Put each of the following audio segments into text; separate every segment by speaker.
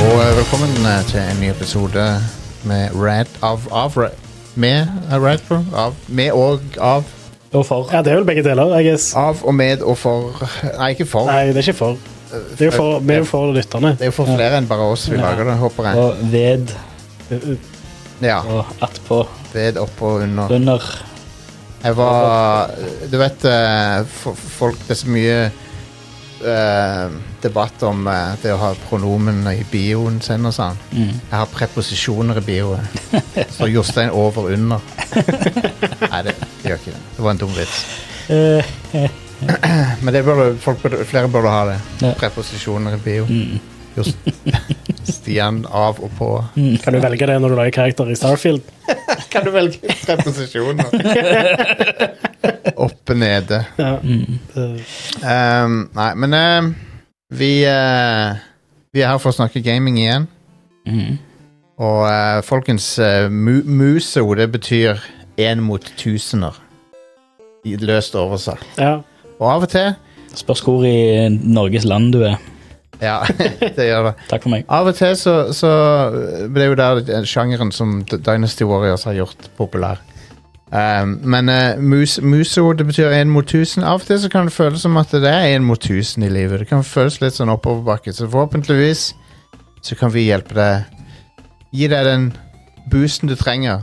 Speaker 1: velkommen eh, til en ny episode med Rad av, av Ra- Med eh, Rad for? Av, med og av.
Speaker 2: Og for.
Speaker 3: Ja, det er vel begge deler, I guess.
Speaker 1: Av og med og for Nei, ikke for.
Speaker 3: Nei, det er ikke for. Det er jo for, vi er jo for lytterne.
Speaker 1: Det er jo for flere enn bare oss vi
Speaker 2: Ja.
Speaker 1: lager det, håper jeg.
Speaker 2: Og ved
Speaker 1: Ja.
Speaker 2: og attpå.
Speaker 1: Ved opp og under.
Speaker 2: Under.
Speaker 1: Jeg var Du vet eh, fo- folk Det er så mye eh, debatt om eh, det å ha pronomen i bioen sin og sånn.
Speaker 2: Mm.
Speaker 1: Jeg har preposisjoner i bioen. Så Jostein over under. Nei, det det gjør ikke det. Det var en dum vits.
Speaker 2: Eh,
Speaker 1: Men det burde, folk burde, flere burde ha det.
Speaker 2: Ja. Mm.
Speaker 1: Preposisjoner i bio. Just Stian av og på.
Speaker 3: Kan du velge det når du lager karakter i Starfield?
Speaker 1: Kan du velge preposisjoner? Oppe nede.
Speaker 3: Ja.
Speaker 2: Mm.
Speaker 3: Eh,
Speaker 1: Ehm, nei, men ehm, vi eh, Vi er her for å snakke gaming igjen.
Speaker 2: mm.
Speaker 1: Og eh, folkens, eh, mu muso, det betyr én mot tusener. I løst oversatt.
Speaker 3: ja.
Speaker 1: Og av og til
Speaker 2: Spørs hvor i Norges land du er.
Speaker 1: Ja, det gjør det.
Speaker 2: Takk for meg.
Speaker 1: Av og til så, så Det er jo der den sjangeren som D- Dynasty Warriors har gjort populær. Ehm, men eh, mus, muso, det betyr én mot tusen. Av og til så kan det føles som at det er én mot tusen i livet. Det kan føles litt sånn oppoverbakke. Så forhåpentligvis så kan vi hjelpe deg. Gi deg den boosten du trenger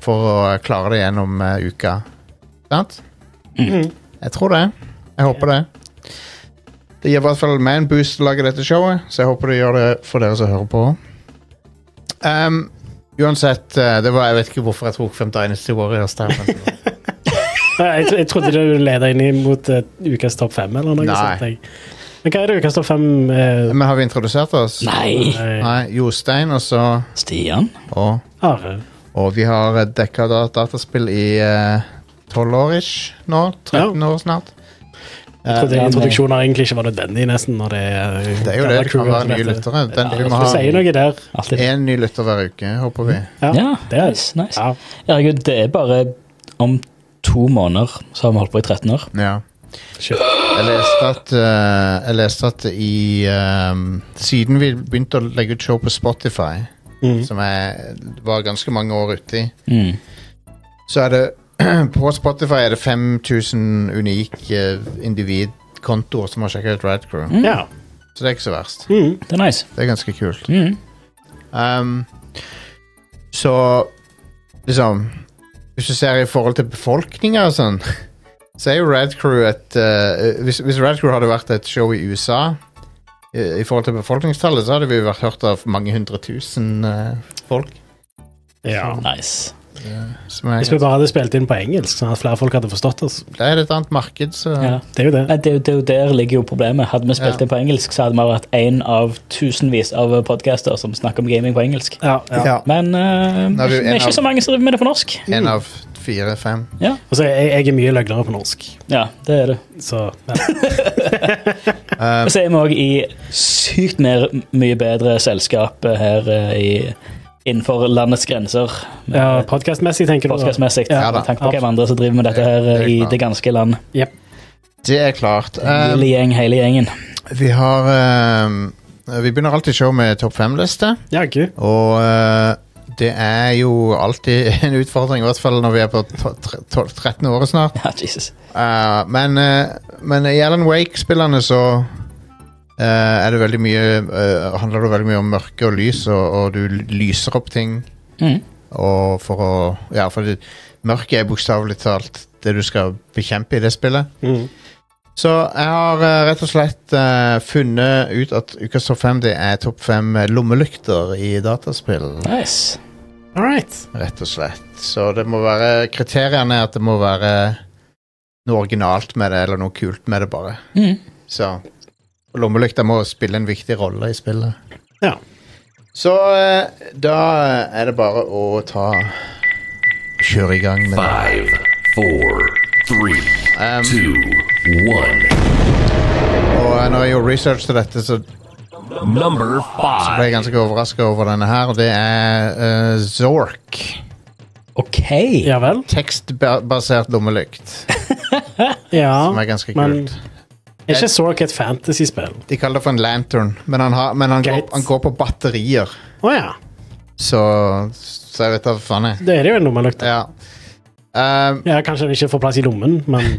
Speaker 1: for å klare det gjennom eh, uka. Sant?
Speaker 3: Mm.
Speaker 1: Jeg tror det. Jeg håper det. Det gir i hvert fall meg en boost å lage dette showet, så jeg håper det gjør det for dere som hører på. Um, uansett, eh, det var, jeg vet ikke hvorfor jeg tok 5 Dynasty Warriors der. Men,
Speaker 3: Nei, Jeg, tro- jeg trodde du leda inn mot eh, ukas topp fem, eller noe
Speaker 1: Nei.
Speaker 3: sånt. Jeg. Men hva er det ukas topp fem eh,
Speaker 1: men har vi introdusert oss?
Speaker 2: Nei!
Speaker 3: Nei. Ah,
Speaker 1: Nei, Jostein, og så
Speaker 2: Stian?
Speaker 1: og,
Speaker 3: Are.
Speaker 1: og vi har eh, dekka da, dataspill i eh, tolv år ish nå. 13 år snart.
Speaker 3: Jeg trodde
Speaker 2: Ja, men-
Speaker 3: introduksjoner egentlig ikke var nødvendig, nesten, når det er eh,
Speaker 1: Eh, Det er jo det.
Speaker 3: gamle
Speaker 1: Det kan
Speaker 3: crewet
Speaker 1: være
Speaker 3: som
Speaker 1: nye
Speaker 3: dette.
Speaker 1: lyttere. Den,
Speaker 2: Ja,
Speaker 1: vi må
Speaker 3: Du sier
Speaker 1: ha
Speaker 3: noe der.
Speaker 2: Alltid.
Speaker 1: én ny lytter hver uke, håper vi.
Speaker 3: Ja.
Speaker 2: Ja,
Speaker 3: det er-
Speaker 2: nice. nice.
Speaker 3: Ja.
Speaker 2: Herregud, det er bare om to måneder så har vi holdt på i 13 år.
Speaker 1: Ja.
Speaker 3: Shit.
Speaker 1: Jeg leste at, eh, jeg leste at i ehm, Siden vi begynte å legge ut show på Spotify,
Speaker 3: Mm.
Speaker 1: som jeg var ganske mange år ute i,
Speaker 2: Mm.
Speaker 1: så er det På Spotify er det 5000 unike eh, individkontoer som har sjekka ut Rad Crew.
Speaker 2: Mm.
Speaker 3: Ja.
Speaker 1: Så det er ikke så verst.
Speaker 3: Mm.
Speaker 2: Det er nice.
Speaker 1: Det er ganske kult.
Speaker 2: Mm.
Speaker 1: Ehm, så liksom Hvis du ser i forhold til befolkninga og sånn, så er jo Rad Crew et eh, Hvis, hvis Rad Crew hadde vært et show i USA eh, i forhold til befolkningstallet, så hadde vi vært hørt av mange hundre tusen eh, folk.
Speaker 3: ja.
Speaker 2: Nice.
Speaker 1: Som er,
Speaker 3: Hvis vi bare hadde spilt inn på engelsk, sånn at flere folk hadde forstått oss.
Speaker 1: det er et annet marked, så
Speaker 2: Ja.
Speaker 3: Det er jo det.
Speaker 2: Nei, det, er jo- det er jo der ligger jo problemet. Hadde vi spilt
Speaker 1: Ja.
Speaker 2: det på engelsk, så hadde vi vært en av tusenvis av podcaster som snakker om gaming på engelsk.
Speaker 3: Ja, ja.
Speaker 1: Ja.
Speaker 2: Men eh,
Speaker 1: Nå er vi jo
Speaker 2: det
Speaker 1: en
Speaker 2: er ikke
Speaker 1: av-
Speaker 2: så mange som driver med det på norsk.
Speaker 1: En av fire-fem.
Speaker 3: Altså, jeg, jeg er mye løgnere på norsk,
Speaker 2: Ja, det er det.
Speaker 3: så ja.
Speaker 2: Og så er vi òg i sykt mer, mye bedre selskap eh, her eh, i, innenfor landets grenser.
Speaker 3: ja Podkastmessig, tenker du? da?
Speaker 2: Podcastmessig.
Speaker 3: Ja,
Speaker 1: Ja da.
Speaker 2: med tanke på hvem andre som driver med dette her
Speaker 1: Det er
Speaker 2: eh, i
Speaker 1: klart.
Speaker 2: det ganske land.
Speaker 1: Det er klart. Ehm,
Speaker 2: Hele gjeng, hele gjengen.
Speaker 1: vi har ehm, Vi begynner alltid show med topp fem-liste.
Speaker 3: Ja, gud.
Speaker 1: Og eh, det er jo alltid en utfordring, i hvert fall når vi er på to- tre- tolv- 13 året snart.
Speaker 2: Ja, Jesus.
Speaker 1: Eh, men, eh, men i Alan Wake-spillene så eh, er det veldig mye eh, Handler det veldig mye om mørke og lys, og, og du l- lyser opp ting.
Speaker 2: Mm.
Speaker 1: Og for å Ja, for det, mørket er bokstavelig talt det du skal bekjempe i det spillet.
Speaker 3: Mm.
Speaker 1: Så jeg har eh, rett og slett eh, funnet ut at ukas topp fem det er topp fem eh, lommelykter i dataspill
Speaker 2: Nice.
Speaker 3: All right.
Speaker 1: rett og slett. Så det må være kriteriene er at det må være noe originalt med det, eller noe kult med det, bare.
Speaker 2: Mm.
Speaker 1: Så og lommelykta må spille en viktig rolle i spillet.
Speaker 3: Ja.
Speaker 1: Så eh, da er det bare å ta Kjøre i gang med det.
Speaker 4: Five, four, three,
Speaker 1: Um,
Speaker 4: two, one.
Speaker 1: Og eh, når jeg gjorde research til dette, så
Speaker 4: Number
Speaker 1: ble
Speaker 4: five.
Speaker 1: jeg ganske overraska over denne her, og det er eh, Zork.
Speaker 2: OK.
Speaker 3: Ja vel?
Speaker 1: Tekstbasert lommelykt,
Speaker 3: Ja.
Speaker 1: som er ganske
Speaker 3: men
Speaker 1: kult.
Speaker 3: Er ikke Sork et fantasyspill?
Speaker 1: De kaller det for en lantern, men han, har, men han, går,
Speaker 3: Greit.
Speaker 1: han går på batterier.
Speaker 3: Å ja.
Speaker 1: Så, så jeg vet da hva faen jeg
Speaker 3: Det er det jo en lommelykt.
Speaker 1: ja. Um,
Speaker 3: Ja, kanskje den ikke får plass i lommen, men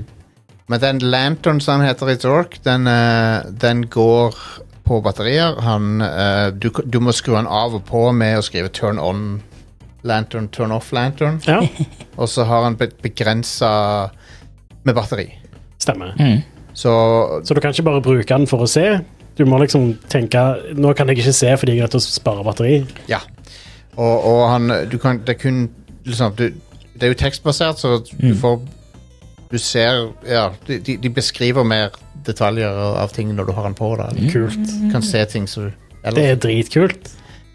Speaker 1: men den lantern som han heter i Zork, den, eh, den går på batterier. Han, eh, du, k- du må skru den av og på med å skrive 'turn on lantern', 'turn off lantern'.
Speaker 3: ja,
Speaker 1: Og så har han begrensa med batteri.
Speaker 3: stemmer.
Speaker 2: Mm.
Speaker 1: Så
Speaker 3: Så du kan ikke bare bruke den for å se. Du må liksom tenke Nå kan jeg ikke se fordi jeg er nødt til å spare batteri.
Speaker 1: Ja. Og, og han Du kan Det er kun liksom, du, Det er jo tekstbasert, så du får Du ser Ja, de, de- de beskriver mer detaljer av av ting når du har den på. Da. Du
Speaker 3: Kult.
Speaker 1: kan se ting som du
Speaker 3: Det
Speaker 1: ellers,
Speaker 3: er dritkult.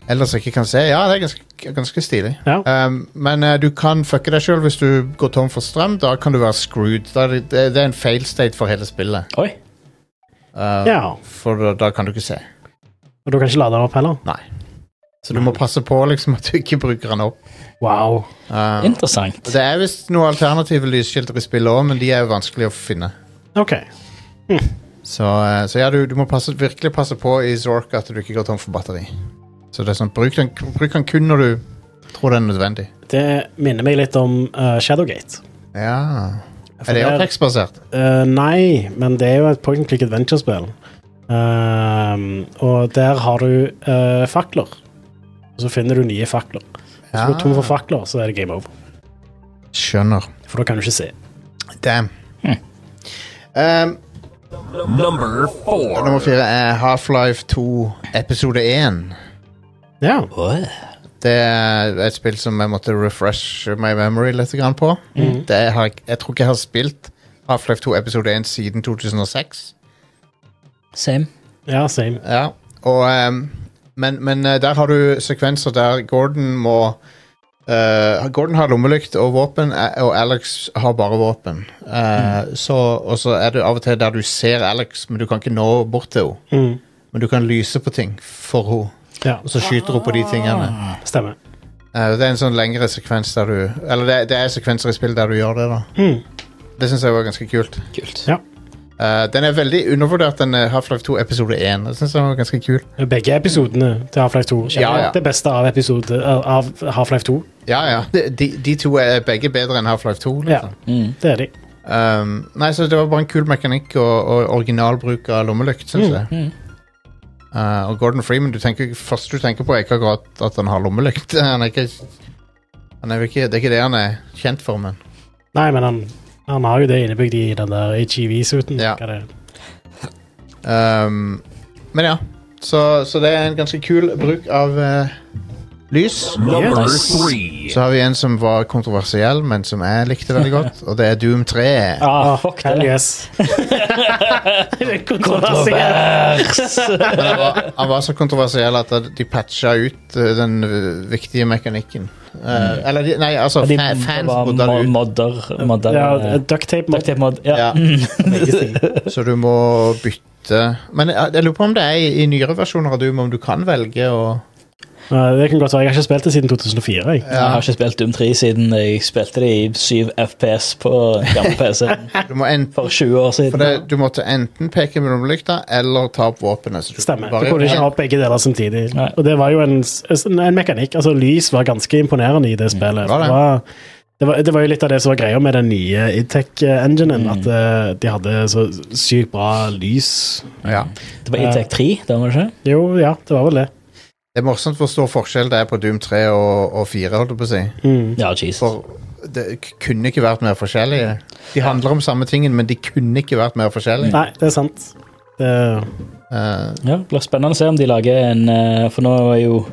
Speaker 1: ellers ikke kan se. Ja, det er ganske, ganske stilig.
Speaker 3: Ja.
Speaker 1: Um, men eh, du kan fucke deg sjøl hvis du går tom for strøm. Da kan du være screwed. Da er det, det, det er en fail state for hele spillet.
Speaker 2: Oi.
Speaker 1: Uh,
Speaker 3: Ja.
Speaker 1: For da, da kan du ikke se.
Speaker 3: Og du kan ikke lade den opp heller.
Speaker 1: Nei. Så du må passe på liksom at du ikke bruker den opp.
Speaker 3: Wow.
Speaker 1: Uh,
Speaker 2: Interessant.
Speaker 1: Det er visst noen alternative lyskilter i spillet òg, men de er jo vanskelig å finne.
Speaker 3: OK.
Speaker 1: Så, eh, så ja, du, du må passe, virkelig passe på i Zork at du ikke går tom for batteri. Så det er sånn, bruk den, bruk den kun når du tror den er nødvendig.
Speaker 3: Det minner meg litt om eh, Shadowgate.
Speaker 1: Ja
Speaker 3: For
Speaker 1: Er det
Speaker 3: der-
Speaker 1: òg tekstbasert?
Speaker 3: Eh, nei, men det er jo et point and click adventure-spill. Ehm, og der har du eh, fakler. Og så finner du nye fakler. Hvis du
Speaker 1: Ja.
Speaker 3: går tom for fakler, så altså, er det game over.
Speaker 1: Skjønner.
Speaker 3: For da kan du ikke se.
Speaker 1: Damn.
Speaker 2: Hm.
Speaker 1: Um,
Speaker 4: Number four.
Speaker 1: nummer fire er Half-Life 2 episode 1.
Speaker 3: Ja.
Speaker 2: Åh.
Speaker 1: Det er et spill som jeg måtte refreshe my memory litt grann på. Det har, jeg- jeg tror ikke jeg har spilt Half-Life 2 episode 1 siden 2006.
Speaker 2: Same.
Speaker 3: ja, same.
Speaker 1: Ja, og ehm, men, men eh, der har du sekvenser der Gordon må eh, Gordon har lommelykt og våpen, eh, og Alex har bare våpen. Eh, så, og så er det av og til der du ser Alex, men du kan ikke nå bort til henne.
Speaker 3: Mm.
Speaker 1: Men du kan lyse på ting for henne,
Speaker 3: Ja,
Speaker 1: og så skyter hun på de tingene.
Speaker 3: stemmer.
Speaker 1: Eh, det er en sånn lengre sekvens der du Eller det, det er sekvenser i spill der du gjør det, da.
Speaker 3: Mm.
Speaker 1: Det syns jeg var ganske kult.
Speaker 2: Kult.
Speaker 3: Ja.
Speaker 1: Eh, den er veldig undervurdert, den eh, Half-Life 2 episode 1. Det syns jeg var ganske kult.
Speaker 3: Begge episodene til Half-Life 2.
Speaker 1: Ja, ja.
Speaker 3: Det beste av, episode, av Half-Life 2.
Speaker 1: Ja, ja. De, de, de to er begge bedre enn Half-Life 2.
Speaker 3: Ja,
Speaker 1: Liksom.
Speaker 2: Mm.
Speaker 3: det er de.
Speaker 1: Um, nei, så Det var bare en kul mekanikk og, og original bruk av lommelykt, syns
Speaker 3: Mm.
Speaker 1: jeg.
Speaker 2: Mm.
Speaker 1: Uh, og Gordon Freeman, du tenker, først du tenker på, er ikke akkurat at han har lommelykt. Han er ikke, han er jo ikke, det er ikke det han er kjent for, men
Speaker 3: Nei, men han, han har jo det innebygd i den der HEV-suiten.
Speaker 1: Ja.
Speaker 3: Hva det-
Speaker 1: um, Men ja. Så, så det er en ganske kul bruk av eh, lys.
Speaker 4: Number
Speaker 2: Yes.
Speaker 4: three.
Speaker 1: Så har vi en som var kontroversiell, men som jeg likte veldig godt, og det er Doom 3.
Speaker 2: Ah,
Speaker 3: Ah,
Speaker 2: fuck
Speaker 3: hell
Speaker 2: det.
Speaker 3: yes. det er kontroversielt.
Speaker 1: Men han var, han var så kontroversiell at de patcha ut eh, den eh, viktige mekanikken. Eh, Eller de, nei, altså
Speaker 2: Mm. De
Speaker 1: fa- fans
Speaker 2: var
Speaker 1: bodde
Speaker 2: mo-
Speaker 1: det ut,
Speaker 2: modder. modder
Speaker 3: Ja,
Speaker 2: eh,
Speaker 3: ducktape må
Speaker 2: ducktape mod, ja.
Speaker 1: Ja.
Speaker 2: Mm.
Speaker 1: så du må bytte Men jeg, jeg lurer på om det er i, i nyere versjoner av Doom om du kan velge å
Speaker 3: Nei, Det kan godt være. Jeg har ikke spilt det siden 2004. Jeg.
Speaker 2: Jeg har ikke spilt Doom 3 siden jeg spilte det i 7 FPS på gamle PC
Speaker 1: Du, må enten,
Speaker 2: for 20 år siden.
Speaker 1: for det, du måtte enten peke med lommelykta eller ta opp våpenet. Så du
Speaker 3: Stemmer.
Speaker 1: bare-
Speaker 3: Du kunne ikke ha begge deler samtidig.
Speaker 2: Nei.
Speaker 3: Og det var jo en, s- en en mekanikk. Altså, lys var ganske imponerende i det spillet.
Speaker 1: det var Mm. det.
Speaker 3: Det var, det, var, det var jo litt av det som var greia med den nye
Speaker 1: Mm.
Speaker 3: Itech-enginen, at eh, de hadde så sykt bra lys.
Speaker 1: ja.
Speaker 2: Det var Intec 3, det var det ikke?
Speaker 3: Jo, ja, det var vel det.
Speaker 1: Det er morsomt hvor stor forskjell det er på Doom 3 og, og 4, holdt jeg på å si.
Speaker 3: Mm.
Speaker 2: Ja, Jesus.
Speaker 1: For det k- kunne ikke vært mer forskjellige. De handler om samme tingen, men de kunne ikke vært mer forskjellige.
Speaker 3: Nei, det er sant. Det, Mm.
Speaker 1: Eh,
Speaker 2: Ja, det blir spennende å se om de lager en eh, For nå er jo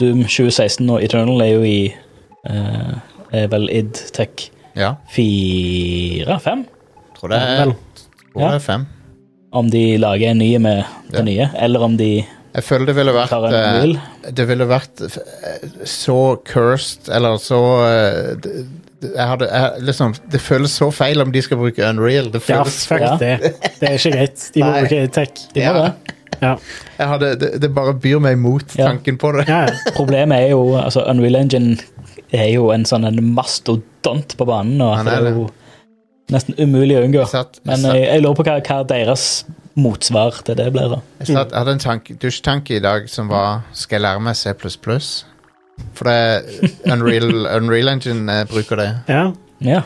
Speaker 2: Doom 2016 og Eternal er jo i eh, er vel id Tech
Speaker 1: ja,
Speaker 2: 4-5.
Speaker 1: tror det er,
Speaker 3: vel,
Speaker 1: tror det er fem.
Speaker 2: Om de lager en ny med det
Speaker 1: Ja.
Speaker 2: nye, eller om de
Speaker 1: Jeg føler det ville vært
Speaker 2: tar en
Speaker 1: eh,
Speaker 2: real.
Speaker 1: Det ville vært eh, så cursed, eller så eh, d- d- jeg hadde, jeg, liksom, Det føles så feil om de skal bruke Unreal. Det
Speaker 3: ja,
Speaker 1: føles,
Speaker 3: fuck
Speaker 2: Ja.
Speaker 3: det. Det er ikke greit. De må
Speaker 1: Nei.
Speaker 3: bruke Itech.
Speaker 2: De må
Speaker 1: Ja.
Speaker 2: det.
Speaker 3: Ja.
Speaker 1: jeg hadde, det, det bare byr meg imot
Speaker 2: Ja.
Speaker 1: tanken på det.
Speaker 3: Ja, ja.
Speaker 2: Problemet er jo altså Unreal Engine er jo en sånn en mastodont på banen. Og
Speaker 1: Han
Speaker 2: at det
Speaker 1: er
Speaker 2: er
Speaker 1: det.
Speaker 2: jo nesten umulig å unngå.
Speaker 1: Jeg satt, jeg
Speaker 2: Men eh,
Speaker 1: satt,
Speaker 2: jeg, jeg lurer på hva, hva deres motsvar til det blir, da.
Speaker 1: Jeg satt, hadde en tank, dusjtanke i dag som var Skal jeg lære meg C++? For det, Unreal, Unreal Engine eh, bruker det.
Speaker 3: Ja.
Speaker 2: Ja.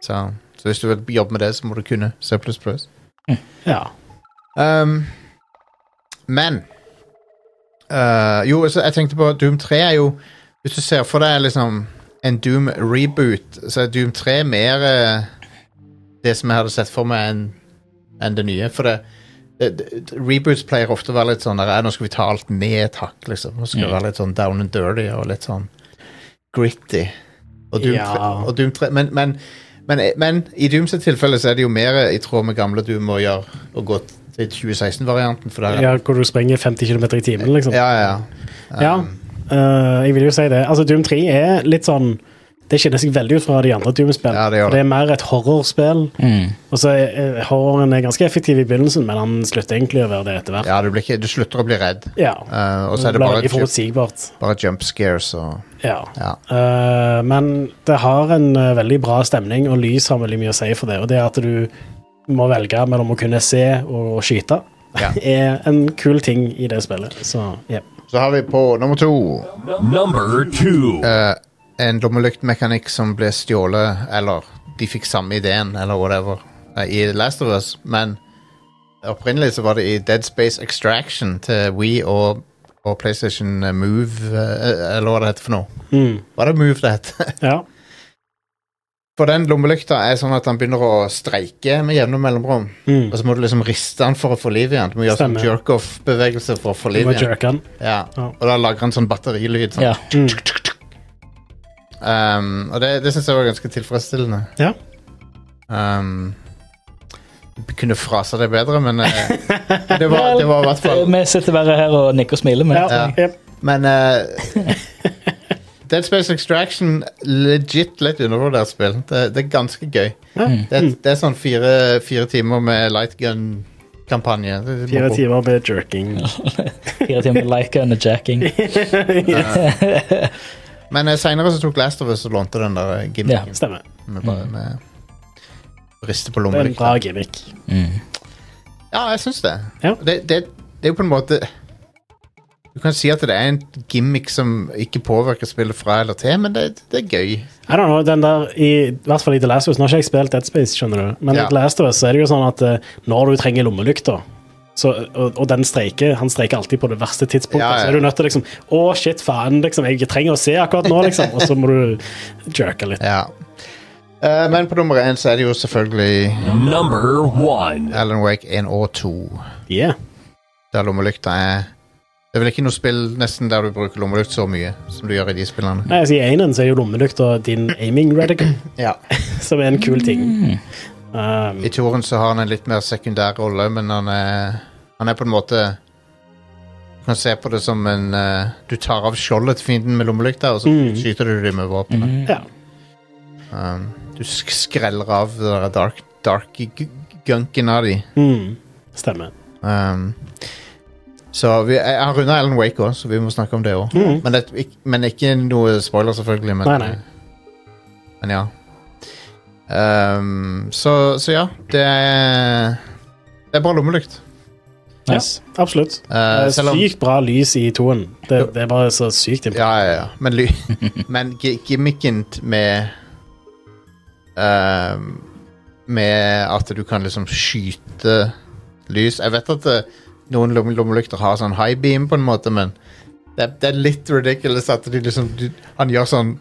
Speaker 1: Så, så hvis du vil jobbe med det, så må du kunne C++.
Speaker 3: ja.
Speaker 1: Um, men eh, Jo, så jeg tenkte på Doom 3 er jo Hvis du ser for deg liksom en Doom reboot, så er Doom 3 mer eh, det som jeg hadde sett for meg, enn enn det nye. For det, det, det reboots pleier ofte å være litt sånn der, «Ja, Nå skal vi ta alt ned et hakk, liksom. Nå skal det
Speaker 2: Mm.
Speaker 1: være litt sånn down and dirty og litt sånn gritty. Og Doom
Speaker 3: Ja.
Speaker 1: 3, og Doom 3 men, men, men, men i Dooms tilfelle så er det jo mer i tråd med gamle Doom å gjøre å gå til 2016-varianten, for der er-
Speaker 3: ja hvor du springer 50 km i timen, liksom.
Speaker 1: Ja, ja. Um,
Speaker 3: Ja, eh, jeg vil jo si det. Altså, Doom 3 er litt sånn Det skiller seg veldig ut fra de andre Doom-spillene.
Speaker 1: Ja, det gjør det.
Speaker 3: det er mer et horrorspill. Og så er, er, horroren er ganske effektiv i begynnelsen, men han slutter egentlig å være det etter hvert.
Speaker 1: ja du, blir ikke, du slutter å bli redd.
Speaker 3: Ja.
Speaker 1: Uh, og så er
Speaker 3: Det
Speaker 1: det
Speaker 3: blir
Speaker 1: bare,
Speaker 3: veldig
Speaker 1: ju-
Speaker 3: forutsigbart.
Speaker 1: bare jump scares og
Speaker 3: Ja.
Speaker 1: Ja.
Speaker 3: Eh, men det har en eh, veldig bra stemning, og lys har veldig mye å si for det. Og det at du må velge mellom å kunne se og skyte,
Speaker 1: Ja.
Speaker 3: er en kul ting i det spillet. Så ja.
Speaker 1: Så har vi på nummer to
Speaker 4: Number two.
Speaker 1: eh, en lommelyktmekanikk som ble stjålet, eller de fikk samme ideen, eller whatever, eh, i Last of Us, men opprinnelig så var det i Dead Space Extraction til Wii og, og PlayStation Move, eh, eller hva det heter for noe.
Speaker 3: Mm.
Speaker 1: Var det Move det het?
Speaker 3: ja.
Speaker 1: For den lommelykta er sånn at den begynner å streike med jevne mellomrom.
Speaker 3: Mm.
Speaker 1: Og så må du liksom riste den for å få liv i den. Du må gjøre sånn
Speaker 3: Stemmer.
Speaker 1: jerk-off-bevegelse for å få
Speaker 3: Du
Speaker 1: liv
Speaker 3: må
Speaker 1: i den.
Speaker 3: jerke den.
Speaker 1: Ja.
Speaker 3: Ja.
Speaker 1: Og da lager han sånn batterilyd. Sånn.
Speaker 2: ja.
Speaker 3: Mm.
Speaker 1: Um, og det, det syns jeg var ganske tilfredsstillende.
Speaker 3: Ja.
Speaker 1: Um, jeg kunne frasa det bedre, men eh, det, var, det var i hvert fall
Speaker 2: Vi sitter bare her og nikker og smiler. Men,
Speaker 3: Ja.
Speaker 1: Ja.
Speaker 3: ja.
Speaker 1: Men eh, Dead Space Extraction legit litt undervurdert spill. Det, det er ganske gøy.
Speaker 3: Ja. Mm.
Speaker 1: Det, er- det er sånn fire, fire timer med light gun-kampanje. Det-
Speaker 3: Fire timer med jerking.
Speaker 2: Fire timer med like and jacking.
Speaker 1: Men uh, seinere tok Last of Us og lånte den der eh, gimmicken.
Speaker 3: Stemmer.
Speaker 1: Med bare med riste på
Speaker 3: Det er en bra
Speaker 1: lommelykta.
Speaker 3: gimmick.
Speaker 1: Ja, jeg syns det.
Speaker 3: Ja.
Speaker 1: Det, det. Det er jo på en måte Du kan si at det er en gimmick som ikke påvirker spillet fra eller til, men det, det er gøy.
Speaker 3: I don't know, den der, i, i hvert fall i The Last of Us, Nå har ikke jeg spilt Dead Space, skjønner du, men
Speaker 1: Ja.
Speaker 3: i The Last of Us så er det jo sånn at eh, når du trenger lommelykta så, og, og den streiker, han streiker alltid på det verste tidspunktet.
Speaker 1: Ja, ja.
Speaker 3: Så er du nødt til å liksom Å, shit, faen, liksom, jeg trenger å se akkurat nå, liksom. Og så må du jerke litt.
Speaker 1: Ja. Eh, men på nummer én så er det jo selvfølgelig
Speaker 4: Number one.
Speaker 1: Alan Wake 1 og 2.
Speaker 3: Yeah.
Speaker 1: Der lommelykta er Det er vel ikke noe spill nesten der du bruker lommelykt så mye som du gjør i de spillene.
Speaker 3: Nei, altså, I Einen så er jo lommelykta din aiming radical,
Speaker 1: Ja. Mm.
Speaker 3: som er en kul ting.
Speaker 2: Mm.
Speaker 3: Um,
Speaker 1: I toren så har han en litt mer sekundær rolle, men han er, han er på en måte Du kan se på det som en eh, Du tar av skjoldet til fienden med lommelykta, og så
Speaker 3: Mm.
Speaker 1: skyter du dem med våpenet.
Speaker 2: Mm.
Speaker 3: ja.
Speaker 1: Um, du sk skreller av det der dark, dark g- gunken av dem.
Speaker 3: Mm, stemmer.
Speaker 1: Um, så vi, jeg har runda Alan Wake òg, så vi må snakke om det òg.
Speaker 3: Mhm.
Speaker 1: Men, det- ikk- men ikke noe spoiler, selvfølgelig. Men,
Speaker 3: Nei, nei.
Speaker 1: men ja. Um, så, så ja, det er Det er bra lommelykt.
Speaker 2: Nice.
Speaker 3: Ja, absolutt.
Speaker 1: Uh,
Speaker 3: Eh,
Speaker 1: selv om
Speaker 3: sykt bra lys i toen. Det, det er bare så sykt imponerende.
Speaker 1: Ja, ja, ja. Men, ly, men gi- gimmicken t- med um, Med at du kan liksom skyte lys Jeg vet at det, noen lomme- lommelykter har sånn high beam, på en måte, men det, er- det er litt ridiculous at de liksom du, Han gjør sånn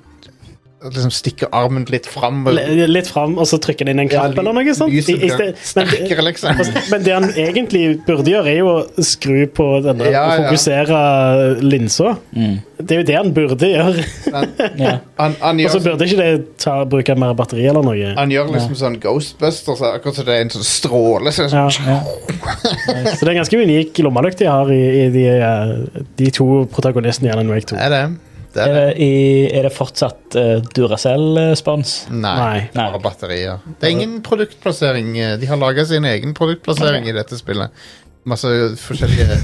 Speaker 1: Liksom stikker armen litt fram. og-
Speaker 3: L- Litt fram, og så trykker han inn en
Speaker 1: Ja,
Speaker 3: knapp eller noe sånt. I,
Speaker 1: lyset
Speaker 3: i
Speaker 1: blir
Speaker 3: sted, men, altså-
Speaker 1: Sterkere, liksom.
Speaker 3: men det han egentlig burde gjøre, er jo å skru på den der
Speaker 1: Ja,
Speaker 3: og
Speaker 1: ja.
Speaker 3: fokusere linsa. Det er jo det han burde gjøre.
Speaker 2: Ja.
Speaker 1: Han, han,
Speaker 3: Og så
Speaker 1: gjør,
Speaker 3: burde ikke det ta, bruke mer batteri eller noe.
Speaker 1: han gjør liksom sånn Ghostbusters, akkurat som det er en sånn stråle. Så,
Speaker 3: Ja. Så det er en ganske unik lommelykt de har i, i de, eh, de to protagonistene i Alan Wake 2.
Speaker 1: Er det? det,
Speaker 2: Er
Speaker 1: er det.
Speaker 2: det, i, er det fortsatt eh, Duracell-spons?
Speaker 1: Nei.
Speaker 3: Nei.
Speaker 2: Nei.
Speaker 1: Bare batterier. Det er ingen produktplassering. eh, De har laga sin egen produktplassering
Speaker 2: Ok.
Speaker 1: i dette spillet. Masse forskjellige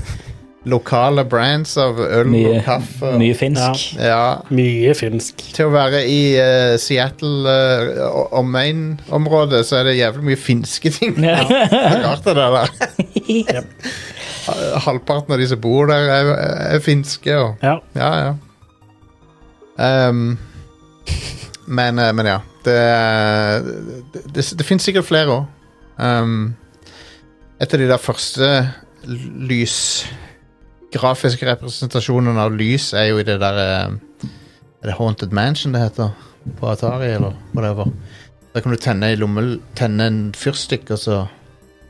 Speaker 1: lokale brands av øl og
Speaker 2: Mye,
Speaker 1: kaffe. og-
Speaker 2: mye finsk.
Speaker 1: Ja,
Speaker 3: Mye finsk.
Speaker 1: til å være i eh, Seattle eh, og omegn-området, så er det jævlig mye finske ting.
Speaker 2: Ja.
Speaker 1: Rart det der. Eh, Halvparten av de som bor der, er, er finske. Og,
Speaker 3: Ja.
Speaker 1: ja, ja. Ehm, men, eh, men ja. Det, er- det, det, det finnes sikkert flere òg. et av de der første lys Grafiske representasjonene av lys er jo i det der eh, Er det Haunted Mansion det heter? På Atari, eller whatever. Da kan du tenne, i lommel- tenne en fyrstikk, og så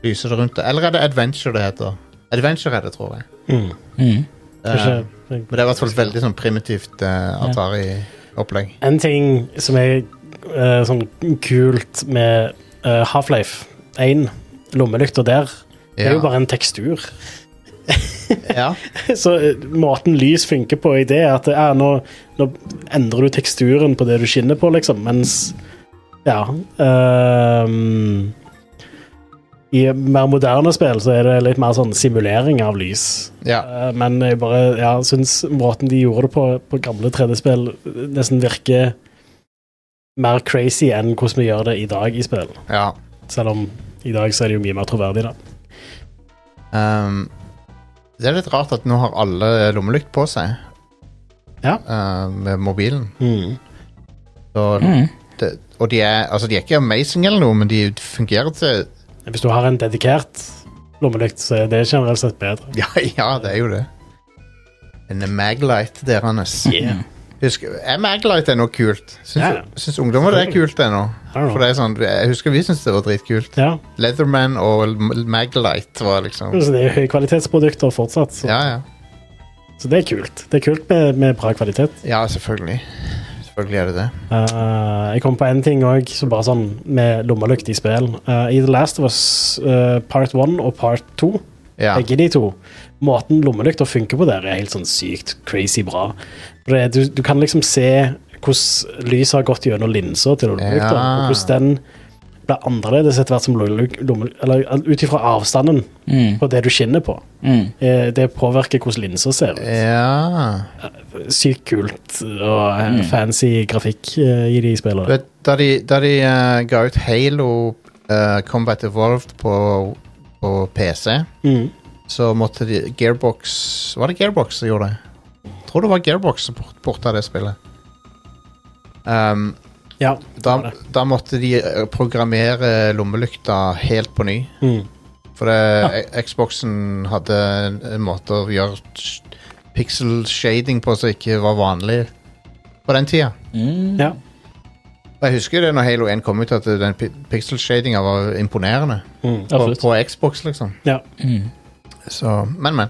Speaker 1: lyser det rundt det. Eller er det Adventure det heter? Adventure er det, tror jeg.
Speaker 3: Mm.
Speaker 2: Mm.
Speaker 3: Kanskje,
Speaker 1: Eh, men det er i hvert fall et veldig sånn primitivt eh, Atari-opplegg.
Speaker 3: En ting som er eh, sånn kult med eh, Half-Life 1, lommelykta der, det er jo
Speaker 1: Ja.
Speaker 3: bare en tekstur.
Speaker 1: ja.
Speaker 3: Så eh, måten lys funker på i det, er at eh, ja, nå, nå endrer du teksturen på det du skinner på, liksom, mens Ja. ehm, I mer moderne spill så er det litt mer sånn simulering av lys.
Speaker 1: ja.
Speaker 3: Eh, Men jeg bare ja, syns måten de gjorde det på på gamle 3D-spill, nesten virker mer crazy enn hvordan vi gjør det i dag i spill.
Speaker 1: ja.
Speaker 3: Selv om i dag så er det jo mye mer troverdig, da.
Speaker 1: Ehm, det er litt rart at nå har alle lommelykt på seg.
Speaker 3: Ja.
Speaker 1: Eh, med mobilen.
Speaker 3: Mm.
Speaker 1: Så,
Speaker 2: Mm.
Speaker 1: det, og de er, altså, de er ikke amazing eller noe, men de fungerer til
Speaker 3: Hvis du har en dedikert lommelykt, så er det generelt sett bedre.
Speaker 1: Ja, ja det er jo det. En Maglite deres.
Speaker 3: Yeah.
Speaker 1: Husk, er Maglite ennå kult? Syns,
Speaker 3: Ja, ja.
Speaker 1: syns ungdommer det er kult ennå?
Speaker 3: I don't
Speaker 1: For
Speaker 3: know.
Speaker 1: det er sånn, Jeg husker vi syntes det var dritkult.
Speaker 3: Ja.
Speaker 1: Leatherman og M- Maglite var liksom
Speaker 3: Så det er høykvalitetsprodukter fortsatt, så,
Speaker 1: Ja, ja.
Speaker 3: så det er kult. Det er kult med, med bra kvalitet.
Speaker 1: Ja, selvfølgelig. Selvfølgelig er det det.
Speaker 3: Eh, jeg kom på en ting òg, så bare sånn med lommelykt i spill. Eh, I The Last of Us eh, Part 1 og Part 2
Speaker 1: Ja.
Speaker 3: begge de to. Måten lommelykter funker på der, er helt sånn sykt crazy bra. For det, du, du kan liksom se hvordan lyset har gått gjennom linsa til lommelykta,
Speaker 1: Ja.
Speaker 3: og hvordan den blir annerledes etter hvert som lommelyk- lomme- eller ut ifra avstanden
Speaker 2: Mm.
Speaker 3: på det du skinner på.
Speaker 2: Mm.
Speaker 3: Eh, Det påvirker hvordan linsa ser ut.
Speaker 1: Eh. ja.
Speaker 3: Sykt kult og eh, fancy grafikk eh, i de spillene.
Speaker 1: Mm. Vet, da de, da de eh, ga ut Halo eh, Combat Evolved på, på PC,
Speaker 3: Mm.
Speaker 1: så måtte de Gearbox Var det Gearbox som gjorde det? Jeg tror det var Gearbox som port- porta det spillet. Ehm,
Speaker 3: Ja.
Speaker 1: da, da måtte de eh, programmere lommelykta helt på ny.
Speaker 3: Mm.
Speaker 1: For det, e- Xboxen hadde en, en måte å gjøre sh- pixel shading på som ikke var vanlig på den tida.
Speaker 2: Mm.
Speaker 3: ja.
Speaker 1: Og Jeg husker jo det når Halo 1 kom ut, at den pi- pixel shadinga var imponerende.
Speaker 3: Mm.
Speaker 1: På,
Speaker 2: Absolutt.
Speaker 1: på Xbox, liksom.
Speaker 3: ja.
Speaker 2: Mm.
Speaker 1: Så, men, men.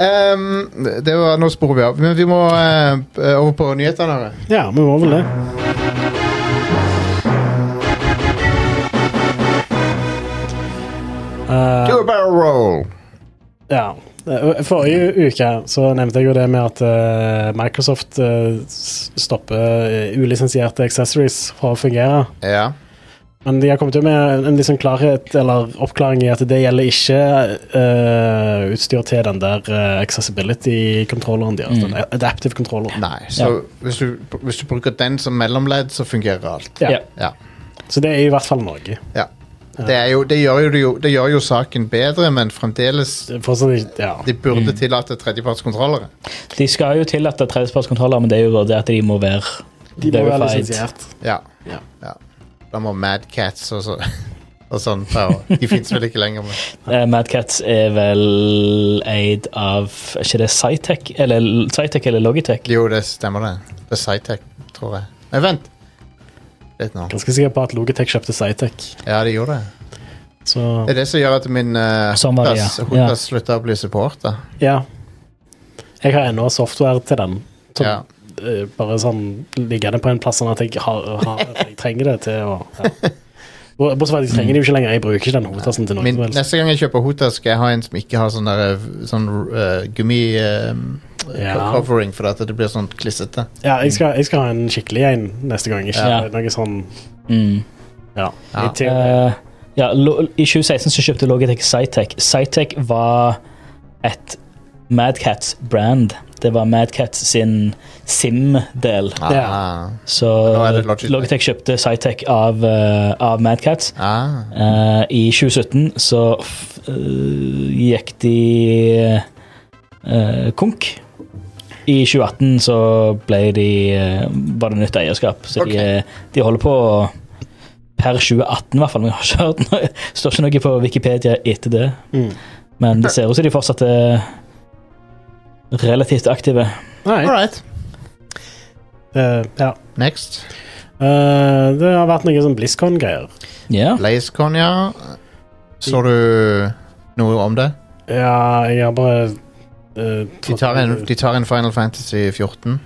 Speaker 1: Ehm, det var, nå sporer vi av. Men vi må eh, over på nyhetene. her.
Speaker 3: Ja, vi må vel det. Eh,
Speaker 1: Do a barrel roll!
Speaker 3: ja. Eh, Forrige uke så nevnte jeg jo det med at eh, Microsoft eh, s- stopper eh, ulisensierte accessories fra å fungere.
Speaker 1: Ja.
Speaker 3: Men de har kommet jo med en, en liksom klarhet eller oppklaring i at det gjelder ikke eh, utstyr til den der eh, accessibility-kontrolleren deres. Den adaptive kontrolleren.
Speaker 1: Nei. Så Hvis, du, hvis du bruker den som mellomledd, så fungerer alt.
Speaker 3: Ja.
Speaker 2: Ja.
Speaker 1: Ja.
Speaker 3: Så det er i hvert fall Norge.
Speaker 1: ja. Det, er jo, det, gjør jo, det jo- det gjør jo saken bedre, men fremdeles
Speaker 3: Det er fortsatt ikke- ja.
Speaker 1: De burde
Speaker 2: Mm.
Speaker 1: tillate tredjepartskontrollere.
Speaker 2: De skal jo tillate tredjepartskontroller, men det er jo det at de må være
Speaker 3: De må være
Speaker 2: verified.
Speaker 3: lisensiert.
Speaker 1: Ja.
Speaker 3: Ja.
Speaker 1: ja. Da må Madcats og, så, og sånn ta over. De fins vel ikke lenger, men
Speaker 2: Eh, Mad Cats er vel eid av er Ikke det Cytec eller, Cytec eller Logitech?
Speaker 1: Jo, det stemmer det. Det er Cytec, tror jeg. Nei, vent! Litt nå.
Speaker 3: Ganske sikker på at Logitech kjøpte Cytec.
Speaker 1: Ja, de gjorde det.
Speaker 3: Så
Speaker 1: Det er det som gjør at min uh,
Speaker 2: Sånn var det, ja. Ja.
Speaker 1: slutta å bli supporter.
Speaker 3: ja. Jeg har ennå software til den. Som
Speaker 1: Ja.
Speaker 3: eh, bare sånn liggende på en plass sånn at jeg, har, har, jeg trenger det til å ja. Bortsett fra at jeg trenger det jo ikke lenger. Jeg bruker ikke den hotasen til noe
Speaker 1: Min,
Speaker 3: som helst.
Speaker 1: neste gang jeg kjøper Hota, skal jeg ha en som ikke har sånn der, eh, sånn eh, gummi eh,
Speaker 3: Ja.
Speaker 1: covering, for at det blir sånn klissete.
Speaker 3: Ja, jeg skal, jeg skal ha en skikkelig en neste gang. Ikke
Speaker 2: Ja.
Speaker 3: noe sånn
Speaker 2: Mm.
Speaker 3: Ja.
Speaker 1: Ja.
Speaker 3: Litt til.
Speaker 2: Eh, ja, lo, I 2016 så kjøpte Logitech Cytec. Cytec var et Madcats brand. Det var Madcats sin SIM-del.
Speaker 1: Ah,
Speaker 3: Ja.
Speaker 2: Så
Speaker 1: Nå er det Logitech.
Speaker 2: Logitech kjøpte Cytec av, eh, av Madcats.
Speaker 1: ah.
Speaker 2: Eh, I 2017 så f eh, gikk de eh, konk. I 2018 så ble de eh, var det nytt eierskap, så
Speaker 1: Ok.
Speaker 2: de, eh, de holder på per 2018 i hvert fall. Men jeg har ikke hørt noe, står ikke noe på Wikipedia etter det.
Speaker 3: Mm.
Speaker 2: Men det ser ut som de fortsatt er relativt aktive.
Speaker 1: All
Speaker 3: Nei,
Speaker 1: right.
Speaker 3: det, ja.
Speaker 1: Next.
Speaker 3: Eh, det har vært noe sånn BlizzCon-greier.
Speaker 2: Ja.
Speaker 1: BlazeCon, ja. Så du noe om det?
Speaker 3: Ja, jeg har bare eh,
Speaker 1: De tar en, de tar en Final Fantasy 14.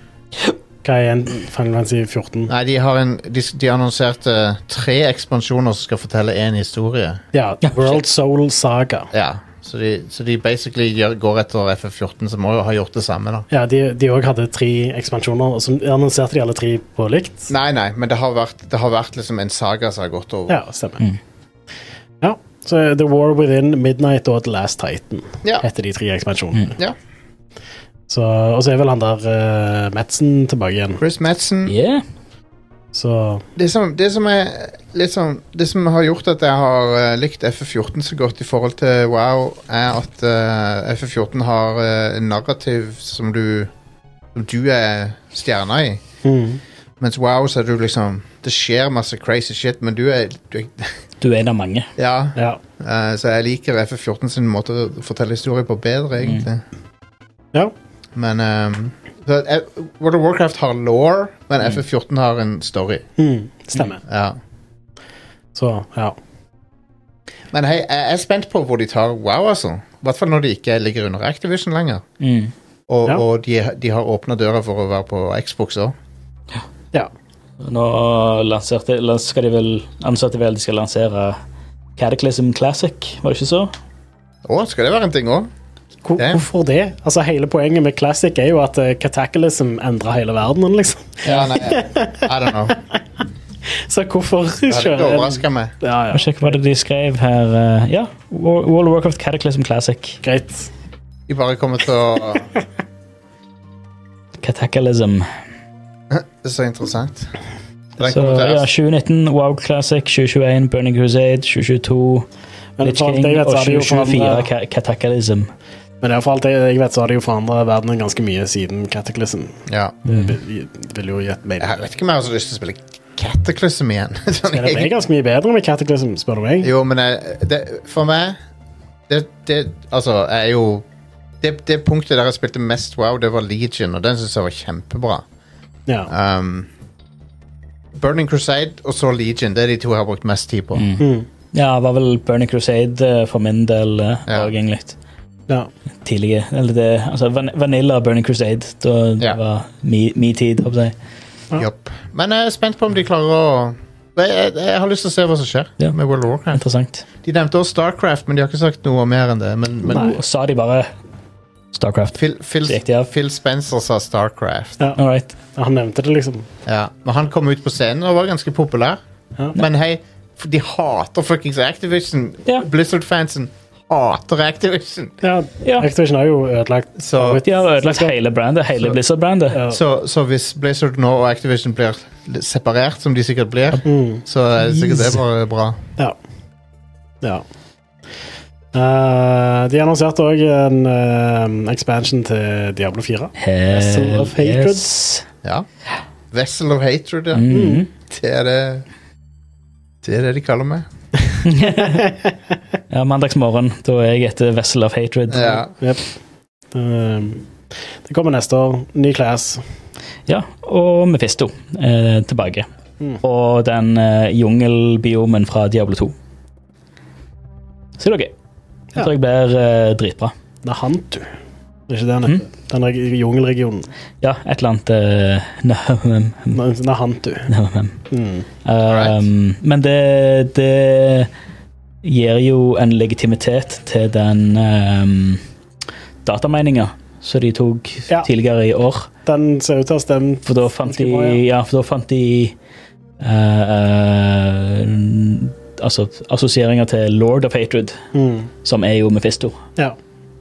Speaker 3: Hva er en Final Fantasy 14?
Speaker 1: Nei, de har en De, de annonserte tre ekspansjoner som skal fortelle én historie.
Speaker 3: Ja,
Speaker 2: Ja,
Speaker 3: World Soul Saga.
Speaker 1: Ja, Så de, så de basically gjør, går etter FF14, som må jo ha gjort det samme, da.
Speaker 3: Ja, de òg hadde tre ekspansjoner, og så annonserte de alle tre på likt.
Speaker 1: Nei, nei, men det har vært, det har vært liksom en saga som har gått over.
Speaker 3: Ja, stemmer.
Speaker 2: Mm.
Speaker 3: Ja, så The War Within, Midnight og The Last Titan
Speaker 1: Ja.
Speaker 3: heter de tre ekspansjonene.
Speaker 2: Mm.
Speaker 1: Ja.
Speaker 3: Så, og så er vel han der eh, Madsen tilbake igjen,
Speaker 1: Chris Madsen
Speaker 2: Yeah.
Speaker 3: så
Speaker 1: det som, det som er litt sånn- Det som har gjort at jeg har eh, likt FF14 så godt i forhold til WoW, er at eh, FF14 har eh, en narrativ som du Som du er stjerna i.
Speaker 3: mm.
Speaker 1: Mens WoW så er du liksom Det skjer masse crazy shit, men du er, du er
Speaker 2: Du er en av mange.
Speaker 1: Ja.
Speaker 3: Ja.
Speaker 1: Eh, så jeg liker FF14 sin måte å fortelle historier på bedre, egentlig.
Speaker 3: Ja.
Speaker 1: Men ehm, så, eh, World of Warcraft har law, men FF14 har en story.
Speaker 3: Mm. Stemmer.
Speaker 1: Ja.
Speaker 3: Så, ja.
Speaker 1: Men hei, jeg er spent på hvor de tar WoW, altså. I hvert fall når de ikke ligger under Activision lenger.
Speaker 2: Mm.
Speaker 1: Og,
Speaker 3: Ja.
Speaker 1: og de, de har åpna døra for å være på Xbox òg.
Speaker 3: ja.
Speaker 2: Nå lanserte, lans- skal de vel, annonserte de vel de skal lansere Cataclysm Classic, var det ikke så?
Speaker 1: Å, skal det være en ting òg?
Speaker 3: Hvor,
Speaker 1: Det-
Speaker 3: hvorfor det? Altså, Hele poenget med Classic er jo at uh, Cataclysm endrer hele verdenen, liksom.
Speaker 1: Ja, nei, jeg- I don't know.
Speaker 3: Så hvorfor
Speaker 1: Ja, det
Speaker 3: kjøre en
Speaker 1: overrasker meg.
Speaker 3: ja, ja.
Speaker 2: Jeg sjekker hva det de skrev her. eh, Ja, War- World of Warcraft Cataclysm Classic.
Speaker 3: Greit.
Speaker 1: De bare kommer til å
Speaker 2: Cataclysm.
Speaker 1: Det er så interessant. Den
Speaker 2: Så
Speaker 1: kommer til
Speaker 2: ja,
Speaker 1: høst.
Speaker 2: 2019 WoW Classic, 2021 Burning Crusade, 2022
Speaker 3: Men
Speaker 2: Lich
Speaker 3: for alt
Speaker 2: King
Speaker 3: jeg vet,
Speaker 2: og
Speaker 3: så har de jo
Speaker 2: 2024
Speaker 3: forandret-
Speaker 2: Ca- Cataclysm.
Speaker 3: Men for alt jeg vet, så har de jo forandra verdenen ganske mye siden Cataclysm.
Speaker 1: Ja.
Speaker 3: Det vil- det vil jo gjette meg.
Speaker 1: Jeg vet ikke om jeg har så lyst til å spille Cataclysm igjen. Sånn,
Speaker 3: Men det ble
Speaker 1: egentlig.
Speaker 3: ganske mye bedre med Cataclysm, spør du meg.
Speaker 1: jo, men jeg, det, for meg det, det, Altså, jeg er jo det, det punktet der jeg spilte mest wow, det var Legion, og den syns jeg var kjempebra.
Speaker 3: Ja.
Speaker 1: Um, Burning Crusade og så Legion, det er de to jeg har brukt mest tid på.
Speaker 2: Mm.
Speaker 3: Mm.
Speaker 2: Ja, det var vel Burning Crusade eh, for min del eh,
Speaker 1: Ja.
Speaker 2: òg, egentlig.
Speaker 3: ja.
Speaker 2: Tidlige. Eller det Altså van Vanilla og Burning Crusade. Da,
Speaker 1: Ja.
Speaker 2: Det var mi, mi tid, håper jeg.
Speaker 1: Jopp. Men jeg er spent på om de klarer å jeg, jeg, jeg har lyst til å se hva som skjer
Speaker 2: Ja.
Speaker 1: med World of Warcraft.
Speaker 2: Interessant.
Speaker 1: De nevnte også Starcraft, men de har ikke sagt noe mer enn det. Men, men
Speaker 2: Og sa de bare Starcraft.
Speaker 1: Phil, Phil,
Speaker 2: Så gikk de av.
Speaker 1: Phil Spencer sa Starcraft.
Speaker 2: All right.
Speaker 3: Han nevnte det, liksom.
Speaker 1: Ja, men han kom ut på scenen og var ganske populær.
Speaker 3: Ja.
Speaker 1: Men hei, f- de hater fuckings Activision.
Speaker 2: Ja.
Speaker 1: Blizzard-fansen hater Activision.
Speaker 3: Ja,
Speaker 2: Ja.
Speaker 3: Activision har jo ødelagt
Speaker 1: Så,
Speaker 2: De har ødelagt hele brandet, hele
Speaker 1: Så-
Speaker 2: Blizzard-brandet.
Speaker 3: Ja.
Speaker 1: så, så hvis Blizzard nå og Activision blir l- separert, som de sikkert blir,
Speaker 3: Mm.
Speaker 1: så er det sikkert det bare bra.
Speaker 3: Ja. ja. Eh, de annonserte òg en eh, expansion til Diablo 4. Vessel of
Speaker 2: Hell
Speaker 3: Hatred.
Speaker 2: yes.
Speaker 1: Ja. Vessel of Hatred, ja.
Speaker 3: Mm.
Speaker 2: Mhm.
Speaker 1: Det er det det er det de kaller meg.
Speaker 2: Ja, mandagsmorgen. Da er jeg etter Vessel of Hatred.
Speaker 1: Ja.
Speaker 3: Jep. Eh, det kommer neste år. Ny class.
Speaker 2: Ja, og Mephisto eh, tilbake.
Speaker 3: Mm.
Speaker 2: Og den eh, jungelbiomen fra Diablo 2. Så det er gøy. Jeg
Speaker 3: Ja.
Speaker 2: tror jeg blir eh, dritbra.
Speaker 3: Nahantu. Det er ikke det han heter. Den reg- jungelregionen.
Speaker 2: Ja, et eller annet eh, Nahum.
Speaker 3: Na- Nahantu.
Speaker 2: Nahum.
Speaker 3: Mm.
Speaker 1: Alright.
Speaker 2: Um, men det, det gir jo en legitimitet til den um, datamininga som de tok
Speaker 3: Ja.
Speaker 2: tidligere i år.
Speaker 3: Den ser ut til å ha stemt
Speaker 2: For da fant
Speaker 3: ganske
Speaker 2: de,
Speaker 3: bra, ja.
Speaker 2: ja, for da fant de eh, eh, altså assosieringer til Lord of Hatred,
Speaker 3: Mm.
Speaker 2: som er jo Mephisto.
Speaker 3: Ja.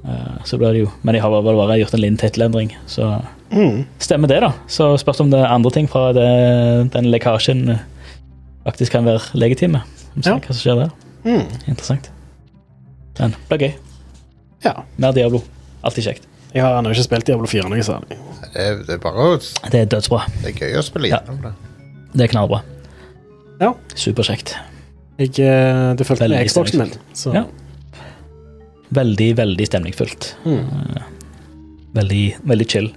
Speaker 2: Eh, så blir det jo Men jeg har vel bare gjort en liten tittelendring, så
Speaker 3: Mm.
Speaker 2: stemmer det, da. Så spørs om det er andre ting fra det, den lekkasjen eh, faktisk kan være legitime. Vi ser
Speaker 3: Ja.
Speaker 2: hva som skjer der.
Speaker 3: Mm.
Speaker 2: Interessant. Men det blir gøy.
Speaker 3: Ja.
Speaker 2: Mer Diablo. Alltid kjekt.
Speaker 3: Jeg har ennå ikke spilt Diablo 4 noe særlig.
Speaker 1: Det er, det er bare å,
Speaker 2: Det er dødsbra.
Speaker 1: det er gøy å spille
Speaker 2: Ja.
Speaker 1: gjennom det.
Speaker 2: Det er knallbra.
Speaker 3: Ja.
Speaker 2: Superkjekt.
Speaker 3: Jeg, eh, det fulgte med
Speaker 2: Veldig
Speaker 3: Xboxen min. Så.
Speaker 2: Ja. Veldig, veldig stemningsfullt.
Speaker 3: Mm.
Speaker 2: Veldig, veldig chill.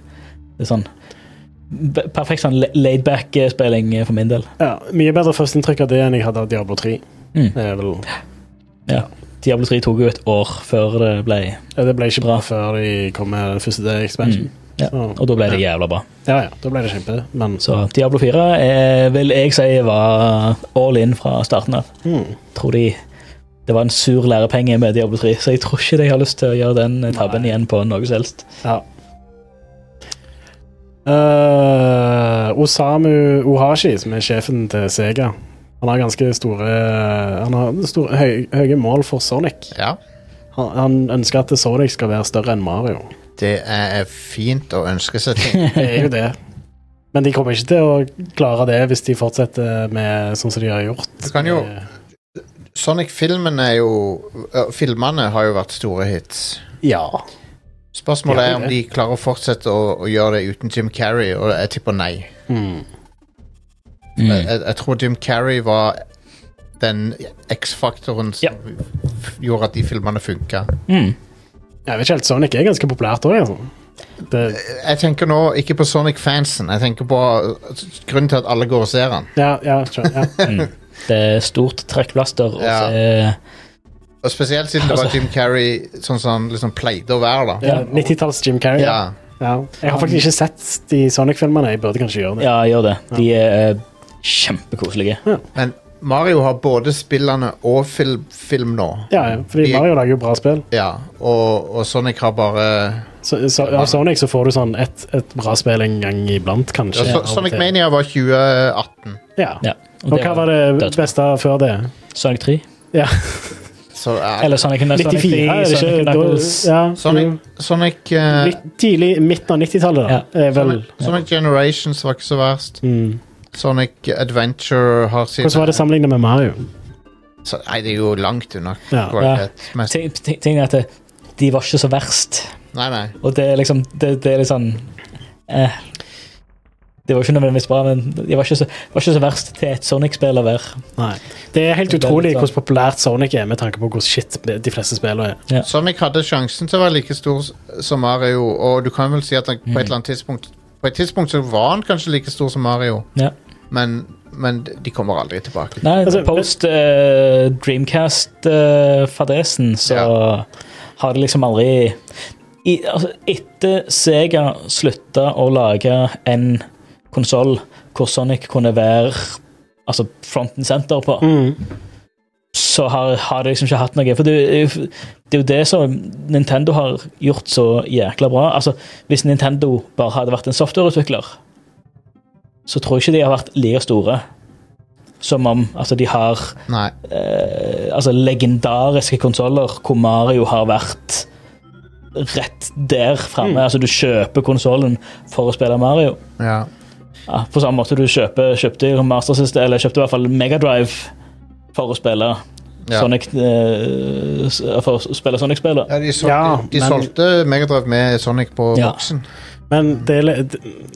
Speaker 2: Det er sånn be- Perfekt sånn laidback-spilling eh, for min del.
Speaker 3: ja. Mye bedre førsteinntrykk av det enn jeg hadde av Diablo 3.
Speaker 2: Mm.
Speaker 3: Det, er vel,
Speaker 2: Diablo 3 tok jo et år før det ble
Speaker 3: ja, det ble ikke
Speaker 2: Bra.
Speaker 3: bra
Speaker 2: Mm.
Speaker 3: før de kom med den første expansion.
Speaker 2: Ja.
Speaker 3: Så,
Speaker 2: Og da ble det jævla bra.
Speaker 3: ja, ja, da ble det kjempe, men
Speaker 2: Så Diablo 4 er, vil jeg si var all in fra starten av.
Speaker 3: mm.
Speaker 2: Tror de Det var en sur lærepenge med Diablo 3, så jeg tror ikke de har lyst til å gjøre den tabben
Speaker 3: Nei.
Speaker 2: igjen på noe som helst.
Speaker 3: Ja. Eh, Osamu Ohashi, som er sjefen til Sega, han har ganske store Han har store, høy, høye mål for Sonic.
Speaker 1: Ja.
Speaker 3: Han, han ønsker at Sonic skal være større enn Mario.
Speaker 1: Det er fint å ønske seg ting.
Speaker 3: Det er jo det. Men de kommer ikke til å klare det hvis de fortsetter med sånn som de har gjort. Eh,
Speaker 1: Du kan jo Sonic-filmen er jo øh, Filmene har jo vært store hits.
Speaker 3: Ja.
Speaker 1: Spørsmålet
Speaker 3: Ja,
Speaker 1: er om
Speaker 3: det.
Speaker 1: de klarer å fortsette å, å gjøre det uten Jim Carrey, og jeg tipper nei.
Speaker 3: Mm.
Speaker 1: Jeg, jeg- jeg tror Jim Carrey var den X-faktoren som f- gjorde at de filmene funka.
Speaker 2: Mm.
Speaker 3: Jeg vet ikke helt, Sonic er ganske populært òg, altså. Det,
Speaker 1: Jeg tenker nå ikke på Sonic-fansen, jeg tenker på uh, grunnen til at alle går og ser han.
Speaker 3: ja, ja, skjønner, ja.
Speaker 2: Det er stort trekkplaster. Og
Speaker 1: Ja.
Speaker 2: så er-
Speaker 1: Og Spesielt siden det var
Speaker 2: Altså-
Speaker 1: Jim Carrey sånn som han liksom pleide å være, da.
Speaker 3: ja. 90-talls Jim Carrey.
Speaker 1: Ja.
Speaker 3: Ja. Jeg har faktisk ikke sett de Sonic-filmene. Jeg burde kanskje gjøre det.
Speaker 2: ja, gjør det. De er eh, kjempekoselige.
Speaker 3: Hm.
Speaker 1: Men Mario har både spillene og film, film nå.
Speaker 3: Ja, ja, fordi
Speaker 1: De-
Speaker 3: Mario lager jo bra spill.
Speaker 1: Ja, og, og Sonic har bare
Speaker 3: Så, så, av Sonic så får du sånn et, et bra spill en gang iblant,
Speaker 1: ja,
Speaker 3: kanskje.
Speaker 1: so
Speaker 3: av og
Speaker 1: Sonic
Speaker 3: til.
Speaker 1: Mania var 2018,
Speaker 3: Ja.
Speaker 2: Ja.
Speaker 3: Og hva var det
Speaker 2: dødsbra.
Speaker 3: beste før det?
Speaker 2: Sonic 3?
Speaker 3: Ja.
Speaker 1: så uh,
Speaker 2: Eller Sonic, Sonic
Speaker 3: 94, er
Speaker 2: 3,
Speaker 3: det
Speaker 2: Sonic
Speaker 3: ikke?
Speaker 2: Knuckles.
Speaker 3: Da- Ja.
Speaker 1: Sonic, Sonic, eh,
Speaker 3: Litt tidlig, midten av 90-tallet, da. Er vel.
Speaker 1: Sonic, Sonic Generations var ikke så verst.
Speaker 3: Mm.
Speaker 1: Sonic Adventure har sin
Speaker 3: Hvordan var det sammenlignet med Mario?
Speaker 1: Så, Nei, det er jo langt unna
Speaker 3: Ja.
Speaker 1: kvalitetsmessig.
Speaker 2: Ting, ting, ting er at det, de var ikke så verst.
Speaker 1: Nei, nei.
Speaker 2: Og det er liksom Det, det er litt sånn eh, Det var ikke nødvendigvis bra, men de var ikke så, var ikke så verst til et Sonic-spill å være.
Speaker 3: Nei. Det er helt
Speaker 2: Det er sånn.
Speaker 3: utrolig
Speaker 2: litt
Speaker 3: hvordan populært Sonic er, med tanke på hvor shit de fleste spillene er.
Speaker 2: Ja.
Speaker 1: Sonic hadde sjansen til å være like stor s- som Mario, og du kan vel si at han på et eller annet tidspunkt På et tidspunkt så var han kanskje like stor som Mario,
Speaker 2: Ja.
Speaker 1: men, men de kommer aldri tilbake.
Speaker 2: Nei,
Speaker 3: Altså,
Speaker 2: post eh, Dreamcast-fadesen, så
Speaker 1: Ja.
Speaker 2: har det liksom aldri i, altså, Etter Sega slutta å lage en konsoll hvor Sonic kunne være altså, front and center på,
Speaker 3: Mm.
Speaker 2: så har, har det liksom ikke hatt noe. For det, er jo- det er jo det som Nintendo har gjort så jækla bra. Altså, Hvis Nintendo bare hadde vært en softwareutvikler, så tror jeg ikke de har vært like store som om altså, de har
Speaker 1: Nei.
Speaker 2: eh, altså, legendariske konsoller hvor Mario har vært rett der framme. Altså, du kjøper konsollen for å spille Mario.
Speaker 1: Ja.
Speaker 2: Ja, på samme måte du kjøper, kjøpte jo Master System, eller kjøpte i hvert fall Megadrive for å spille
Speaker 1: Ja.
Speaker 2: Sonic eh, s- For å spille Sonic-spillet.
Speaker 1: Ja, de solgte,
Speaker 3: Ja,
Speaker 1: de
Speaker 3: men-
Speaker 1: solgte Megadrive med Sonic på
Speaker 2: Ja.
Speaker 1: boksen.
Speaker 3: Men det er, litt-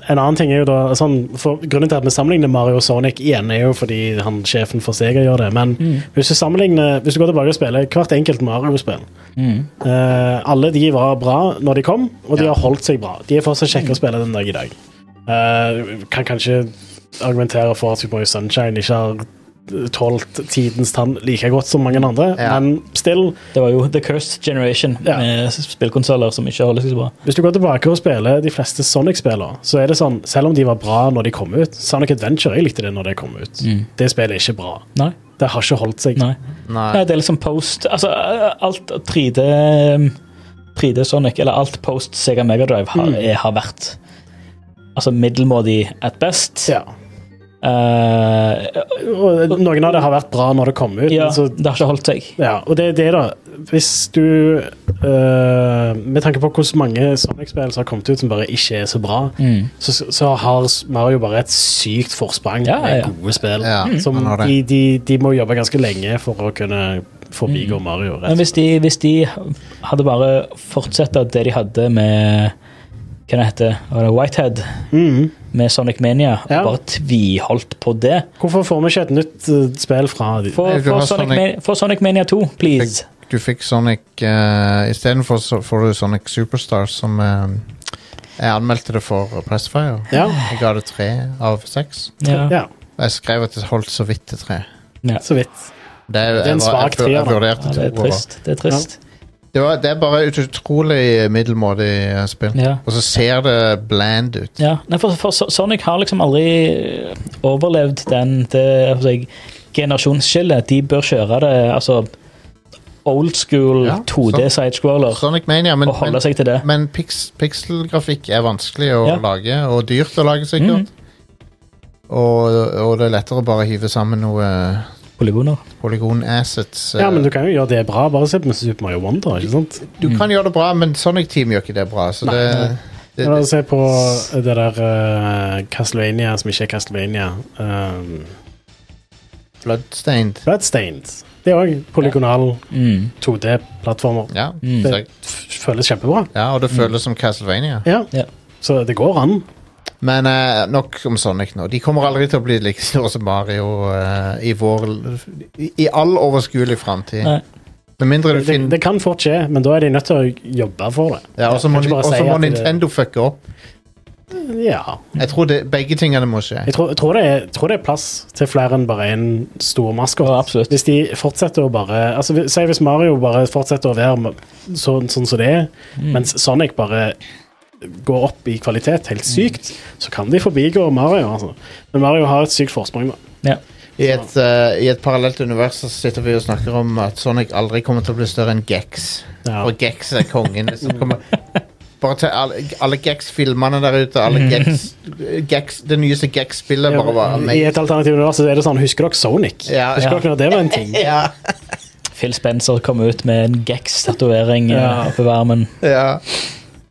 Speaker 3: en annen ting er jo da sånn, for Grunnen til at vi sammenligner Mario og Sonic igjen, er jo fordi han sjefen for Sega gjør det. Men hvis, du sammenligner, hvis du går tilbake og spiller hvert enkelt Mario-spill
Speaker 2: Mm.
Speaker 3: eh, Alle de var bra når de kom, og de
Speaker 1: Ja.
Speaker 3: har holdt seg bra. De er fortsatt kjekke å spille den dag i dag. Eh, kan kanskje argumentere for at Super Mario Sunshine ikke har eh, tålt tidens tann like godt som mange andre,
Speaker 1: Ja.
Speaker 3: men still
Speaker 2: Det var jo The Cursed Generation
Speaker 3: Ja.
Speaker 2: med spillkonsoller som ikke holder seg så bra.
Speaker 3: Hvis du går tilbake og spiller de fleste Sonic-spillene, så er det sånn, selv om de var bra når de kom ut Sonic Adventure, jeg likte det når det kom ut. Det spillet er ikke bra.
Speaker 2: Nei.
Speaker 3: Det har ikke holdt seg.
Speaker 2: Nei.
Speaker 1: Nei.
Speaker 2: Nei, det er liksom post Altså, eh, alt 3D eh, 3D Sonic, eller alt post Sega Megadrive har, er- har vært Altså middelmådig at best.
Speaker 3: Ja.
Speaker 2: Eh, Eh,
Speaker 3: Og noen av det har vært bra når det kom ut.
Speaker 2: ja,
Speaker 3: men Så,
Speaker 2: det har ikke holdt seg.
Speaker 3: ja, og det er det, da. Hvis du eh, Med tanke på hvordan mange Sonic-spill som har kommet ut som bare ikke er så bra,
Speaker 2: Mm.
Speaker 3: så, så har Mario bare et sykt forsprang
Speaker 2: Ja, ja, Mm.
Speaker 3: med
Speaker 2: ja.
Speaker 3: gode spill.
Speaker 1: Ja,
Speaker 3: som
Speaker 1: han har det.
Speaker 3: de, de, de må jobbe ganske lenge for å kunne forbigå Mario.
Speaker 2: Mm. Men
Speaker 3: Rett.
Speaker 2: hvis de, hvis de hadde bare fortsatt av det de hadde med hva det heter, var det Whitehead,
Speaker 3: Mhm.
Speaker 2: med Sonic Mania,
Speaker 3: Ja.
Speaker 2: og bare tviholdt på det
Speaker 3: Hvorfor får vi ikke et nytt eh, spill fra de?
Speaker 2: Få
Speaker 1: Jeg vil
Speaker 2: få
Speaker 1: ha
Speaker 2: Sonic,
Speaker 1: Sonic-
Speaker 2: Mania- få Sonic Mania 2, please.
Speaker 1: Du fikk Sonic uh, Istedenfor så får du Sonic Superstars, som eh, jeg anmeldte det for Pressfire.
Speaker 3: Ja.
Speaker 1: Jeg ga det tre av seks.
Speaker 2: Ja.
Speaker 3: ja,
Speaker 1: Og Jeg skrev at det holdt så vidt til tre.
Speaker 3: så vidt.
Speaker 1: Det er,
Speaker 3: en
Speaker 1: jeg,
Speaker 3: svak
Speaker 1: jeg,
Speaker 3: treer, da.
Speaker 1: vurderte
Speaker 2: Ja, det er
Speaker 1: to over.
Speaker 2: trist. Det er trist.
Speaker 1: Det, var, det er bare et utrolig middelmådig eh, spill.
Speaker 2: Ja.
Speaker 1: Og så ser det bland ut.
Speaker 2: Ja. Nei, for, for So- Sonic har liksom aldri eh, overlevd den det, altså, jeg- generasjonsskillet. De bør kjøre det altså old school
Speaker 1: Ja,
Speaker 2: 2D sidescroller
Speaker 1: Sonic Mania, men,
Speaker 2: og holde
Speaker 1: men,
Speaker 2: seg til det.
Speaker 1: men piks, pikselgrafikk er vanskelig å
Speaker 2: Ja. Mhm.
Speaker 1: lage, og dyrt å lage, sikkert. Og, og det er lettere å bare hive sammen noe
Speaker 2: Polygoner.
Speaker 1: polygon-assets. eh.
Speaker 3: Ja, men du kan jo gjøre det bra. Bare se på Super Mario Wonder. ikke sant?
Speaker 1: Du kan gjøre det bra, men Sonic Team gjør ikke det bra. Så det, det,
Speaker 3: Eller
Speaker 1: det,
Speaker 3: se på det der eh, Castlevania som ikke er Castlevania. Um, altså-
Speaker 1: Bloodstained.
Speaker 3: Bloodstained. Det er òg polygonal
Speaker 2: Mm.
Speaker 3: 2D-plattformer.
Speaker 1: Ja,
Speaker 2: Mm.
Speaker 1: så, jeg-
Speaker 3: F- Føles kjempebra.
Speaker 1: ja, og det
Speaker 3: Mm.
Speaker 1: føles som Castlevania.
Speaker 3: Ja.
Speaker 2: Ja.
Speaker 3: Så det går an.
Speaker 1: Men eh, nok om Sonic nå. De kommer aldri til å bli like store som Mario eh, i vår i, I all overskuelig framtid.
Speaker 2: Nei.
Speaker 1: Med mindre du
Speaker 3: Det,
Speaker 1: finner
Speaker 3: det kan fort skje, men da er de nødt til å jobbe for det.
Speaker 1: ja, Og så må,
Speaker 3: Kan ikke
Speaker 1: Ni-
Speaker 3: bare
Speaker 1: også
Speaker 3: si
Speaker 1: må
Speaker 3: at det- Mm.
Speaker 1: Nintendo fucke opp.
Speaker 3: Ja.
Speaker 1: Jeg tror det, begge tingene må skje.
Speaker 3: Jeg tror, jeg tror, det er, jeg tror det er plass til flere enn bare en stor maskot.
Speaker 2: Ja, absolutt.
Speaker 3: hvis de fortsetter å bare altså, hvis- Si hvis Mario bare fortsetter å være ma- sånn, sånn som det er,
Speaker 2: Mm.
Speaker 3: mens Sonic bare går opp i kvalitet
Speaker 2: Mm.
Speaker 3: helt sykt, så kan de forbigå Mario. Altså. Men Mario har et sykt forsprang. da.
Speaker 2: Ja.
Speaker 1: I et, eh, I et parallelt univers så sitter vi og snakker om at Sonic aldri kommer til å bli større enn Gex.
Speaker 3: Ja.
Speaker 1: Og Gex er kongen. Så kommer, bare til alle, alle Gex-filmene der ute. Alle Gex, Gex, det nyeste Gex-spillet bare var
Speaker 3: Mm. I
Speaker 1: meg.
Speaker 3: et alternativ univers så er det sånn Husker dere Sonic?
Speaker 1: Ja,
Speaker 3: husker
Speaker 1: ja.
Speaker 3: dere når det var en ting?
Speaker 1: Ja,
Speaker 2: Phil Spencer kom ut med en Gex-tatovering
Speaker 3: Ja.
Speaker 2: ja. oppe i armen.
Speaker 1: ja.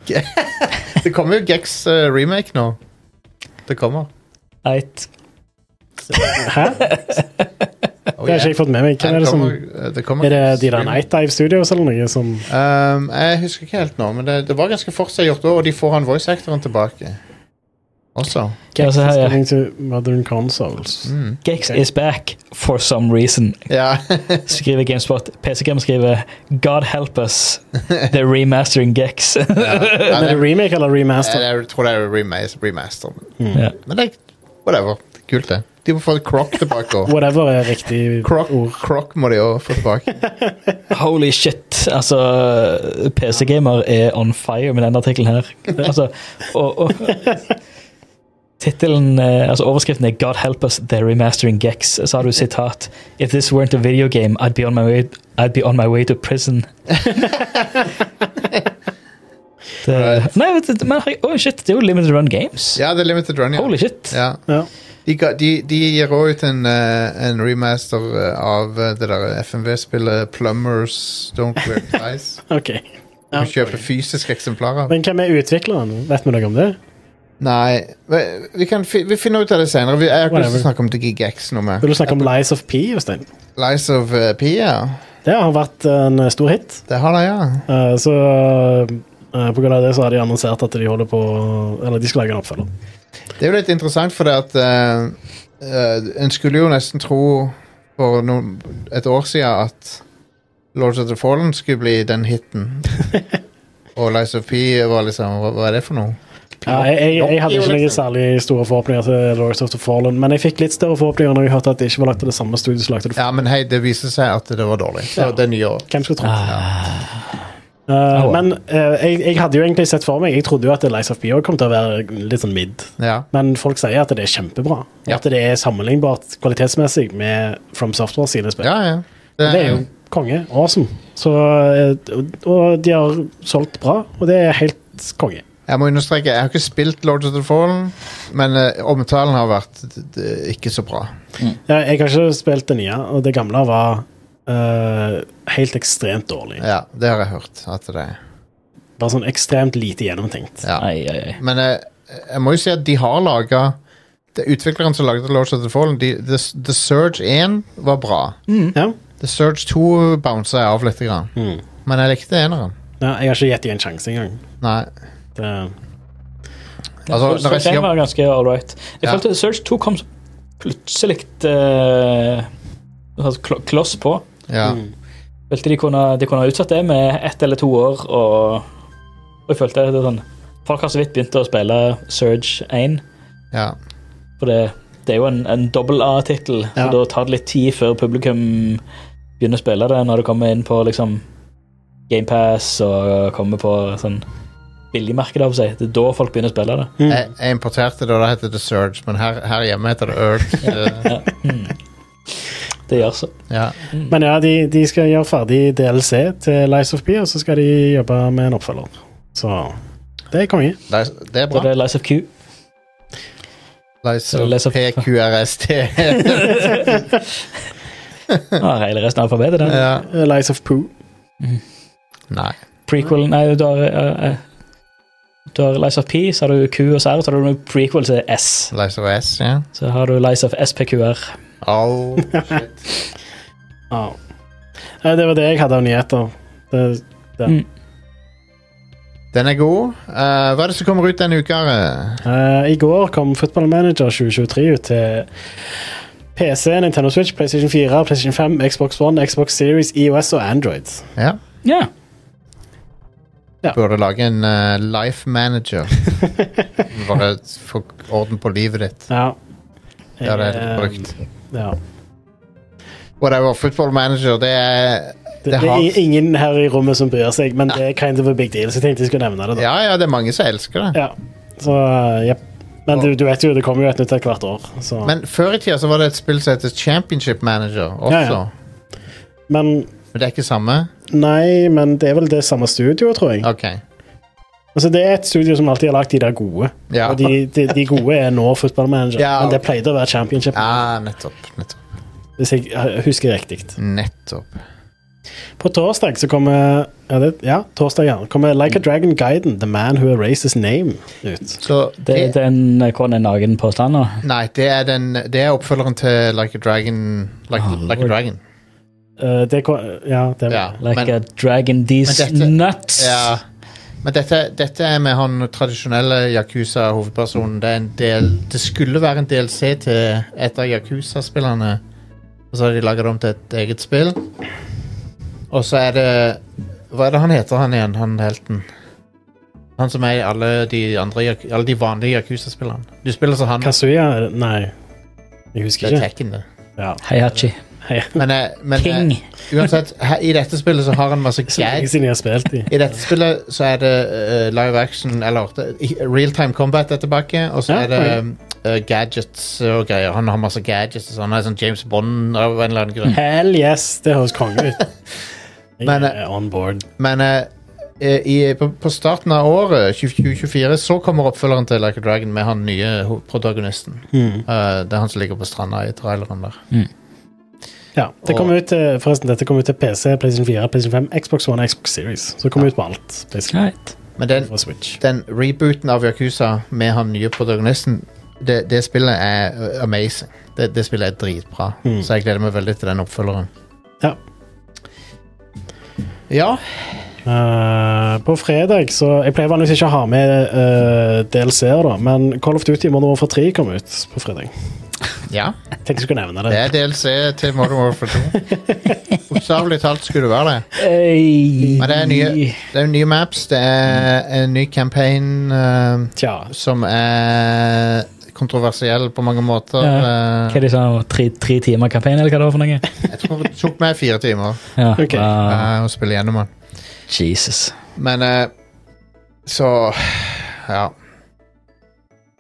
Speaker 1: Ge- Det kommer jo Gex-remake nå. Det kommer.
Speaker 2: Eit.
Speaker 3: Hæ? Det
Speaker 1: Oh,
Speaker 3: har ikke
Speaker 1: yeah.
Speaker 3: jeg fått med meg. Hvem
Speaker 1: Nei,
Speaker 3: er
Speaker 1: det
Speaker 3: det som
Speaker 1: kommer, eh, det kommer
Speaker 3: Er det de der
Speaker 1: remake.
Speaker 3: Night Dive Studios eller noe som
Speaker 1: Um, jeg husker ikke helt nå, men det, det var ganske forseggjort òg, og de får han voice-actoren tilbake. Også.
Speaker 2: Ja,
Speaker 3: Gex
Speaker 2: så
Speaker 3: is
Speaker 2: her, ja.
Speaker 3: coming to modern consoles.
Speaker 1: Mm.
Speaker 2: Gex is back for some reason.
Speaker 1: Ja.
Speaker 2: skriver GameSpot. PC-Game skriver God help us, they're remastering Gex.
Speaker 1: Ja,
Speaker 3: Men er
Speaker 1: det-
Speaker 3: det remake eller remaster?
Speaker 1: Jeg, jeg tror det er remas- remaster.
Speaker 2: ja.
Speaker 1: Men det whatever. Det er kult, det. De må få Croc tilbake òg.
Speaker 3: Whatever er riktig
Speaker 1: Croc,
Speaker 3: ord.
Speaker 1: Croc må de òg få tilbake.
Speaker 2: Holy shit. Altså, PC-gamer er on fire med denne artikkelen her. Altså, og, og Tittelen, eh, altså Overskriften er 'God help us, they're remastering Gex'. Så har du sitat 'If this weren't a video game, I'd be on my way, I'd be on my way to prison'. det, nei, vet du, men herregud, oh shit, det er jo Limited Run Games.
Speaker 1: Ja, det er Limited Run, ja.
Speaker 2: Holy shit.
Speaker 1: ja.
Speaker 3: Ja.
Speaker 1: De, ga, de, de gir òg ut en, eh, en remaster eh, av eh, det der FMV-spillet Plumbers Don't Wear Ties.
Speaker 3: Ok.
Speaker 1: Du
Speaker 3: Ja.
Speaker 1: kjøper fysiske eksemplarer.
Speaker 3: Men hvem er utvikleren? Vet vi noe om det?
Speaker 1: Nei men Vi, kan fi, vi finner ut av det senere. Vi, jeg har ikke lyst til å snakke om DigiGex noe mer.
Speaker 3: Vil du snakke om Lies of P, Jostein?
Speaker 1: Lies of eh, Pia.
Speaker 3: Det har vært en eh, stor hit.
Speaker 1: Det har de, ja.
Speaker 3: Eh, Så eh, på grunn av det så har de annonsert at de holder på Eller de skal lage en oppfølger.
Speaker 1: Det er jo litt interessant, for det at eh, eh, En skulle jo nesten tro for noen, et år siden at Lords of the Fallen skulle bli den hiten. Og Lies of P var liksom Hva, hva er det for noe?
Speaker 3: Ja, jeg, jeg, jeg hadde ikke noen
Speaker 1: liksom.
Speaker 3: særlig store forhåpninger til Lords of the Fallen, men jeg fikk litt større forhåpninger når jeg hørte at det ikke var lagt til det samme studio som lagde det.
Speaker 1: Ja, men hei, det viste seg at det var dårlig. Det,
Speaker 3: Ja.
Speaker 1: det nye år.
Speaker 3: Hvem skulle tro?
Speaker 2: Ah,
Speaker 3: Eh,
Speaker 1: Ah,
Speaker 3: men eh, jeg, jeg hadde jo egentlig sett for meg Jeg trodde jo at Lies of P også kom til å være litt sånn mid.
Speaker 1: Ja.
Speaker 3: Men folk sier at det er kjempebra.
Speaker 1: Ja.
Speaker 3: At det er sammenlignbart kvalitetsmessig med From Software sine spill.
Speaker 1: ja, ja. Det,
Speaker 3: Det er jo konge. eh, Awesome. Så, eh, og- og de har solgt bra, og det er helt konge.
Speaker 1: Jeg må understreke, jeg har ikke spilt Lords of the Fallen, men eh, omtalen har vært d- d- ikke så bra.
Speaker 3: Ja, jeg har ikke spilt det nye, og det gamle var eh, helt ekstremt dårlig.
Speaker 1: Ja, Det har jeg hørt. at det er.
Speaker 3: Bare sånn ekstremt lite gjennomtenkt.
Speaker 1: Ja.
Speaker 2: Ai, ai, ai.
Speaker 1: Men jeg, jeg må jo si at de har laga Utvikleren som lagde Lords of the Fallen, de, The, the Surge 1 var bra.
Speaker 3: Ja.
Speaker 1: The Surge 2 bouncer jeg av litt, grann.
Speaker 3: Mm.
Speaker 1: men jeg likte eneren.
Speaker 3: ja jeg har ikke gitt dem en sjanse engang.
Speaker 1: Nei.
Speaker 3: Det,
Speaker 1: Altså,
Speaker 2: Search
Speaker 1: når jeg sier-
Speaker 2: var ganske all right. Jeg
Speaker 1: Ja.
Speaker 2: følte Search 2 kom så plutselig eh, altså, kl- kloss på.
Speaker 1: Ja.
Speaker 3: mm.
Speaker 2: Følte de kunne, de kunne ha utsatt det med ett eller to år, og, og jeg følte det er sånn Folk har så vidt begynt å spille Surge 1,
Speaker 1: ja.
Speaker 2: for det, det er jo en, en dobbel A-tittel, så
Speaker 3: Ja.
Speaker 2: da tar det litt tid før publikum begynner å spille det, når det kommer inn på liksom GamePass og kommer på sånn billigmarked, av seg. Det er da folk begynner å spille det.
Speaker 3: Mm.
Speaker 1: Jeg, jeg importerte det, og det heter The Surge, men her, her hjemme heter det Urge. Det-
Speaker 2: Ja. Mm. Det gjør så.
Speaker 1: Ja.
Speaker 3: Men ja, de, de skal gjøre ferdig DLC til Lies of P, og så skal de jobbe med en oppfølger. Så det er konge.
Speaker 1: Det er- det er
Speaker 2: Da
Speaker 1: bra.
Speaker 2: er det Lies of Q.
Speaker 1: Lies
Speaker 2: Så
Speaker 1: of
Speaker 2: les opp-
Speaker 1: PQRST.
Speaker 2: Ah, hele resten av alfabetet, den.
Speaker 1: ja.
Speaker 3: Eh, Lies of Poo.
Speaker 2: Mm.
Speaker 1: Nei.
Speaker 2: Prequel Nei, du har eh, eh, Du har Lies of P, så har du Q og SR, så har du noe prequel til S.
Speaker 1: Lies of S, ja.
Speaker 2: Så har du Lies of SPQR.
Speaker 1: All shit.
Speaker 3: Ja. Eh, Det var det jeg hadde av nyheter. Det, det.
Speaker 2: Mm.
Speaker 1: Den er god. Eh, hva er det som kommer ut denne uka? Are?
Speaker 3: Eh, I går kom Football Manager 2023 ut til PC, Nintendo Switch, PlayStation 4, PlayStation 5, Xbox One, Xbox Series, EOS og Android.
Speaker 1: Ja.
Speaker 2: Ja.
Speaker 1: Burde lage en eh, life manager. Bare få orden på livet ditt.
Speaker 3: Ja.
Speaker 1: Det er det
Speaker 3: Eh,
Speaker 1: brukt.
Speaker 3: Ja.
Speaker 1: Whatever. Football manager, det er
Speaker 3: Det,
Speaker 1: Det
Speaker 3: det
Speaker 1: har-
Speaker 3: er ingen her i rommet som bryr seg, men det er kind of a big deal, så jeg tenkte jeg skulle nevne det. da.
Speaker 1: Ja, ja, det er mange som elsker det.
Speaker 3: Ja. Så, eh, jepp. Men du, du vet jo, det kommer jo et nytt et hvert år. Så. Men,
Speaker 1: Men før i tida så var det et spill som heter Championship Manager også.
Speaker 3: Ja, ja.
Speaker 1: Men det er ikke samme?
Speaker 3: nei, men det er vel det samme studioet, tror jeg.
Speaker 1: Ok.
Speaker 3: Altså, det er et studio som alltid har lagt de der gode.
Speaker 1: Ja,
Speaker 3: Og de, de, de gode er nå Football Manager,
Speaker 1: Ja,
Speaker 3: men det
Speaker 1: ok.
Speaker 3: pleide å være championship,
Speaker 1: ja nettopp. Nettopp.
Speaker 3: hvis jeg eh, husker riktig.
Speaker 1: nettopp.
Speaker 3: På torsdag så kommer Ja, det, ja torsdag ja, kommer Like a Dragon Guiden, The Man Who Erases Name, ut.
Speaker 1: Så
Speaker 2: Det,
Speaker 1: det,
Speaker 2: det er en hvordan er nagen på stranda.
Speaker 1: Nei, det er, den, det er oppfølgeren til Like a Dragon. Like, like a Dragon.
Speaker 3: Eh, det kom, ja, det
Speaker 1: Ja,
Speaker 2: Ah, Like
Speaker 1: men,
Speaker 2: a dragon these
Speaker 1: Men dette-
Speaker 2: nuts.
Speaker 1: ja. men dette, dette er med han tradisjonelle Yakuza-hovedpersonen. Det er en del Det skulle være en DLC til et av Yakuza-spillerne. Og så har de laga det om til et eget spill. Og så er det Hva er det han heter, han igjen, han helten? Han som er i alle de, andre, Yaku- alle de vanlige Yakuza-spillerne. Du spiller som han.
Speaker 3: Mm. Kazuya er det- Nei, jeg
Speaker 1: Det
Speaker 3: husker
Speaker 1: er
Speaker 3: ikke.
Speaker 1: Tekken, det.
Speaker 3: Ja.
Speaker 2: Heihachi.
Speaker 1: Men, eh, men eh,
Speaker 2: Ping.
Speaker 1: uansett, her, i dette spillet så har han masse
Speaker 3: Så lenge
Speaker 1: gags.
Speaker 3: siden jeg har spilt de.
Speaker 1: I dette spillet så er det eh, live action, eller det- i- real time combat er tilbake, og så
Speaker 3: Ja,
Speaker 1: er det eh, gadgets og greier. Han har masse gadgets, og så han er sånn James Bond av en eller annen grunn.
Speaker 3: Hell yes, det høres konge ut. Jeg
Speaker 1: Men, eh,
Speaker 3: er on board.
Speaker 1: Men eh, i, på, på starten av året, 2024, så kommer oppfølgeren til Like a Dragon med han nye ho- protagonisten.
Speaker 3: Mm.
Speaker 1: Eh, det er han som ligger på stranda i traileren der.
Speaker 3: Ja, det kom ut, eh, forresten, dette kom ut til PC, PlayStation 4, PlayStation 5, Xbox One og Xbox Series. Så det kom ut på alt. basically,
Speaker 2: Right.
Speaker 1: Men den,
Speaker 3: Fra Switch.
Speaker 1: den rebooten av Yakuza med han nye protagonisten, det, det spillet er uh, amazing. Det, det spillet er dritbra,
Speaker 3: Mm.
Speaker 1: så jeg gleder meg veldig til den oppfølgeren.
Speaker 3: Ja.
Speaker 1: Ja.
Speaker 3: Eh, på fredag så Jeg pleier vanligvis ikke å ha med uh, DLC-er, da, men Call of Duty Modern Warfare 3 kom ut på fredag.
Speaker 1: ja.
Speaker 3: Tenkte jeg skulle nevne det.
Speaker 1: Det er DLC til Modern Warfare 2. Bokstavelig talt skulle det være det.
Speaker 2: Hey.
Speaker 1: Men det er nye, det er nye maps, det er en ny campaign eh,
Speaker 3: Tja.
Speaker 1: som er kontroversiell på mange måter.
Speaker 2: Ja.
Speaker 1: Eh,
Speaker 2: Hva er det sa? Tre, tre timer kampanje, eller hva det var for noe?
Speaker 1: jeg tror det tok meg fire timer
Speaker 2: Ja.
Speaker 3: Ok.
Speaker 2: wow.
Speaker 1: eh, å spille gjennom den.
Speaker 2: Jesus.
Speaker 1: Men eh, Så Ja.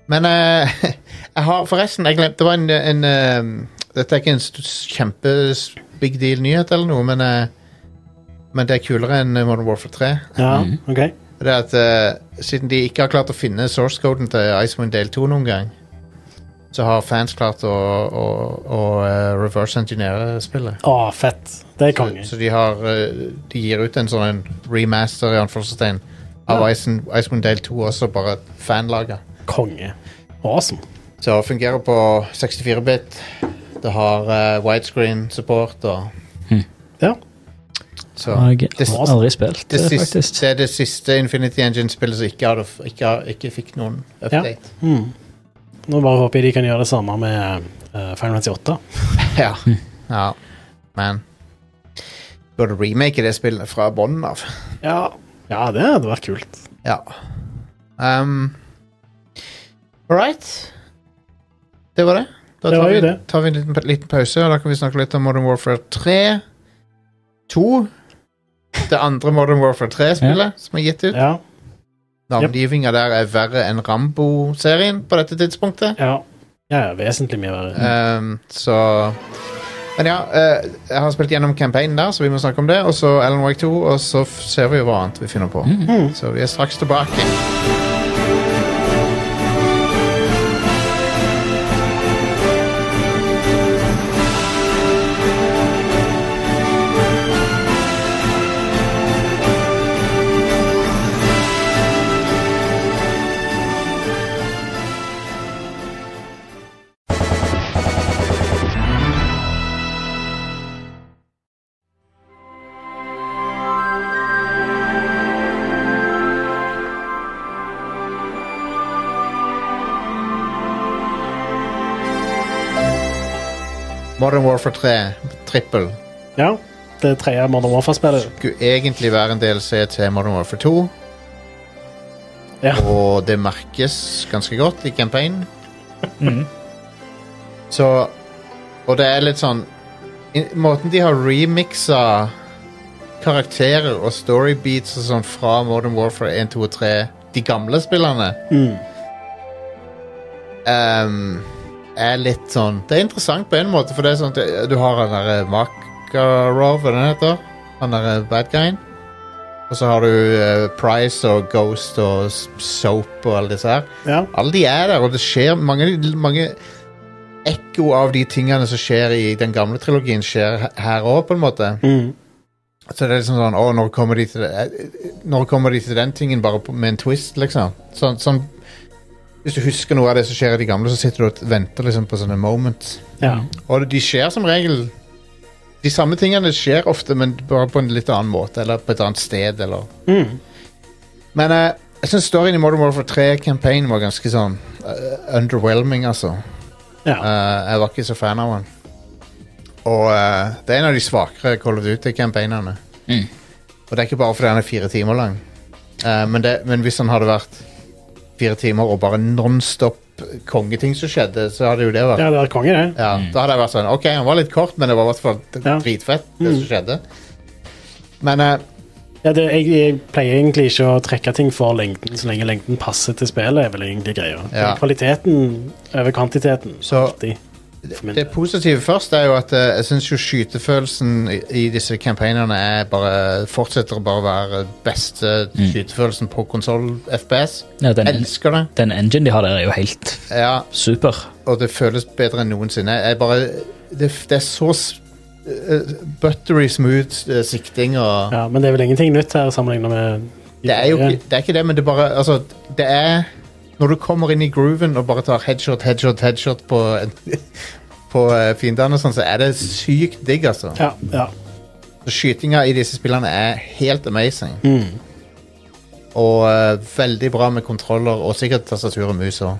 Speaker 1: Men eh, jeg har forresten Jeg glemte det var en, en eh, Dette er ikke en st- kjempe big deal nyhet eller noe, men eh, men det er kulere enn Modern Warfare 3.
Speaker 3: Ja,
Speaker 2: Mhm.
Speaker 3: ok.
Speaker 1: Det er at eh, Siden de ikke har klart å finne source-coden til Icewind Dale 2 noen gang, så har fans klart å, å, å eh, reverse-engineere spillet.
Speaker 3: Å, fett. Det er konge.
Speaker 1: Så de, har, eh, de gir ut en sånn en remaster i anførselstegn av Icen- Icewind Dale 2 også, bare fanlaga.
Speaker 3: Konge. Awesome.
Speaker 1: Så det fungerer på 64-bit. Det har eh, widescreen-support og
Speaker 3: Ja.
Speaker 1: så.
Speaker 2: Jeg
Speaker 1: Det,
Speaker 2: har aldri spilt
Speaker 1: det,
Speaker 2: det,
Speaker 1: siste,
Speaker 2: faktisk.
Speaker 1: det er det siste Infinity Engine-spillet som ikke, hadde, f- ikke, har- ikke fikk noen update.
Speaker 3: Mm. Nå bare håper jeg de kan gjøre det samme med uh, Final Fantasy 8.
Speaker 1: Ja.
Speaker 2: Hm.
Speaker 1: ja. Men Burde remake det spillet fra bånn av.
Speaker 3: Ja. ja, det hadde vært kult.
Speaker 1: Ja. Um, All right. Det var det. Da
Speaker 3: Det
Speaker 1: tar,
Speaker 3: var
Speaker 1: vi,
Speaker 3: jo det.
Speaker 1: tar vi en liten, liten pause, og da kan vi snakke litt om Modern Warfare 3. 2. Det andre Modern Warfare 3-spillet som er gitt ut.
Speaker 3: Ja.
Speaker 1: Navngivninga der er verre enn Rambo-serien på dette tidspunktet.
Speaker 3: Ja. ja vesentlig mye verre.
Speaker 1: Um, så Men ja, eh, jeg har spilt gjennom campaignen der, så vi må snakke om det. Og så Alan Wake 2, og så f- ser vi jo hva annet vi finner på.
Speaker 3: Mm.
Speaker 1: Så vi er straks tilbake. Modern Warfare 3 Trippel
Speaker 3: Ja. Det tredje Modern Warfare-spillet.
Speaker 1: skulle egentlig være en DLC til Modern Warfare 2.
Speaker 3: Ja.
Speaker 1: Og det merkes ganske godt i campaignen. Så Og det er litt sånn i- Måten de har remixa karakterer og storybeats og sånn fra Modern Warfare 1, 2 og 3, de gamle spillene ehm, er litt sånn Det er interessant på en måte, for det er sånn at det- du har han derre Makarov, hva den heter? Han derre bad guyen. Og så har du eh, Price og Ghost og S- Soap og alle disse her.
Speaker 3: Ja.
Speaker 1: Alle de er der, og det skjer mange, mange ekko av de tingene som skjer i den gamle trilogien, skjer he- her òg, på en måte.
Speaker 3: Mm.
Speaker 1: Så det er liksom sånn Å, når kommer de til det? eh, Når kommer de til den tingen, bare på, med en twist, liksom? Sånn, sånn Hvis du husker noe av det som skjer i de gamle, så sitter du og venter liksom på sånne moments.
Speaker 3: ja.
Speaker 1: Og de skjer som regel De samme tingene skjer ofte, men bare på en litt annen måte, eller på et annet sted, eller
Speaker 3: Mm.
Speaker 1: Men eh, jeg syns storyen i Modern Warfare 3-campaignen var ganske sånn eh, underwhelming, altså.
Speaker 3: ja.
Speaker 1: Eh, jeg var ikke så fan av den. Og eh, det er en av de svakere Call of Duty-campaignene.
Speaker 2: Mm.
Speaker 1: Og det er ikke bare fordi den er fire timer lang. Eh, men, det, men hvis den hadde vært fire timer og bare nonstop kongeting som skjedde, så hadde jo det vært
Speaker 3: ja, det hadde vært konge, det.
Speaker 1: ja, Da hadde jeg vært sånn Ok, han var litt kort, men det var i hvert fall d-
Speaker 3: Ja.
Speaker 1: dritfett, det som skjedde. Men eh,
Speaker 3: Ja, det jeg, jeg pleier egentlig ikke å trekke ting for lengden, så lenge lengden passer til spillet, er vel egentlig greia.
Speaker 1: Ja.
Speaker 3: Men Kvaliteten over kvantiteten.
Speaker 1: Så-
Speaker 3: alltid. For min
Speaker 1: det
Speaker 3: del.
Speaker 1: positive først er jo at eh, jeg syns jo skytefølelsen i, i disse campaignene er bare fortsetter å bare være beste skytefølelsen på konsoll FPS.
Speaker 2: Ja, den,
Speaker 1: Elsker det.
Speaker 2: den engine de har der, er jo helt
Speaker 1: Ja,
Speaker 2: super.
Speaker 1: og det føles bedre enn noensinne. Jeg bare, det, det er så s- eh, buttery smooth eh, sikting og
Speaker 3: Ja, men det er vel ingenting nytt her sammenlignet med
Speaker 1: Det er jo ikke det, er ikke det men det bare Altså, det er Når du kommer inn i grooven og bare tar headshot, headshot, headshot på, på eh, fiendene og sånn, så er det sykt digg, altså.
Speaker 3: Ja, ja.
Speaker 1: Så Skytinga i disse spillene er helt amazing. Og eh, veldig bra med kontroller, og sikkert tastatur og mus òg.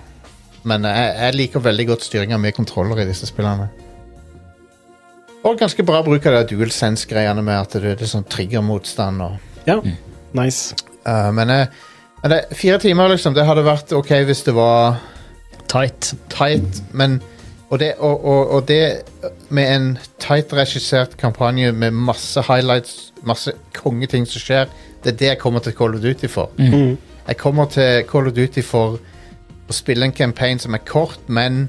Speaker 1: Men eh, jeg, jeg liker veldig godt styring av mye kontroller i disse spillene. Og ganske bra bruk av det dual sense-greiene med at det, det er sånn triggermotstand og
Speaker 3: ja.
Speaker 1: Hmm.
Speaker 3: Nice.
Speaker 1: Eh, Men, eh, men det, fire timer, liksom, det hadde vært ok hvis det var
Speaker 2: Tight.
Speaker 1: tight, men og det, og, og, og det med en tight regissert kampanje med masse highlights, masse kongeting som skjer, det er det jeg kommer til Call of Duty for. Jeg kommer til Call of Duty for å spille en campaign som er kort, men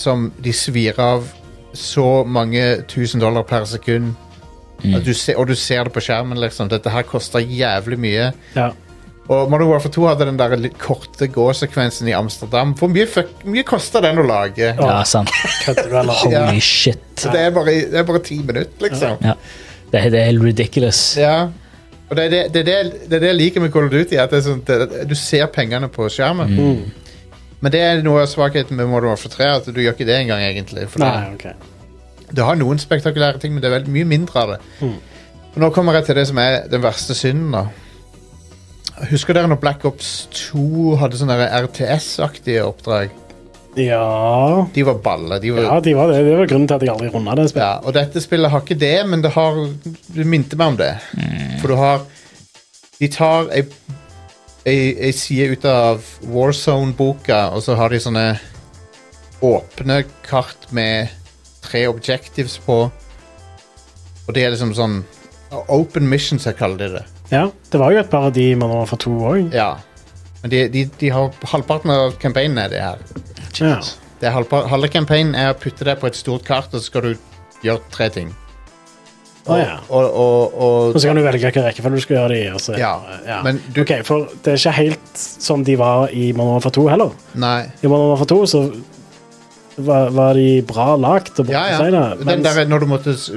Speaker 1: som de svir av så mange tusen dollar per sekund. At du se, og du ser det på skjermen, liksom. Dette her koster jævlig mye.
Speaker 3: Ja.
Speaker 1: Og Modern Warfare 2 hadde den der litt korte gåsekvensen i Amsterdam. Hvor mye, fuck- mye kosta den å lage?
Speaker 2: Ja, sant.
Speaker 3: Kødder du, eller?
Speaker 2: Holy
Speaker 1: Ja.
Speaker 2: shit.
Speaker 1: Så det er bare, det er bare ti minutter, liksom.
Speaker 2: Ja. Det, er- det er helt ridiculous.
Speaker 1: Ja. Og det er det, det, er det, det, er det jeg liker med Call of Duty, at det er sånn, det, du ser pengene på skjermen. Men det er noe av svakheten med Modern Warfare 3, at du gjør ikke det engang, egentlig. For
Speaker 3: Nei,
Speaker 1: det,
Speaker 3: ok.
Speaker 1: det har noen spektakulære ting, men det er veldig mye mindre av det.
Speaker 2: Mm.
Speaker 1: Og nå kommer jeg til det som er den verste synden, da. Husker dere når Black Ops 2 hadde sånne der RTS-aktige oppdrag?
Speaker 3: Ja
Speaker 1: De var balle. De var,
Speaker 3: Ja, de var det. det var grunnen til at jeg aldri runda det spillet.
Speaker 1: Ja, og dette spillet har ikke det, men det har Du minte meg om det. For du har De tar ei, ei, ei side ut av Warzone-boka, og så har de sånne åpne kart med tre objectives på. Og det er liksom sånn Open missions, jeg kaller de det.
Speaker 3: Ja, Det var jo et par av de man var for to òg.
Speaker 1: Ja. Men de, de, de har halvparten av campaignen er det her.
Speaker 3: Ja.
Speaker 1: Det er halvpa- Halve campaignen er å putte deg på et stort kart, og så skal du gjøre tre ting.
Speaker 3: Å, ja.
Speaker 1: Og, og, og,
Speaker 3: Og så kan du velge hvilken rekkefølge du skal gjøre det i. og så-
Speaker 1: Ja, men du-
Speaker 3: Ok, for Det er ikke helt som de var i Man var for to heller.
Speaker 1: Nei.
Speaker 3: I Man var for to så var, var de bra lagt. Og bra
Speaker 1: Ja, ja.
Speaker 3: designet,
Speaker 1: Den
Speaker 3: mens-
Speaker 1: der er når du måtte s-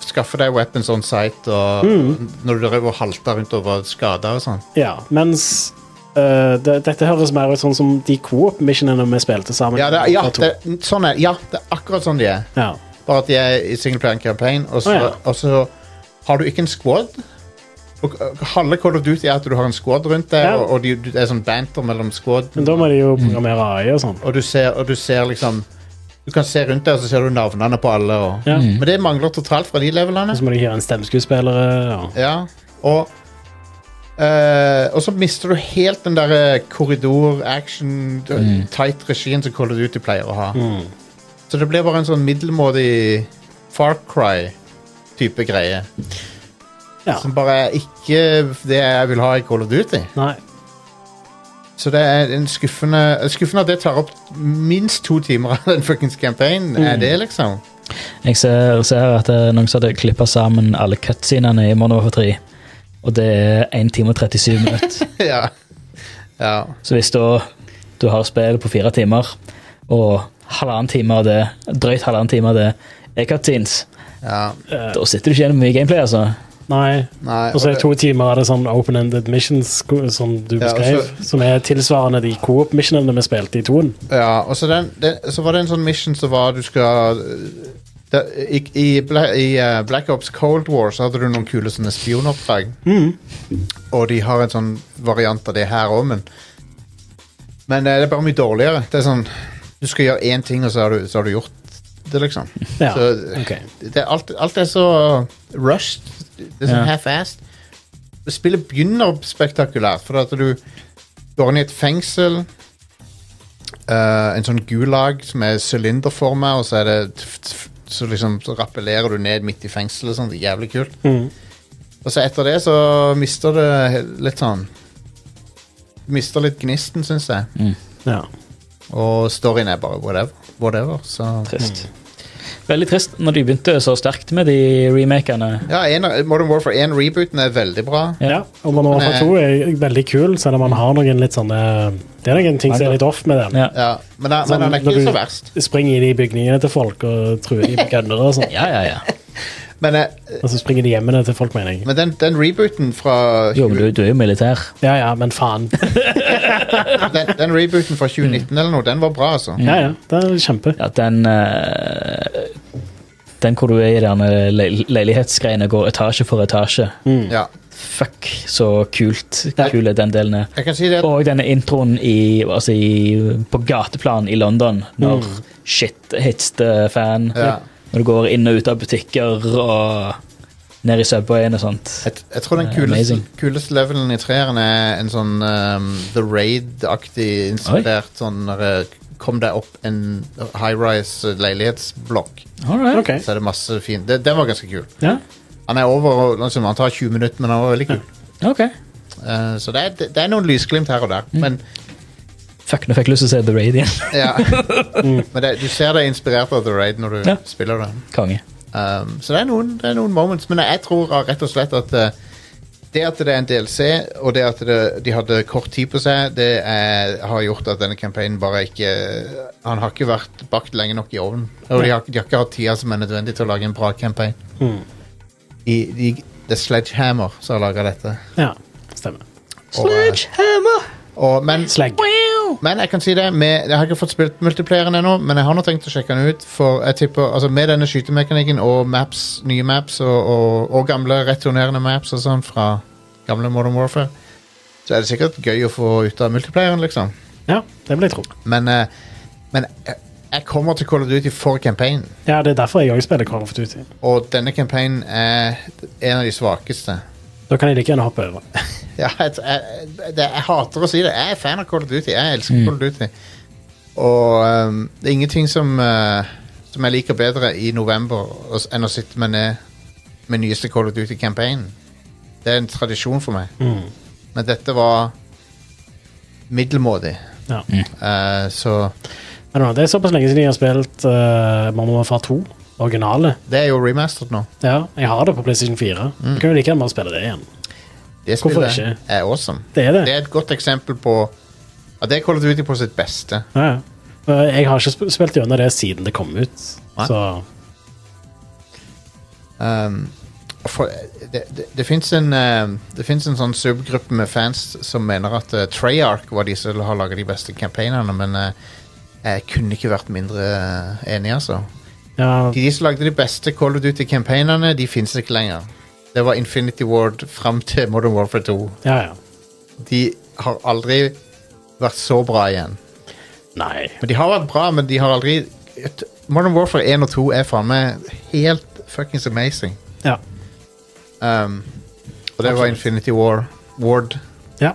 Speaker 1: skaffe deg weapons on site, og
Speaker 3: Mm.
Speaker 1: når du drev og halta rundt og var skada og sånn.
Speaker 3: Ja, mens øh, det, dette høres mer ut sånn som de coop-missionene vi spilte sammen.
Speaker 1: Ja, det, er-
Speaker 3: i
Speaker 1: ja,
Speaker 3: Dota 2.
Speaker 1: det, sånn er, ja, det er akkurat sånn de er.
Speaker 3: ja.
Speaker 1: Bare at de er i singleplayer campaign, og så,
Speaker 3: Å, ja.
Speaker 1: og så har du ikke en squad. Og og Halve Call of Duty er at du har en squad rundt deg,
Speaker 3: Ja.
Speaker 1: og, og de- det er sånn banter mellom squad.
Speaker 3: Men da må de jo programmere AI og sånn.
Speaker 1: Og du ser, og du ser liksom Du kan se rundt deg, og så ser du navnene på alle. Og,
Speaker 3: Ja.
Speaker 1: Men det mangler totalt fra de levelene.
Speaker 3: Og så må de hyre en stemmeskuespillere. Og...
Speaker 1: Ja, og eh, Og så mister du helt den der eh, korridor, action, d- tight regien som Call of Duty pleier å ha. Så det blir bare en sånn middelmådig Far Cry-type greie.
Speaker 3: Ja.
Speaker 1: Som bare er ikke det jeg vil ha i Call of Duty.
Speaker 3: Nei.
Speaker 1: Så det er en skuffende Skuffende at det tar opp minst to timer av den fuckings campaignen. Er det, liksom?
Speaker 2: Jeg ser, ser at det er noen som hadde klippa sammen alle cutscenene i Modern Warfare 3. Og det er 1 time og 37 minutter.
Speaker 1: ja. ja.
Speaker 2: Så hvis da du har spillet på fire timer, og halvannen time av det, drøyt halvannen time av det er cutscenes,
Speaker 1: Ja.
Speaker 2: da sitter du ikke igjen med mye gameplay, altså.
Speaker 3: Nei.
Speaker 1: Nei.
Speaker 3: Og så
Speaker 1: og
Speaker 3: er
Speaker 1: det-
Speaker 3: to timer av det sånn open-ended missions ko- som du
Speaker 1: Ja, og
Speaker 3: beskrev, som er tilsvarende de coop-missionene vi spilte i toen.
Speaker 1: Ja, og så, den, den, så var det en sånn mission som var du skal øh, det, I, i, Bla- i eh, Black Ops Cold War så hadde du noen kule sånne spionoppdrag.
Speaker 3: Mm.
Speaker 1: Og de har en sånn variant av det her òg, men Men eh, det er bare mye dårligere. Det er sånn Du skal gjøre én ting, og så har du, så har du gjort det, liksom.
Speaker 3: Ja,
Speaker 1: Så
Speaker 3: ok.
Speaker 1: det, er alt, alt er så rushed. Det er sånn half-assed. Spillet begynner spektakulært, for at du går inn i et fengsel. eh, en sånn gulag som er sylinderforma, og så er det tf- tf- så liksom så rappellerer du ned midt i fengselet. Sånn, det er jævlig kult.
Speaker 3: Mm.
Speaker 1: Og så etter det så mister det he- litt sånn Mister litt gnisten, syns jeg.
Speaker 2: Mm.
Speaker 3: Ja.
Speaker 1: Og storyen er bare whatever. whatever så.
Speaker 2: Trist.
Speaker 1: Mm.
Speaker 2: Veldig trist når de begynte så sterkt med de remakene.
Speaker 1: Ja, en, av- Modern Warfare 1-rebooten er veldig bra.
Speaker 3: ja.
Speaker 2: Ja.
Speaker 3: Og Man over
Speaker 1: Men,
Speaker 3: for to er veldig kul, selv om man har noen litt sånne Det er noen ting som er litt off med den.
Speaker 2: Ja.
Speaker 1: Ja, men, den- men
Speaker 3: Sånn,
Speaker 1: den er
Speaker 3: når
Speaker 1: ikke
Speaker 3: du
Speaker 1: så verst.
Speaker 3: Springer inn i bygningene til folk og truer de med kødder og sånn.
Speaker 2: Ja, ja, ja.
Speaker 1: Men, eh,
Speaker 3: Og så springer de hjemmene til folk, mener jeg.
Speaker 1: men den, den rebooten fra
Speaker 2: Jo, men du, du er jo militær.
Speaker 3: Ja, ja, men faen.
Speaker 1: den, den rebooten
Speaker 2: Mm.
Speaker 1: fra 2019 eller noe, den var bra, altså.
Speaker 3: Ja, ja, det er kjempe.
Speaker 2: At den eh, Den hvor du er i denne le leilighetsgreiene, går etasje for etasje.
Speaker 1: Ja.
Speaker 2: Fuck, så kult. Kul er den delen er.
Speaker 1: Jeg kan si det at
Speaker 2: Og denne introen i, altså i, på gateplan i London, når shit hits the fan.
Speaker 1: Ja.
Speaker 2: Når du går inn og ut av butikker og ned i Subwayen og sånt.
Speaker 1: jeg, jeg tror den
Speaker 2: Eh,
Speaker 1: kuleste,
Speaker 2: amazing.
Speaker 1: kuleste levelen i treeren er en sånn ehm, The Raid-aktig inspirert sånn eh, Kom deg opp en high-rise leilighetsblokk.
Speaker 2: Alright.
Speaker 3: Ok.
Speaker 1: Så er det masse fint. Det- Den var ganske kul.
Speaker 3: Ja.
Speaker 1: Han er over, og liksom, han tar 20 minutter, men han var veldig kul.
Speaker 2: ok.
Speaker 1: Eh, så det er, det, det er noen lysglimt her og der.
Speaker 2: Mm.
Speaker 1: Men
Speaker 2: Fuck, nå fikk jeg lyst til å se The Raid igjen.
Speaker 1: Ja. Men det, du ser det er inspirert av The Raid når du
Speaker 2: Mm. Ja.
Speaker 1: spiller det.
Speaker 2: Konge.
Speaker 1: Um, så det er, noen, det er noen moments, men jeg tror rett og slett at eh, det at det er en DLC, og det at det, de hadde kort tid på seg, det er, har gjort at denne campaignen bare ikke Han har ikke vært bakt lenge nok i ovnen. Og de har, de har ikke hatt tida som er nødvendig til å lage en bra campaign. I, de, det er Sledgehammer som har laga dette.
Speaker 3: Ja, stemmer.
Speaker 1: Og, eh, og, men,
Speaker 3: Slag.
Speaker 1: men jeg kan si det med, Jeg har ikke fått spilt multiplayeren ennå, men jeg har nå tenkt å sjekke den ut. For jeg tipper, altså Med denne skytemekanikken og maps, nye maps og, og, og gamle returnerende maps og sånn fra gamle Modern Warfare, så er det sikkert gøy å få ut av multiplayeren, liksom.
Speaker 3: Ja, det vil jeg tro.
Speaker 1: Men, eh, men jeg, jeg kommer til Call of Duty for campaignen,
Speaker 3: Ja, det er derfor jeg òg spiller Call of Duty.
Speaker 1: og denne campaignen er en av de svakeste.
Speaker 3: Da kan jeg like gjerne hoppe over.
Speaker 1: Ja, jeg, jeg, jeg, det, jeg hater å si det. Jeg er fan av Call of Duty. Jeg
Speaker 3: Mm.
Speaker 1: elsker Call of Duty. Og ehm, det er ingenting som, eh, som jeg liker bedre i november os- enn å sitte meg ned med nyeste Call of Duty-campaignen. Det er en tradisjon for meg.
Speaker 3: Mm.
Speaker 1: Men dette var middelmådig.
Speaker 3: Ja.
Speaker 1: Eh, så
Speaker 3: I don't know, Det er såpass lenge siden jeg har spilt uh, Mamma og far 2, originale.
Speaker 1: det er jo remastert nå.
Speaker 3: Ja, jeg har det på PlayStation 4.
Speaker 1: Mm.
Speaker 3: Jeg kan jo like gjerne bare spille det igjen.
Speaker 1: Det
Speaker 3: Hvorfor
Speaker 1: spillet
Speaker 3: ikke?
Speaker 1: er awesome.
Speaker 3: Det er det.
Speaker 1: Det er et godt eksempel på ja, Det er Call of Duty på sitt beste.
Speaker 3: Ja, ja. Eh, Jeg har ikke sp- spilt gjennom det siden det kom ut.
Speaker 1: Nei.
Speaker 3: Så
Speaker 1: Um, for, det det, det fins en, um, det finnes en sånn subgruppe med fans som mener at uh, Treyarch var de som har laga de beste campaignene, men uh, jeg kunne ikke vært mindre uh, enig, altså.
Speaker 3: ja,
Speaker 1: De, de som lagde de beste Call of Duty-campaignene, de fins ikke lenger. Det var Infinity Ward fram til Modern Warfare 2.
Speaker 3: ja, ja.
Speaker 1: De har aldri vært så bra igjen.
Speaker 3: Nei.
Speaker 1: Men De har vært bra, men de har aldri Modern Warfare 1 og 2 er faen meg helt fuckings amazing.
Speaker 3: Ja.
Speaker 1: Um, og det var
Speaker 3: Absolutt.
Speaker 1: Infinity War Ward.
Speaker 3: ja.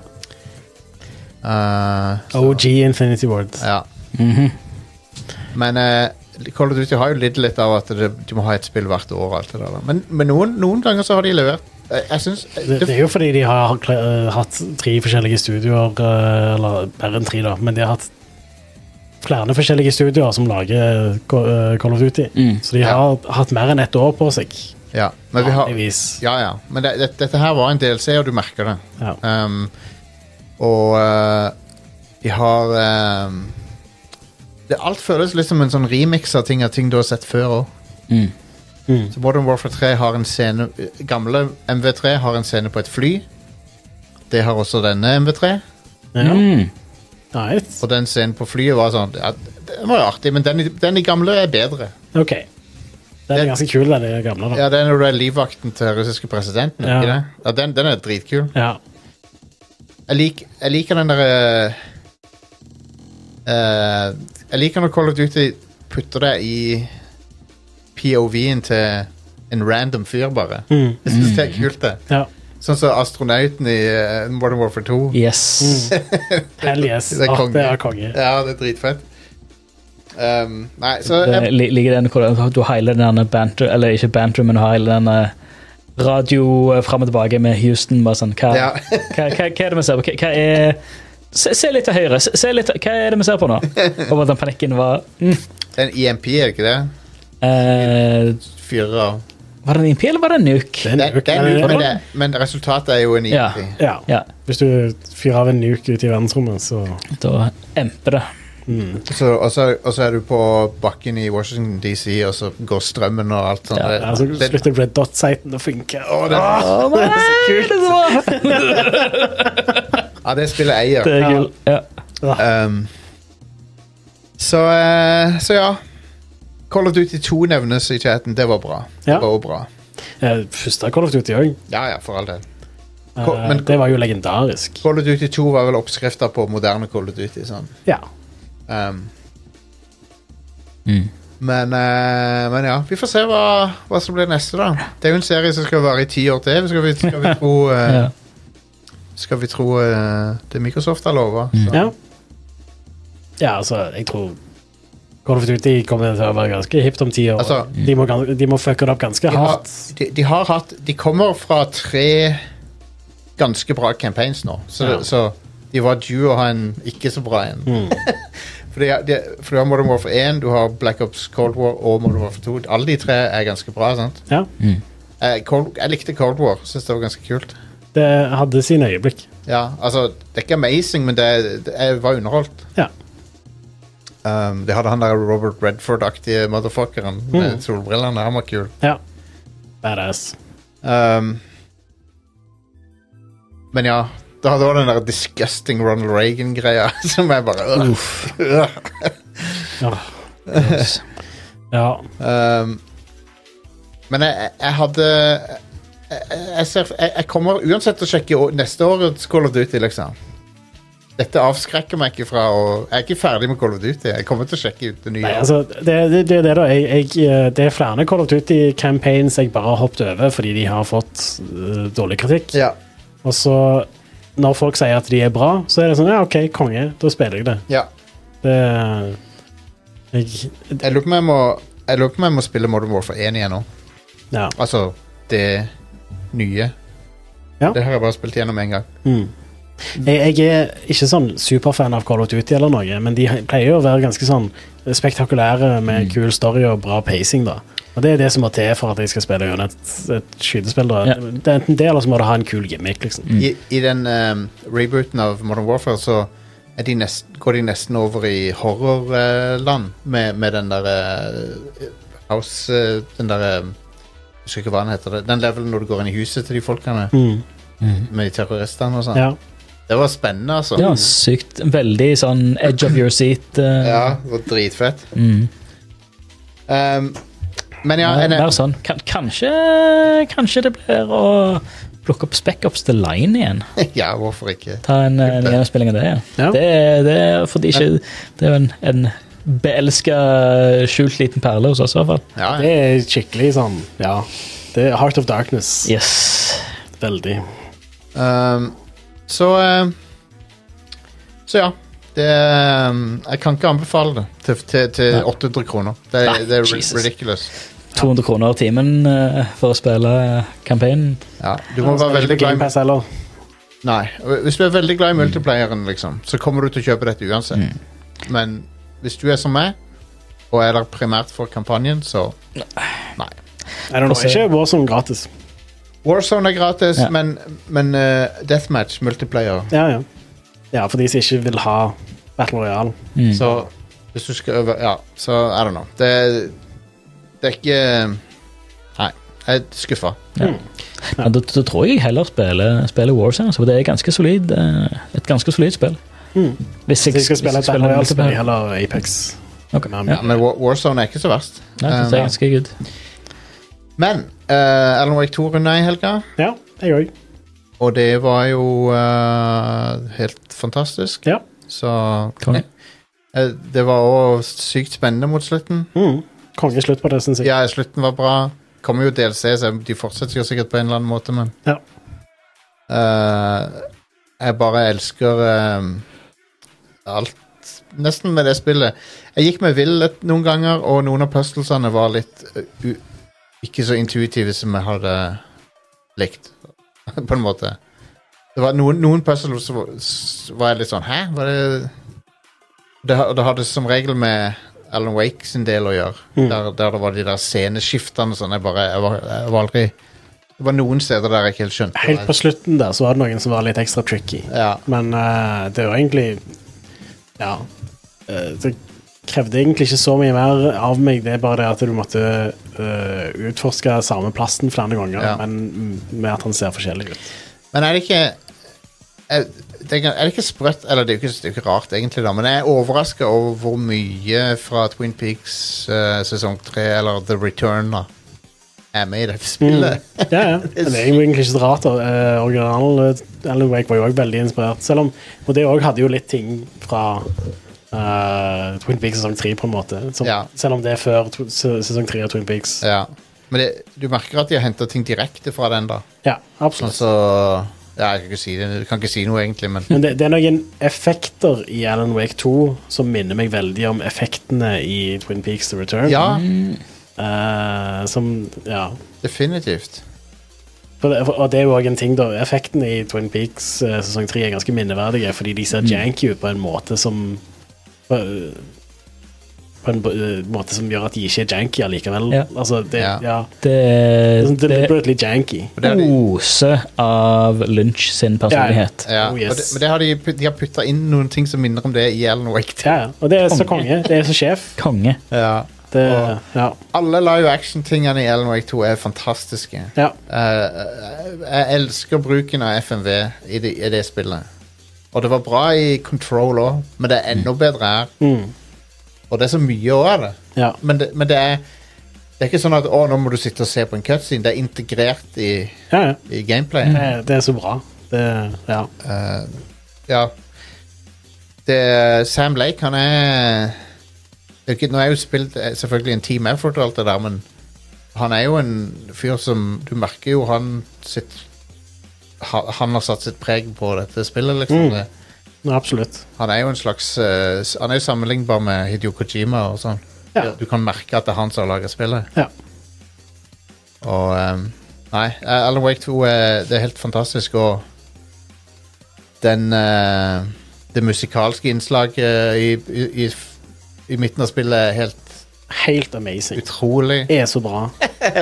Speaker 1: Uh,
Speaker 3: OG Infinity Ward.
Speaker 1: ja. Men uh, Call of Duty har jo lidd litt av at det, du må ha et spill hvert år. og Alt det der. da. Men, men noen, noen ganger så har de levert. Jeg, jeg eh, syns
Speaker 3: Det, det er jo fordi de har kla- eh, hatt tre forskjellige studioer, eh, eller mer enn tre, da, men de har hatt flere forskjellige studioer som lager Ca- eh, Call of Duty.
Speaker 2: Mm.
Speaker 3: Så de
Speaker 1: Ja.
Speaker 3: har hatt mer enn ett år på seg.
Speaker 1: Ja, men vi har
Speaker 3: Vanligvis.
Speaker 1: Ja, ja. Men det, det, dette her var en DLC, og du merker det.
Speaker 3: Ja.
Speaker 1: Um, og eh, de har um, det, Alt føles litt som en sånn remix av ting, av ting du har sett før òg.
Speaker 2: Mm.
Speaker 3: Mm.
Speaker 1: Så Modern Warfare 3 har en scene Gamle MV3 har en scene på et fly. Det har også denne MV3.
Speaker 3: Ja.
Speaker 2: Mm.
Speaker 3: Nice.
Speaker 1: Og den scenen på flyet var sånn ja, Den var jo artig, men den, i- den i gamle er bedre.
Speaker 3: OK. Den er ganske kul, den gamle. da.
Speaker 1: Ja, Den er livvakten til russiske presidenten.
Speaker 3: Ja.
Speaker 1: Ikke det? Ja, den, den er dritkul.
Speaker 3: Ja.
Speaker 1: Jeg, lik, jeg liker den derre eh, Jeg liker når Call of Duty putter deg i POV-en til en random fyr, bare.
Speaker 3: Mm.
Speaker 1: Jeg synes det er kult, det.
Speaker 3: ja.
Speaker 1: Sånn som astronauten i eh, Modern Warfare 2.
Speaker 2: Yes.
Speaker 3: Hell yes.
Speaker 1: Det er
Speaker 3: Åh,
Speaker 1: konge.
Speaker 3: Det er konge.
Speaker 1: Ja, det er dritfett. Ehm, nei, så
Speaker 2: Det
Speaker 1: jeg,
Speaker 2: li- ligger den hvor du har hele den banter, eller ikke banter, men du har hele den eh, radio eh, fram og tilbake med Houston. Bare sånn, hva,
Speaker 1: Ja.
Speaker 2: hva, hva, hva er det vi ser på? Hva, hva er Se, se litt til høyre. Se, se litt, hva er det vi ser på nå? Og bare den panikken var mm.
Speaker 1: det er en IMP, er det ikke det?
Speaker 2: eh,
Speaker 1: Fyrer av.
Speaker 2: Var det en impi, eller var det en nuke?
Speaker 1: Det, det er en
Speaker 3: Eller-
Speaker 1: uke, men, det, men resultatet er jo en E IMP.
Speaker 3: Ja.
Speaker 2: Ja. Ja,
Speaker 3: Hvis du fyrer av en nuke ute i verdensrommet, så
Speaker 2: da emper det.
Speaker 1: Så, og, så, og så er du på bakken i Washington DC, og så går strømmen og alt sånt.
Speaker 2: Ja,
Speaker 1: Det-
Speaker 3: ja, altså, så
Speaker 1: det-
Speaker 3: slutter Red Dot-siten å funke.
Speaker 1: Å, det,
Speaker 2: Oh, det er så kult!
Speaker 1: ja, det spillet eier.
Speaker 2: Det er gull. Ja.
Speaker 1: Ehm, så, eh, så ja. Call of Duty 2 nevnes i chatten. Det var bra. Det
Speaker 3: Ja.
Speaker 1: var jo bra.
Speaker 3: Eh, Første Call of Duty òg.
Speaker 1: Ja, ja, for all del. Ko-
Speaker 3: Eh,
Speaker 1: men-
Speaker 3: det var jo legendarisk.
Speaker 1: Call of Duty 2 var vel oppskrifta på moderne Call of Duty. sånn.
Speaker 3: Ja.
Speaker 1: Ehm, men, eh, men ja, vi får se hva, hva som blir neste, da. Det er jo en serie som skal vare i ti år til. Skal vi, skal vi tro, eh,
Speaker 2: Ja.
Speaker 1: skal vi tro eh, det Microsoft har lova.
Speaker 3: ja. Ja, altså, jeg tror Call of Duty kommer til å være ganske hipt om ti år.
Speaker 1: Altså-
Speaker 3: de, må, gan- de må fucke det opp ganske
Speaker 1: De, har-
Speaker 3: hardt.
Speaker 1: de, de har hatt De kommer fra tre ganske bra campaigns nå, så,
Speaker 3: Ja.
Speaker 1: så de var due å ha en ikke så bra en.
Speaker 3: Mm.
Speaker 1: For, de, de, for du har Modern Warfare 1, du har Black Ops Cold War og Modern Warfare 2. Alle de tre er ganske bra. sant?
Speaker 3: Ja.
Speaker 1: Eh, Cold, jeg likte Cold War. Syns det var ganske kult.
Speaker 3: Det hadde sine øyeblikk.
Speaker 1: Ja, altså, det er ikke amazing, men det, det jeg var underholdt.
Speaker 3: Ja.
Speaker 1: Um, det hadde han der Robert Redford-aktige motherfuckeren med solbrillene. Han var kul.
Speaker 3: ja. Badass.
Speaker 1: Um, men ja, det hadde også den der disgusting Ronald Reagan-greia som jeg bare øh, øh.
Speaker 3: Ja.
Speaker 1: Um, men jeg, jeg- jeg hadde jeg, jeg, ser, jeg, jeg kommer uansett til å sjekke å- neste årets Call of Duty, liksom. Dette avskrekker meg ikke fra å Jeg er ikke ferdig med Call of Duty. Jeg kommer til å sjekke ut det nye.
Speaker 3: Nei, altså, det, det, det er det, da. Jeg, jeg, eh, det er flere Call of Duty-campaigns jeg bare har hoppet over fordi de har fått eh, dårlig kritikk.
Speaker 1: ja,
Speaker 3: Og så, når folk sier at de er bra, så er det sånn Ja, OK, konge. Da spiller jeg det.
Speaker 1: ja.
Speaker 3: Det jeg,
Speaker 1: Jeg lurer på om jeg må Jeg lurer på om jeg må spille Modern Warfare 1 igjen nå.
Speaker 3: Ja.
Speaker 1: Altså det nye.
Speaker 3: Ja.
Speaker 1: Det har jeg bare spilt gjennom én gang.
Speaker 3: Mm. Jeg, jeg er ikke sånn superfan av Call of Duty eller noe, men de pleier jo å være ganske sånn spektakulære med kul story og bra pacing, da. Og det er det som må til for at jeg skal spille gjennom et, et skytespill. da.
Speaker 2: Ja.
Speaker 3: Det er enten det, eller så må det ha en kul gimmick, liksom.
Speaker 1: I, i den ehm, rebooten av Modern Warfare så er de nest, går de nesten over i horrorland med, med den der eh, House eh, Den der eh, Jeg husker ikke hva den heter. det- Den levelen når du går inn i huset til de folkene
Speaker 3: Mm.
Speaker 1: med de terroristene og sånn.
Speaker 3: Ja.
Speaker 1: Det var spennende, altså.
Speaker 2: Ja, sykt. Veldig sånn edge of your seat. eh,
Speaker 1: Ja, det var dritfett.
Speaker 2: Mm.
Speaker 1: Ehm, men ja,
Speaker 2: Mer-
Speaker 1: en,
Speaker 2: mer sånn. Kan, kanskje, kanskje det blir å plukke opp Speckups The Line igjen.
Speaker 1: ja, hvorfor ikke?
Speaker 2: Ta en, eh, en gjennomspilling av det. Ja.
Speaker 3: Ja.
Speaker 2: Det, det, er fordi ikke, det er jo en, en beelska skjult liten perle hos oss i hvert fall.
Speaker 1: Ja,
Speaker 3: Det er skikkelig sånn Ja. Det er Heart of Darkness.
Speaker 2: Yes.
Speaker 3: Veldig.
Speaker 1: Ehm, så ehm, Så ja. Det ehm, Jeg kan ikke anbefale det til, til, til 800 kroner. Det,
Speaker 2: Nei,
Speaker 1: det er ri-
Speaker 2: Jesus.
Speaker 1: ridiculous.
Speaker 2: 200 kroner timen eh, for å spille kampanjen.
Speaker 1: Ja, du må være veldig glad i
Speaker 3: Gamepass heller.
Speaker 1: Nei, Hvis du er veldig glad i multiplayeren, liksom, så kommer du til å kjøpe dette uansett.
Speaker 2: Mm.
Speaker 1: Men hvis du er som meg, og er der primært for kampanjen, så Nei.
Speaker 3: I don't know.
Speaker 2: Også-
Speaker 3: Ikke Warzone gratis.
Speaker 1: Warzone er gratis,
Speaker 2: Ja.
Speaker 1: men, men eh, Deathmatch, multiplayer
Speaker 3: Ja, ja. Ja, for de som ikke vil ha Battle Royale.
Speaker 2: Mm.
Speaker 1: Så hvis du skal øve Ja, så I don't know. Det, det er ikke Nei. Jeg er skuffa.
Speaker 2: Ja, da, da tror jeg heller spiller, spiller Warzone, så det er ganske solid, eh, et ganske solid spill. Hvis
Speaker 3: Hvis Mm. jeg skal spille
Speaker 2: hvis jeg
Speaker 3: Battle Royale, så blir det
Speaker 2: multiplayer.
Speaker 3: heller Apex.
Speaker 2: Ok,
Speaker 3: Men-
Speaker 2: ja.
Speaker 1: Men War- Warzone er ikke så verst.
Speaker 2: Nei, det er
Speaker 1: Um,
Speaker 2: ganske good.
Speaker 1: men uh, Alan Wake 2 runda i helga,
Speaker 3: Ja, jeg òg.
Speaker 1: og det var jo eh, helt fantastisk.
Speaker 3: Ja.
Speaker 1: Så
Speaker 2: Konge.
Speaker 1: Eh, Det var òg sykt spennende mot slutten.
Speaker 3: Mm. Kongeslutt på det, syns jeg.
Speaker 1: Ja, slutten var bra. Kommer jo DLC, så de fortsetter jo sikkert på en eller annen måte, men
Speaker 3: Ja.
Speaker 1: Eh, jeg bare elsker eh, alt Nesten med det spillet. Jeg gikk meg vill et- noen ganger, og noen av puzzlesene var litt eh, u ikke så intuitive som jeg hadde likt, på en måte. Det var noen, noen puzzles som var, s- var jeg litt sånn Hæ? Var det det, ha- det hadde som regel med Alan Wake sin del å gjøre.
Speaker 3: Mm.
Speaker 1: Der, der det var de der sceneskiftene og sånn. Jeg bare jeg var, jeg var aldri Det var noen steder der jeg ikke helt skjønte.
Speaker 3: Helt på slutten der så var det noen som var litt ekstra tricky.
Speaker 1: Ja.
Speaker 3: Men eh, det var egentlig Ja. eh, det krevde egentlig ikke så mye mer av meg. Det er bare det at du måtte eh, utforske samme plassen flere ganger,
Speaker 1: Ja.
Speaker 3: men med at han ser forskjellig ut.
Speaker 1: Men er det ikke er, det er det ikke sprøtt Eller det er jo ikke, det er jo ikke rart, egentlig, da, men jeg er overraska over hvor mye fra Twin Peaks eh, sesong 3 eller The Return da, er med i dette spillet.
Speaker 3: Mm. Ja, ja. Men Det er jo egentlig ikke så rart. da. Eh, original eh, Alan Wake var jo også veldig inspirert. Selv om, og det òg hadde jo litt ting fra eh, Twin Peaks sesong 3, på en måte. Som,
Speaker 1: Ja.
Speaker 3: Selv om det er før tw- se- sesong 3 av Twin Peaks.
Speaker 1: Ja. Men det, du merker at de har henta ting direkte fra den, da.
Speaker 3: Ja, absolutt.
Speaker 1: Altså ja, Jeg kan ikke si det, jeg kan ikke si noe, egentlig, men
Speaker 3: Men det, det er noen effekter i Alan Wake 2 som minner meg veldig om effektene i Twin Peaks The Return.
Speaker 1: Ja,
Speaker 3: Eh, som, ja.
Speaker 1: definitivt.
Speaker 3: For det, for, og det er jo òg en ting, da. Effektene i Twin Peaks eh, sesong 3 er ganske minneverdige, fordi de ser janky ut på en måte som eh, på en eh, måte som gjør at de ikke er janky allikevel.
Speaker 2: Ja.
Speaker 3: Altså, det,
Speaker 1: Ja.
Speaker 3: ja.
Speaker 2: Det,
Speaker 3: Det er sånn
Speaker 2: det
Speaker 3: deliberately janky.
Speaker 1: det har de-
Speaker 2: oser av Lynch sin personlighet.
Speaker 1: Ja,
Speaker 3: Oh,
Speaker 1: og
Speaker 3: yes.
Speaker 1: det, men det har de, put- de har putta inn noen ting som minner om det i Alan Wake.
Speaker 3: Ja, ja. og det er så konge. Det er så sjef.
Speaker 2: Konge.
Speaker 1: Ja.
Speaker 3: Det,
Speaker 1: Og-
Speaker 3: ja.
Speaker 1: Alle live action-tingene i Alan Wake 2 er fantastiske.
Speaker 3: ja.
Speaker 1: Eh, jeg elsker bruken av FMV i det, i det spillet. Og det var bra i Control òg, men det er enda bedre her.
Speaker 3: Mm.
Speaker 1: Og det er så mye også av det.
Speaker 3: ja.
Speaker 1: Men det, men det er Det er ikke sånn at å, nå må du sitte og se på en cutscene. Det er integrert i,
Speaker 3: ja, ja.
Speaker 1: i gameplayet.
Speaker 3: Det, det er så bra. Det, ja.
Speaker 1: Eh, ja. Det, Sam Lake, han er det er ikke, Nå er jo spilt eh, selvfølgelig en team effort og alt det der, men han er jo en fyr som Du merker jo han sitt ha- Han har satt sitt preg på dette spillet, liksom.
Speaker 3: Mm.
Speaker 1: Det-
Speaker 3: Absolutt.
Speaker 1: Han er jo en slags eh, s- Han er jo sammenlignbar med Hidio Kojima og sånn.
Speaker 3: Ja.
Speaker 1: Du kan merke at det er han som har laga spillet.
Speaker 3: Ja.
Speaker 1: Og ehm, Nei, eh, Alan Wake 2 er, det er helt fantastisk, og den eh, Det musikalske innslaget i, i, i, f- i midten av spillet er helt
Speaker 3: Helt amazing.
Speaker 1: utrolig.
Speaker 3: Det er så bra.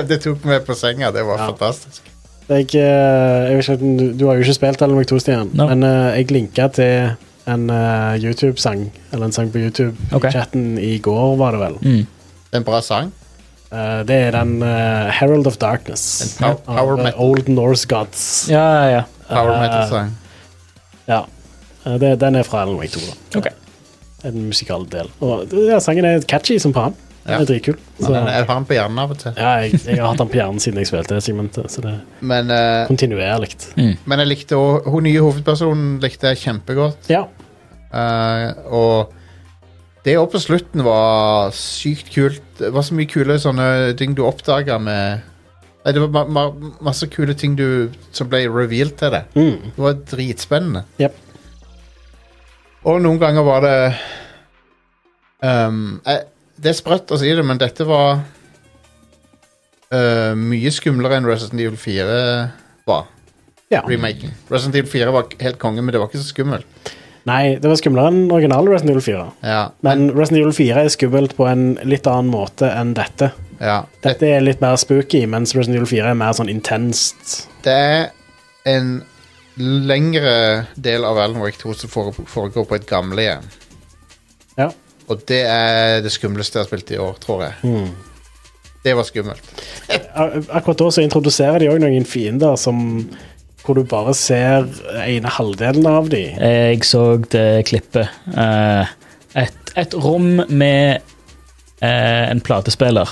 Speaker 1: det tok meg på senga. Det var
Speaker 3: Ja.
Speaker 1: fantastisk.
Speaker 3: Jeg, eh, jeg vet ikke, om du, du har jo ikke spilt Alan Wake 2, Stian,
Speaker 2: No.
Speaker 3: men eh, jeg linka til en eh, YouTube-sang, eller en sang på
Speaker 2: Ok.
Speaker 3: YouTube-chatten i går, var det vel.
Speaker 2: Mm.
Speaker 1: Det er en bra sang.
Speaker 3: Eh, det er den eh, Herald of Darkness.
Speaker 1: En pow- power
Speaker 3: av, eh,
Speaker 1: metal.
Speaker 3: Old Norse Gods.
Speaker 2: Ja, ja, ja.
Speaker 1: Power
Speaker 3: Eh,
Speaker 1: metal-sang.
Speaker 3: Ja. Eh, det, den er fra Alan Wake 2, da.
Speaker 2: Ok.
Speaker 3: En musikal del. Og ja, sangen er catchy som faen. Den
Speaker 1: Ja.
Speaker 3: er dritkul. Så,
Speaker 1: Men Jeg har den på hjernen av og til.
Speaker 3: ja, jeg, jeg har hatt den på hjernen siden jeg spilte segmentet, så det er
Speaker 1: Men, eh,
Speaker 3: kontinuerlig.
Speaker 1: men jeg likte også, hun nye hovedpersonen likte jeg kjempegodt.
Speaker 3: Ja.
Speaker 1: Eh, og det oppe på slutten var sykt kult. Det var så mye kule sånne ting du oppdaga med Nei, det var ma ma masse kule ting du, som ble revealed til deg.
Speaker 3: Mm.
Speaker 1: Det var dritspennende.
Speaker 3: Jep.
Speaker 1: Og noen ganger var det ehm, eh, Det er sprøtt å si det, men dette var eh, mye skumlere enn Resident Evil 4 var.
Speaker 3: Ja.
Speaker 1: Remaken. Resident Evil 4 var helt konge, men det var ikke så skummelt.
Speaker 3: Nei, det var skumlere enn original Resident Evil 4.
Speaker 1: Ja,
Speaker 3: Men Resident Evil 4 er skummelt på en litt annen måte enn dette.
Speaker 1: ja.
Speaker 3: Dette er litt mer spooky, mens Resident Evil 4 er mer sånn intenst.
Speaker 1: det er en lengre del av Alan Wake 2 som fore- foregår på et gamlehjem.
Speaker 3: Ja.
Speaker 1: Og det er det skumleste jeg har spilt i år, tror jeg.
Speaker 3: Hmm.
Speaker 1: Det var skummelt.
Speaker 3: A- Akkurat da så introduserer de òg noen fiender som hvor du bare ser ene halvdelen av de.
Speaker 2: Jeg så det klippet. Eh, et, et rom med eh, en platespiller.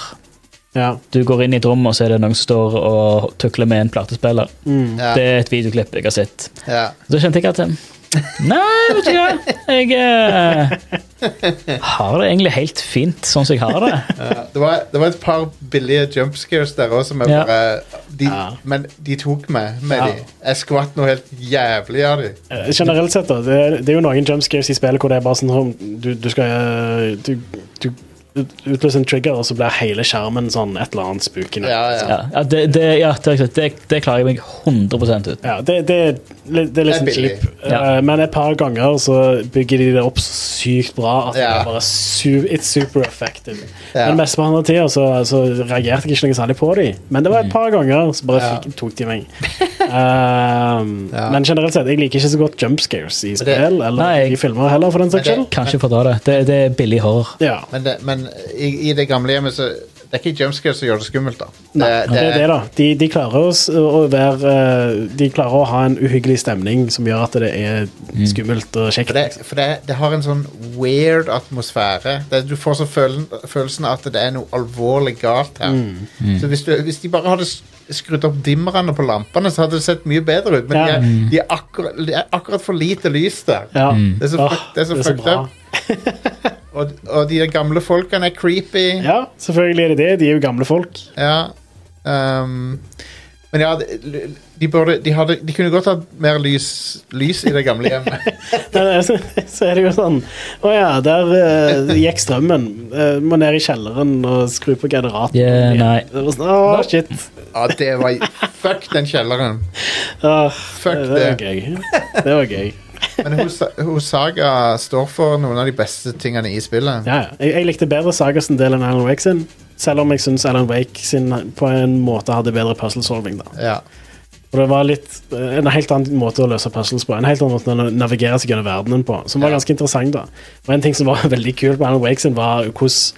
Speaker 3: Ja.
Speaker 2: Du går inn i et rom, og så er det noen som står og tukler med en platespiller.
Speaker 1: Mm. Ja,
Speaker 2: Det er et videoklipp jeg har sett.
Speaker 1: ja.
Speaker 2: Da kjente jeg at eh, Nei, vet du hva. Jeg eh, har det egentlig helt fint sånn som jeg har det.
Speaker 1: Det, var, det var et par billige jumpscares der òg som jeg
Speaker 2: Ja.
Speaker 1: bare de,
Speaker 3: Ja.
Speaker 1: Men de tok meg med
Speaker 3: Ja.
Speaker 1: de. Jeg skvatt noe helt jævlig av de.
Speaker 3: Eh, Generelt sett, da. Det er, det er jo noen jumpscares i spillet hvor det er bare sånn om du, du skal eh, Du, du ut- utløser en trigger, og så blir hele skjermen sånn et eller annet spooky.
Speaker 1: Ja, ja.
Speaker 2: Ja, ja, det, det, ja det, har jeg sett. det, det klarer jeg meg 100 ut.
Speaker 3: Ja, det, det, er li- det er litt
Speaker 1: Det er
Speaker 3: sånn
Speaker 1: billig.
Speaker 3: kjip.
Speaker 2: Ja.
Speaker 3: Eh, men et par ganger så bygger de det opp så sykt bra at det
Speaker 1: Ja.
Speaker 3: er bare su it's super effective.
Speaker 1: Ja.
Speaker 3: Men mesteparten av tida så, så reagerte jeg ikke noe særlig på de Men det var
Speaker 2: Mm.
Speaker 3: et par ganger så bare
Speaker 1: Ja.
Speaker 3: fikk, tok de meg. Um,
Speaker 1: Ja.
Speaker 3: Men generelt sett, jeg liker ikke så godt jump scares i
Speaker 1: det-
Speaker 3: spill eller
Speaker 2: Nei, jeg-
Speaker 3: i filmer heller, for den
Speaker 1: Men
Speaker 3: saks
Speaker 1: det-
Speaker 3: skyld.
Speaker 2: Kanskje fordra det. det. Det er billig horror.
Speaker 3: Ja.
Speaker 1: Men, det, men i, i det gamlehjemmet så Det er ikke jumpscares som gjør det skummelt, da. Det,
Speaker 3: Det er det, da. De, de, klarer å, s- å være, eh, de klarer å ha en uhyggelig stemning som gjør at det er
Speaker 2: Mm.
Speaker 3: skummelt
Speaker 1: For
Speaker 3: og kjekt.
Speaker 1: det, for det, det har en sånn weird atmosfære. Det, du får så følen, følelsen av at det er noe alvorlig galt her.
Speaker 3: Mm.
Speaker 1: Så hvis, du, hvis de bare hadde s- skrudd opp dimmerne på lampene, så hadde det sett mye bedre ut. Men
Speaker 3: Ja.
Speaker 1: de, er, de, er akkurat, de er akkurat for lite lys der.
Speaker 3: Ja.
Speaker 2: Mm.
Speaker 1: Det er så,
Speaker 3: Åh,
Speaker 1: fuck- det er så
Speaker 3: det er så
Speaker 1: fucked
Speaker 3: bra.
Speaker 1: up. Og, og de gamle folkene er creepy.
Speaker 3: Ja, selvfølgelig er det det. De er jo gamle folk.
Speaker 1: Ja. Ehm, men ja, de, de, burde, de, hadde, de kunne godt hatt mer lys, lys i det gamle hjemmet.
Speaker 3: Men eh, så, så er det jo sånn Å ja, der eh, gikk strømmen. Eh, må ned i kjelleren og skru på generatoren.
Speaker 2: Yeah,
Speaker 3: igjen.
Speaker 2: nei.
Speaker 3: Det var sånn, Åh, shit.
Speaker 1: Ja, det var Fuck den kjelleren.
Speaker 3: Åh,
Speaker 1: Fuck
Speaker 3: det var
Speaker 1: det.
Speaker 3: gøy. Det var gøy.
Speaker 1: Men hun, sa- hun Saga står for noen av de beste tingene i spillet.
Speaker 3: Ja, ja. jeg, jeg likte bedre Saga sin del enn Alan Wake sin, selv om jeg syns Alan Wake sin eh, på en måte hadde bedre puzzle solving. da.
Speaker 1: Ja.
Speaker 3: Og det var litt, eh, en helt annen måte å løse puzzles på, en helt annen måte å na- navigere seg gjennom verdenen på, som var
Speaker 1: Ja.
Speaker 3: ganske interessant. da. Og En ting som var veldig kult med Alan Wake sin, var hvordan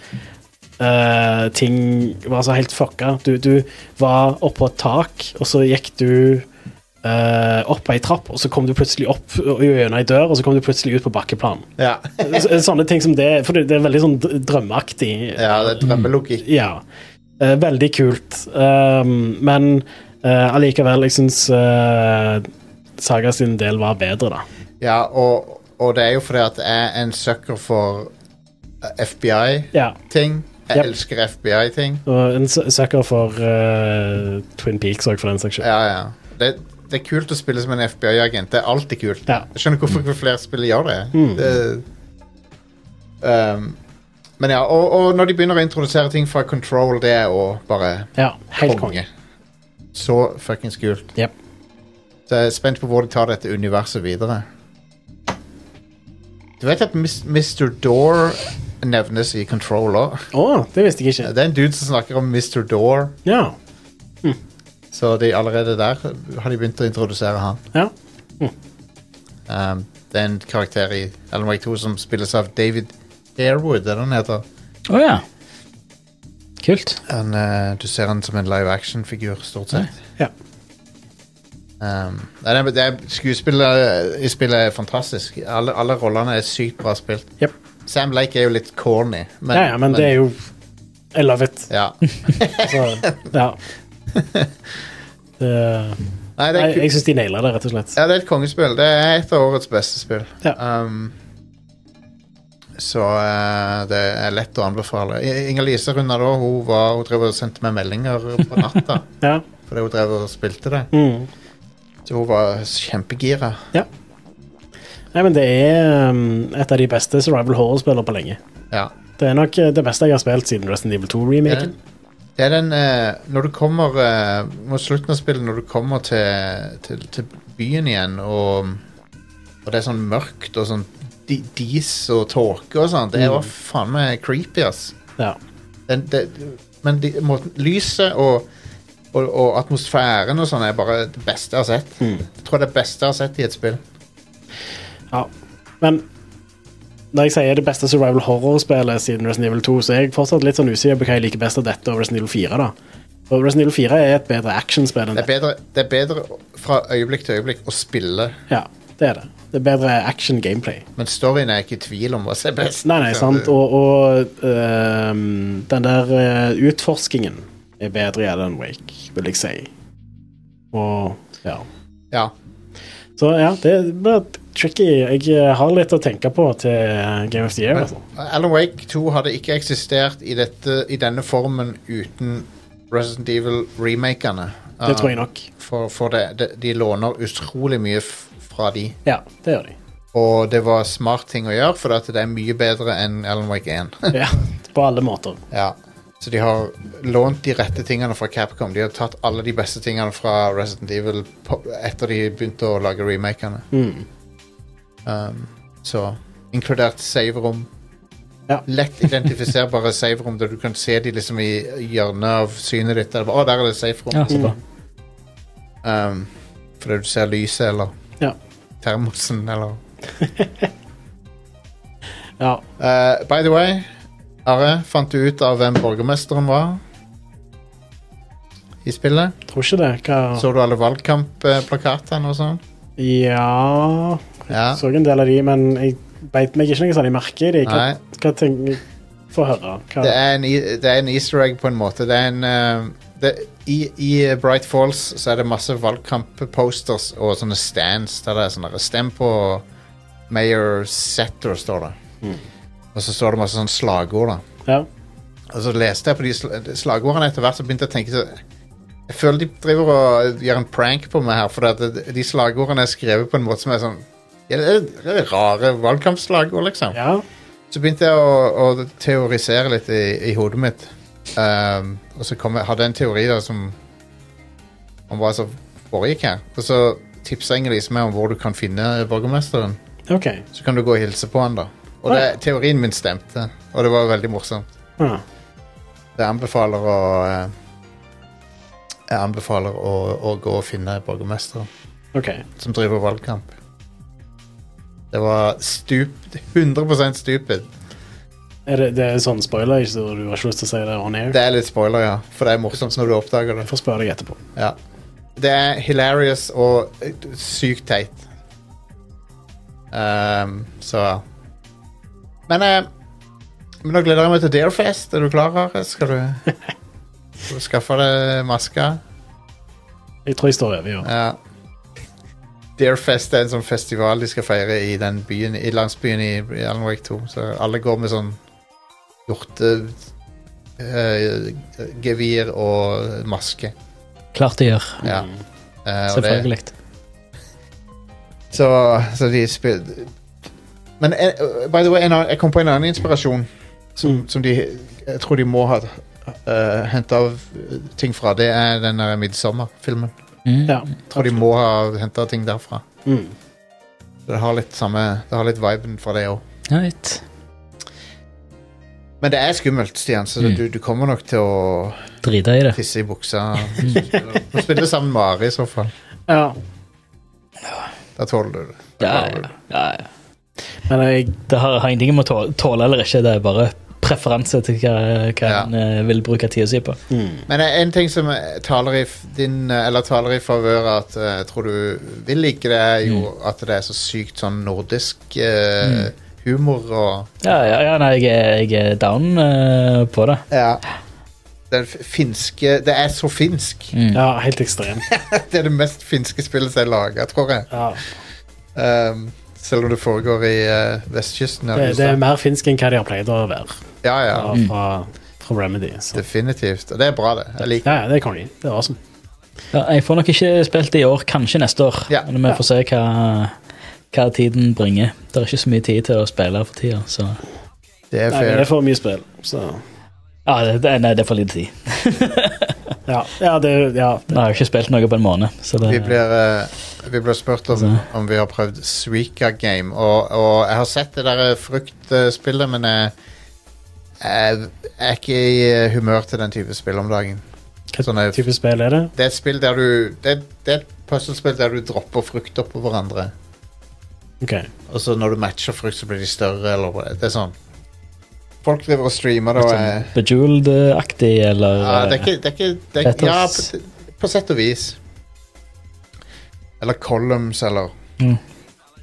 Speaker 3: eh, ting var så helt fucka. Du, du var oppå et tak, og så gikk du eh, opp ei trapp, og så kom du plutselig opp og gjennom ei dør, og så kom du plutselig ut på bakkeplan.
Speaker 1: Ja.
Speaker 3: Så- Sånne ting som det, for det, det er veldig sånn dr- drømmeaktig.
Speaker 1: ja, det er drømmelogikk.
Speaker 3: Ja. Eh, veldig kult. Ehm, men eh, allikevel, jeg syns eh, Saga sin del var bedre, da.
Speaker 1: Ja, og, og det er jo fordi at jeg er en sucker for eh, FBI-ting.
Speaker 3: Ja.
Speaker 1: Jeg
Speaker 3: Yep.
Speaker 1: elsker FBI-ting.
Speaker 3: Og en su- sucker for eh, Twin Peaks òg, for den saks skyld.
Speaker 1: Ja, ja. Det, det er kult å spille som en FBI-agent. Det er alltid kult.
Speaker 3: Ja. Mm.
Speaker 1: Jeg skjønner ikke hvorfor ikke flere spill gjør det. det um, men ja, og, og når de begynner å introdusere ting fra Control, det er òg bare
Speaker 3: Ja, helt konge.
Speaker 1: konge. Så fuckings kult.
Speaker 3: Yep.
Speaker 1: Så jeg er spent på hvor de tar dette universet videre. Du vet at Mis- Mr. Door nevnes i Control òg?
Speaker 3: Å, det visste jeg ikke.
Speaker 1: Det er en dude som snakker om Mr. Door,
Speaker 3: Ja.
Speaker 1: så de allerede der har de begynt å introdusere han.
Speaker 3: ja.
Speaker 1: Um, det er en karakter i Alan Wake 2 som spilles av David Airwood, er det han heter.
Speaker 2: Å ja. Kult.
Speaker 1: Han, eh, du ser han som en live action-figur, stort sett.
Speaker 3: Ja.
Speaker 1: Um, nei, det er, det er, skuespillet i spillet er fantastisk. Alle, alle rollene er sykt bra spilt.
Speaker 3: Jep.
Speaker 1: Sam Lake er jo litt corny, men,
Speaker 3: ja, ja, men det er jo I love it.
Speaker 1: ja.
Speaker 3: Så, ja. Det-
Speaker 1: Nei, det
Speaker 3: Nei,
Speaker 1: er, ku-
Speaker 3: jeg syns de naila det, rett og slett.
Speaker 1: ja, det er et kongespill. Det er et av årets beste spill.
Speaker 3: Ja.
Speaker 1: Um, så eh, det er lett å anbefale. I- Inger-Lise runda da. Hun, var, hun drev og sendte meg meldinger på natta.
Speaker 3: Ja.
Speaker 1: Fordi hun drev og spilte det.
Speaker 3: Mm.
Speaker 1: Så hun var kjempegira.
Speaker 3: Nei, men det er um, et av de beste survival horror-spillene på lenge.
Speaker 1: Ja.
Speaker 3: Det er nok eh, det beste jeg har spilt siden Resident Evil 2-remaken.
Speaker 1: Det er den eh, Når du kommer eh, mot slutten av spillet, når du kommer til, til, til byen igjen, og, og det er sånn mørkt og sånn di- dis og tåke og sånn,
Speaker 3: Mm.
Speaker 1: det var faen meg creepy, ass.
Speaker 3: Ja.
Speaker 1: Den, det, men de, måten, lyset og, og, og atmosfæren og sånn er bare det beste jeg har sett.
Speaker 3: Mm.
Speaker 1: Jeg tror det er det beste jeg har sett i et spill.
Speaker 3: ja. Men når jeg sier det beste survival horror-spillet siden Resident Evil 2, så er jeg fortsatt litt sånn usikker på hva jeg liker best av dette og Resident Evil 4. da. For Resident Evil 4 er et bedre actionspill enn
Speaker 1: Det er
Speaker 3: dette.
Speaker 1: bedre, det er bedre fra øyeblikk til øyeblikk å spille
Speaker 3: Ja, det er det. Det er bedre action-gameplay.
Speaker 1: Men storyen er jeg ikke i tvil om hva som er best.
Speaker 3: Nei, nei,
Speaker 1: Så
Speaker 3: sant.
Speaker 1: det-
Speaker 3: Og, og ehm, den der eh, utforskingen er bedre i Alan Wake, vil jeg si. Og ja.
Speaker 1: Ja.
Speaker 3: Så ja, det er bare tricky. Jeg eh, har litt å tenke på til Game of the Year. Altså.
Speaker 1: Alan Wake 2 hadde ikke eksistert i, dette, i denne formen uten Resident Evil-remakene.
Speaker 3: Det tror jeg nok.
Speaker 1: For, for det, de, de låner utrolig mye f fra de.
Speaker 3: Ja, det gjør de.
Speaker 1: Og det var smart ting å gjøre, for at det er mye bedre enn Alan Wake 1.
Speaker 3: Ja, på alle måter.
Speaker 1: ja. Så de har lånt de rette tingene fra Capcom. De har tatt alle de beste tingene fra Resident Evil på, etter de begynte å lage remakene.
Speaker 3: Mm.
Speaker 1: Um, så inkludert saverom.
Speaker 3: Ja.
Speaker 1: Lett identifiserbare saverom der du kan se de liksom i hjørnet av synet ditt. Der, å, der er det saverom.
Speaker 2: Ja, så bra.
Speaker 1: Um, fordi du ser lyset eller
Speaker 3: Ja.
Speaker 1: termosen eller
Speaker 3: ja.
Speaker 1: Eh, By the way, Are, fant du ut av hvem borgermesteren var? I spillet?
Speaker 3: Tror ikke det. Hva
Speaker 1: Så du alle valgkampplakatene og sånn?
Speaker 3: Ja
Speaker 1: Ja.
Speaker 3: Så en del av de, men jeg beit meg ikke noe særlig merke i de. Hva,
Speaker 1: Nei.
Speaker 3: hva tenker Få høre. Hva,
Speaker 1: Det er, en, e- det er en easter egg på en måte. Det er en, eh, det, i, I Bright Falls så er det masse valgkampposters og sånne stands der det er sånn der, Stem på Mayor Setter, står det. Og så står det masse sånne slagord, da.
Speaker 3: ja.
Speaker 1: Og så leste jeg på de sl de slagordene etter hvert, så begynte jeg å tenke så, Jeg føler de driver og gjør en prank på meg her, for at det- de slagordene er skrevet på en måte som er sånn ja, det er- det er rare valgkampslagord, liksom.
Speaker 3: ja.
Speaker 1: Så begynte jeg å, å teorisere litt i, i hodet mitt. Ehm, og så kom jeg, hadde jeg en teori da som om hva som foregikk her. Og så tipsa Inger-Lise meg om hvor du kan finne borgermesteren.
Speaker 3: OK.
Speaker 1: Så kan du gå og hilse på han da. Og
Speaker 3: Oi.
Speaker 1: det, teorien min stemte, og det var veldig morsomt.
Speaker 3: Ah.
Speaker 1: Jeg anbefaler å eh, Jeg anbefaler å, å gå og finne borgermesteren
Speaker 3: OK.
Speaker 1: som driver valgkamp. Det var stup, 100 stupid.
Speaker 3: Er det, det er sånn spoiler, ikke så du har ikke lyst til å si det on air?
Speaker 1: Det er litt spoiler, ja, for det er morsomt når du oppdager det.
Speaker 3: Jeg får spørre deg etterpå.
Speaker 1: Ja. Det er hilarious og eh, sykt teit. Ehm, så Men eh, Men nå gleder jeg meg til Deerfest. Er du klar, Are? Skal du, skal du skaffe deg maske?
Speaker 3: Jeg tror jeg står over, ja.
Speaker 1: Ja. Deerfest er en sånn festival de skal feire i den byen, i landsbyen i i Alan Wake 2. Så alle går med sånn hjortegevir eh, og maske.
Speaker 2: Klart de gjør.
Speaker 1: Ja. Eh, og det-
Speaker 2: Mm. Selvfølgelig.
Speaker 1: Så, så de spil... Men eh, by the way, en annen, jeg kom på en annen inspirasjon som,
Speaker 3: Mm.
Speaker 1: som de Jeg tror de må ha uh, henta ting fra. Det er den der Midtsommer-filmen.
Speaker 2: Mm.
Speaker 3: Ja.
Speaker 1: Jeg tror de må ha henta ting derfra.
Speaker 3: Mm.
Speaker 1: Det har litt samme Det har litt viben fra det òg.
Speaker 2: Right.
Speaker 1: Men det er skummelt, Stian, så
Speaker 2: Mm.
Speaker 1: du, du kommer nok til å
Speaker 2: Drita i det.
Speaker 1: tisse i buksa. Du spiller sammen med Ari, i så fall.
Speaker 3: ja.
Speaker 1: Da tåler du det. Da
Speaker 2: Ja,
Speaker 1: klarer du
Speaker 2: ja,
Speaker 1: det.
Speaker 2: ja, ja.
Speaker 3: Men jeg
Speaker 2: Det har, har ingenting med å tå- tåle eller ikke, det er bare preferanse til hva, hva
Speaker 1: Ja.
Speaker 2: en eh, vil bruke tida si på.
Speaker 3: mm.
Speaker 1: Men eh, en ting som eh, taler i f- din eh, Eller taler i favør av at eh, jeg tror du vil like det, er jo
Speaker 3: Mm.
Speaker 1: at det er så sykt sånn nordisk eh, humor og
Speaker 2: Ja, ja, ja nei, jeg, er- jeg er down eh, på det.
Speaker 1: Ja. Den f- finske Det er så finsk!
Speaker 3: Ja, helt ekstremt.
Speaker 1: Det er det mest finske spillet som er laga, tror jeg.
Speaker 3: Ja.
Speaker 1: Um, selv om det foregår i eh, vestkysten. av
Speaker 3: Det, det
Speaker 1: USA.
Speaker 3: er mer finsk enn hva de har pleid å være
Speaker 1: ja, ja,
Speaker 3: ja, fra, fra Remedy. Så.
Speaker 1: Definitivt. Og Mm. det er bra, det. Jeg liker
Speaker 3: Ja, ja, det er konge. Det er awesome.
Speaker 2: Ja, jeg får nok ikke spilt det i år, kanskje neste år.
Speaker 1: Ja.
Speaker 2: Men vi får se hva, hva tiden bringer. Det er ikke så mye tid til å spille for tida. Så.
Speaker 1: det. er
Speaker 3: Nei, men
Speaker 1: fair.
Speaker 3: det er for mye spill, så
Speaker 2: Ja, det, det, nei, det er for lite tid.
Speaker 3: Ja, ja det ja.
Speaker 2: Nå har jeg ikke spilt noe på en måned. Så det,
Speaker 1: Vi blir, eh, vi blir spurt om, om vi har prøvd Suika Game, og, og jeg har sett det der fruktspillet, men jeg, jeg er ikke i eh, humør til den type spill om dagen.
Speaker 3: Hva
Speaker 1: Sånn er-
Speaker 3: type spill er det?
Speaker 1: Det er et spill der du Det, det er et puslespill der du dropper frukter på hverandre,
Speaker 3: OK.
Speaker 1: og så når du matcher frukt, så blir de større, eller hva- Det er sånn. Folk driver og streamer, da. eh,
Speaker 2: sånn Bejeweled-aktig, eller
Speaker 1: Ja, det er ikke, det er ikke det er, ikke- Ja,
Speaker 2: Petals.
Speaker 1: på, på sett og vis. Eller columns, eller
Speaker 2: Mm.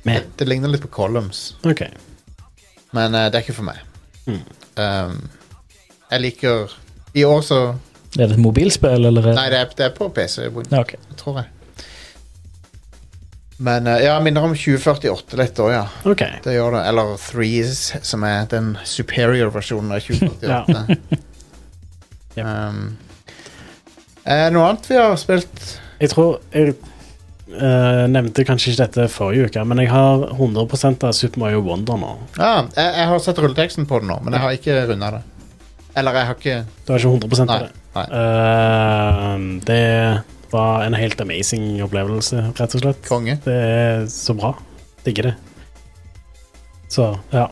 Speaker 1: det, det ligner litt på columns,
Speaker 3: ok.
Speaker 1: men eh, det er ikke for meg.
Speaker 3: Mm.
Speaker 1: Um, jeg liker I år så
Speaker 2: eh, Er det et mobilspill, eller? eh?
Speaker 1: Nei, det er, det er på PC, Win-
Speaker 2: Ja, ok.
Speaker 1: tror jeg. Men eh, ja, minner om 2048 litt da, ja.
Speaker 3: Ok.
Speaker 1: Det gjør det. Eller Threes, som er den superior versjonen av 2048.
Speaker 3: Yep.
Speaker 1: um, eh, noe annet vi har spilt
Speaker 3: Jeg tror jeg eh, nevnte kanskje ikke dette forrige uke, men jeg har 100 av Super Mario Wonder nå.
Speaker 1: ah, jeg, jeg har sett rulleteksten på det nå, men jeg har ikke runda det. Eller jeg har ikke
Speaker 3: Du har ikke 100
Speaker 1: Nei.
Speaker 3: av det.
Speaker 1: nei.
Speaker 3: Eh, det var en helt amazing opplevelse, rett og slett.
Speaker 1: Konge.
Speaker 3: Det er så bra. Digger det. Så, ja.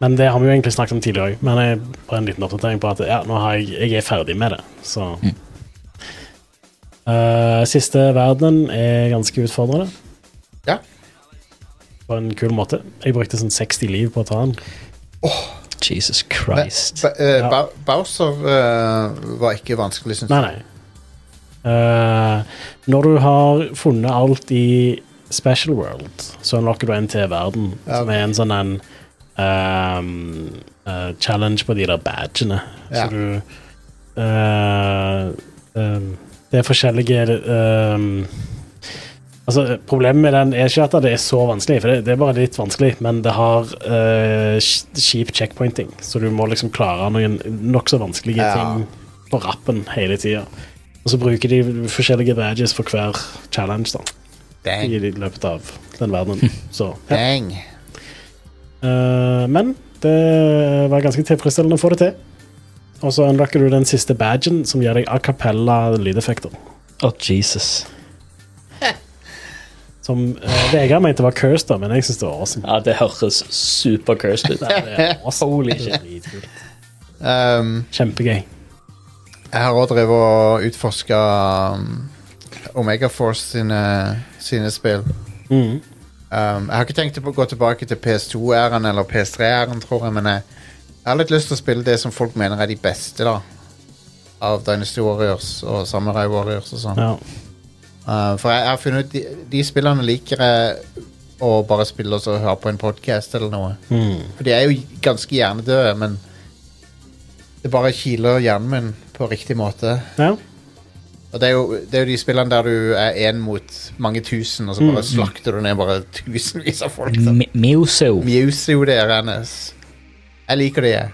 Speaker 3: Men det har vi jo egentlig snakket om tidligere òg, men jeg bare en liten oppdatering på at ja, nå har jeg, jeg er ferdig med det, så Eh, Siste verden er ganske utfordrende.
Speaker 1: Ja.
Speaker 3: På en kul måte. Jeg brukte sånn 60 liv på å ta den.
Speaker 2: Jesus
Speaker 1: Men,
Speaker 2: Christ.
Speaker 1: ba, eh,
Speaker 3: Ja.
Speaker 1: Bau- Bowser eh, var ikke vanskelig, syns jeg.
Speaker 3: Nei, nei. Eh, når du har funnet alt i Special World, så unlocker du en til verden,
Speaker 1: Ja.
Speaker 3: som er en sånn en ehm, eh, challenge på de der badgene.
Speaker 1: Ja.
Speaker 3: Så du eh, ehm, Det er forskjellige ehm, Altså, Problemet med den er ikke at det er så vanskelig, for det, det er bare litt vanskelig, men det har eh, sk- kjip checkpointing, så du må liksom klare noen nokså vanskelige
Speaker 1: Ja.
Speaker 3: ting på rappen hele tida. Og så bruker de forskjellige badges for hver challenge da,
Speaker 1: Dang.
Speaker 3: i løpet av den verdenen. Så, ja.
Speaker 1: Dang.
Speaker 3: Eh, men det var ganske tilfredsstillende å få det til. Og så unlocker du den siste badgen, som gir deg a cappella lydeffekter.
Speaker 2: Å, Jesus.
Speaker 3: Som eh, Vegard mente var cursed, da, men jeg syns det var awesome.
Speaker 2: Ja, det høres supercursed ut.
Speaker 3: Det er awesome.
Speaker 2: Holy
Speaker 3: Det
Speaker 2: shit.
Speaker 3: er dritkult.
Speaker 1: Um,
Speaker 3: Kjempegøy.
Speaker 1: jeg har også drevet og utforska um, Omega Force sine, sine spill.
Speaker 3: Mm.
Speaker 1: Um, jeg har ikke tenkt å gå tilbake til PS2-æren eller PS3-æren, tror jeg, men jeg, jeg har litt lyst til å spille det som folk mener er de beste, da. Av Dynasty Warriors og Samurai Warriors og sånn.
Speaker 3: Ja.
Speaker 1: Uh, for jeg, jeg har funnet ut de, de spillene liker jeg å bare spille og så høre på en podkast eller noe.
Speaker 3: Mm.
Speaker 1: For de er jo ganske hjernedøde, men det bare kiler hjernen min på riktig måte.
Speaker 3: ja.
Speaker 1: Og det er jo, det er jo de spillene der du er én mot mange tusen, og så bare slakter du ned bare tusenvis av folk. Da.
Speaker 2: Mi- Miuso.
Speaker 1: Muse jo det, Rennes. Jeg liker det, jeg.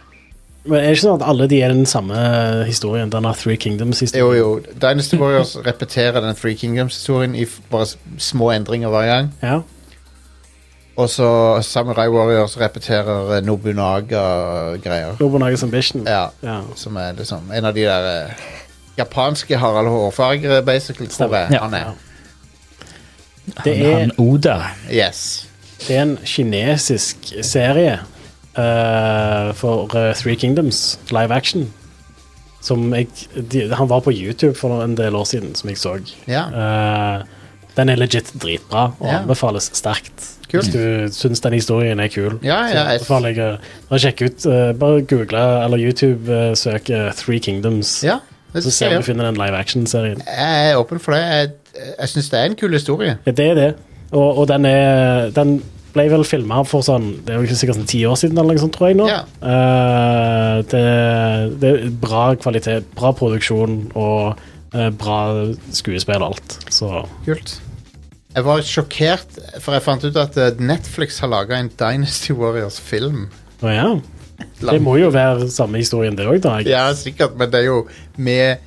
Speaker 3: Men er det ikke sånn at alle de er den samme eh, historien? Den har Three Kingdoms-historien?
Speaker 1: Jo, jo. Dynasty Warriors repeterer den Three Kingdoms-historien i f- bare s- små endringer hver gang.
Speaker 3: Ja.
Speaker 1: Og så Samurai Warriors repeterer eh, Nobunaga-greier.
Speaker 3: Nobunagas Ambition.
Speaker 1: Ja,
Speaker 3: Ja.
Speaker 1: som er liksom en av de der eh, japanske Harald Hårfarger, basically, tror jeg
Speaker 2: Ja.
Speaker 1: han er.
Speaker 3: Det
Speaker 2: Han,
Speaker 3: er-
Speaker 2: han Oda.
Speaker 1: Yes.
Speaker 3: Det er en kinesisk serie eh, for eh, Three Kingdoms, live action. Som jeg de, Han var på YouTube for en del år siden, som jeg så.
Speaker 1: Ja.
Speaker 3: Eh, den er legit dritbra og
Speaker 1: Ja.
Speaker 3: anbefales sterkt.
Speaker 1: Kult.
Speaker 3: Hvis du syns den historien er kul.
Speaker 1: Ja,
Speaker 3: så
Speaker 1: ja, jeg-
Speaker 3: anbefaler jeg å- å sjekke ut eh, Bare google eller YouTube-søk eh, Three Kingdoms,
Speaker 1: Ja, det
Speaker 3: så ser
Speaker 1: ser
Speaker 3: vi om
Speaker 1: jeg.
Speaker 3: du finner den live action-serien.
Speaker 1: Jeg er åpen for det. Jeg, jeg syns det er en kul historie.
Speaker 3: Ja, det er det. Og, og den, er, den ble vel filma for sånn Det er jo ikke sikkert sånn ti år siden, eller noe sånt, tror jeg. nå.
Speaker 1: Ja.
Speaker 3: Eh, det, det er bra kvalitet, bra produksjon og eh, bra skuespill og alt. Så
Speaker 1: Kult. Jeg var sjokkert, for jeg fant ut at eh, Netflix har laga en Dynasty Warriors-film.
Speaker 3: og ja. Det må jo være samme historien, det òg, da. jeg-
Speaker 1: Ja, sikkert, men det er jo med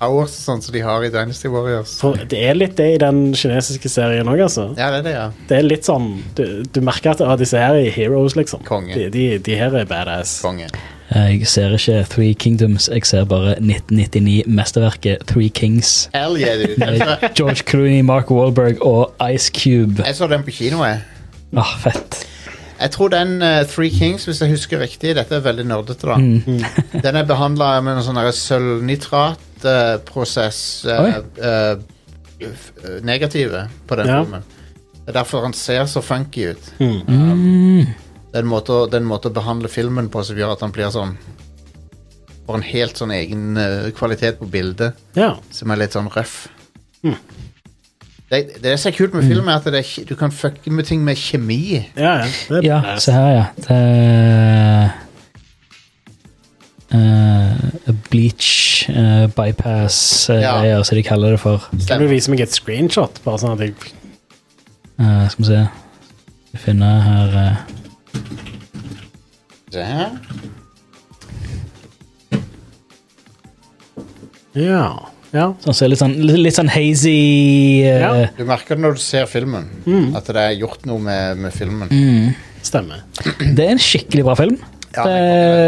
Speaker 1: hours sånn som de har i Dynasty Warriors.
Speaker 3: For det er litt det i den kinesiske serien òg, altså.
Speaker 1: Ja, det er det, ja.
Speaker 3: Det er litt sånn Du, du merker at ah, disse her er heroes, liksom.
Speaker 1: Konge.
Speaker 3: De, de, de her er badass.
Speaker 1: Konge.
Speaker 2: Jeg ser ikke Three Kingdoms, jeg ser bare 1999-mesterverket Three Kings.
Speaker 1: Hell yeah, dude. Jeg
Speaker 2: Eh,
Speaker 1: så,
Speaker 2: George Clooney, Mark Wahlberg og Ice Cube.
Speaker 1: jeg så den på kino, jeg.
Speaker 2: Ah, fett.
Speaker 1: Jeg tror den eh, Three Kings, hvis jeg husker riktig Dette er veldig nerdete, da.
Speaker 3: Mm.
Speaker 1: den er behandla med en sånn sølvnitratprosess eh, Negative på den
Speaker 3: Ja.
Speaker 1: filmen. Det er derfor han ser så funky ut.
Speaker 3: Mm.
Speaker 1: Det er en måte, å- det er en måte å behandle filmen på som gjør at han blir sånn Får en helt sånn egen eh, kvalitet på bildet
Speaker 3: Ja.
Speaker 1: som er litt sånn røff. Det, det som er kult med film, er at det er, ki- du kan fucke med ting med kjemi.
Speaker 3: Ja, ja. Det er
Speaker 2: Ja,
Speaker 3: badass.
Speaker 2: se her, ja. Det er eh, Bleach eh, bypass eh,
Speaker 1: Ja.
Speaker 2: greier, som de kaller det for.
Speaker 3: Kan du vise meg et screenshot? Bare sånn at jeg
Speaker 2: Eh, skal vi se Skal vi finne her eh,
Speaker 1: Se her.
Speaker 3: Ja. ja.
Speaker 2: sånn, så litt, sånn, litt, litt sånn hazy eh,
Speaker 3: Ja.
Speaker 1: Du merker det når du ser filmen, at det er gjort noe med, med filmen.
Speaker 3: Stemmer.
Speaker 2: Det er en skikkelig bra film.
Speaker 1: Ja,
Speaker 2: det er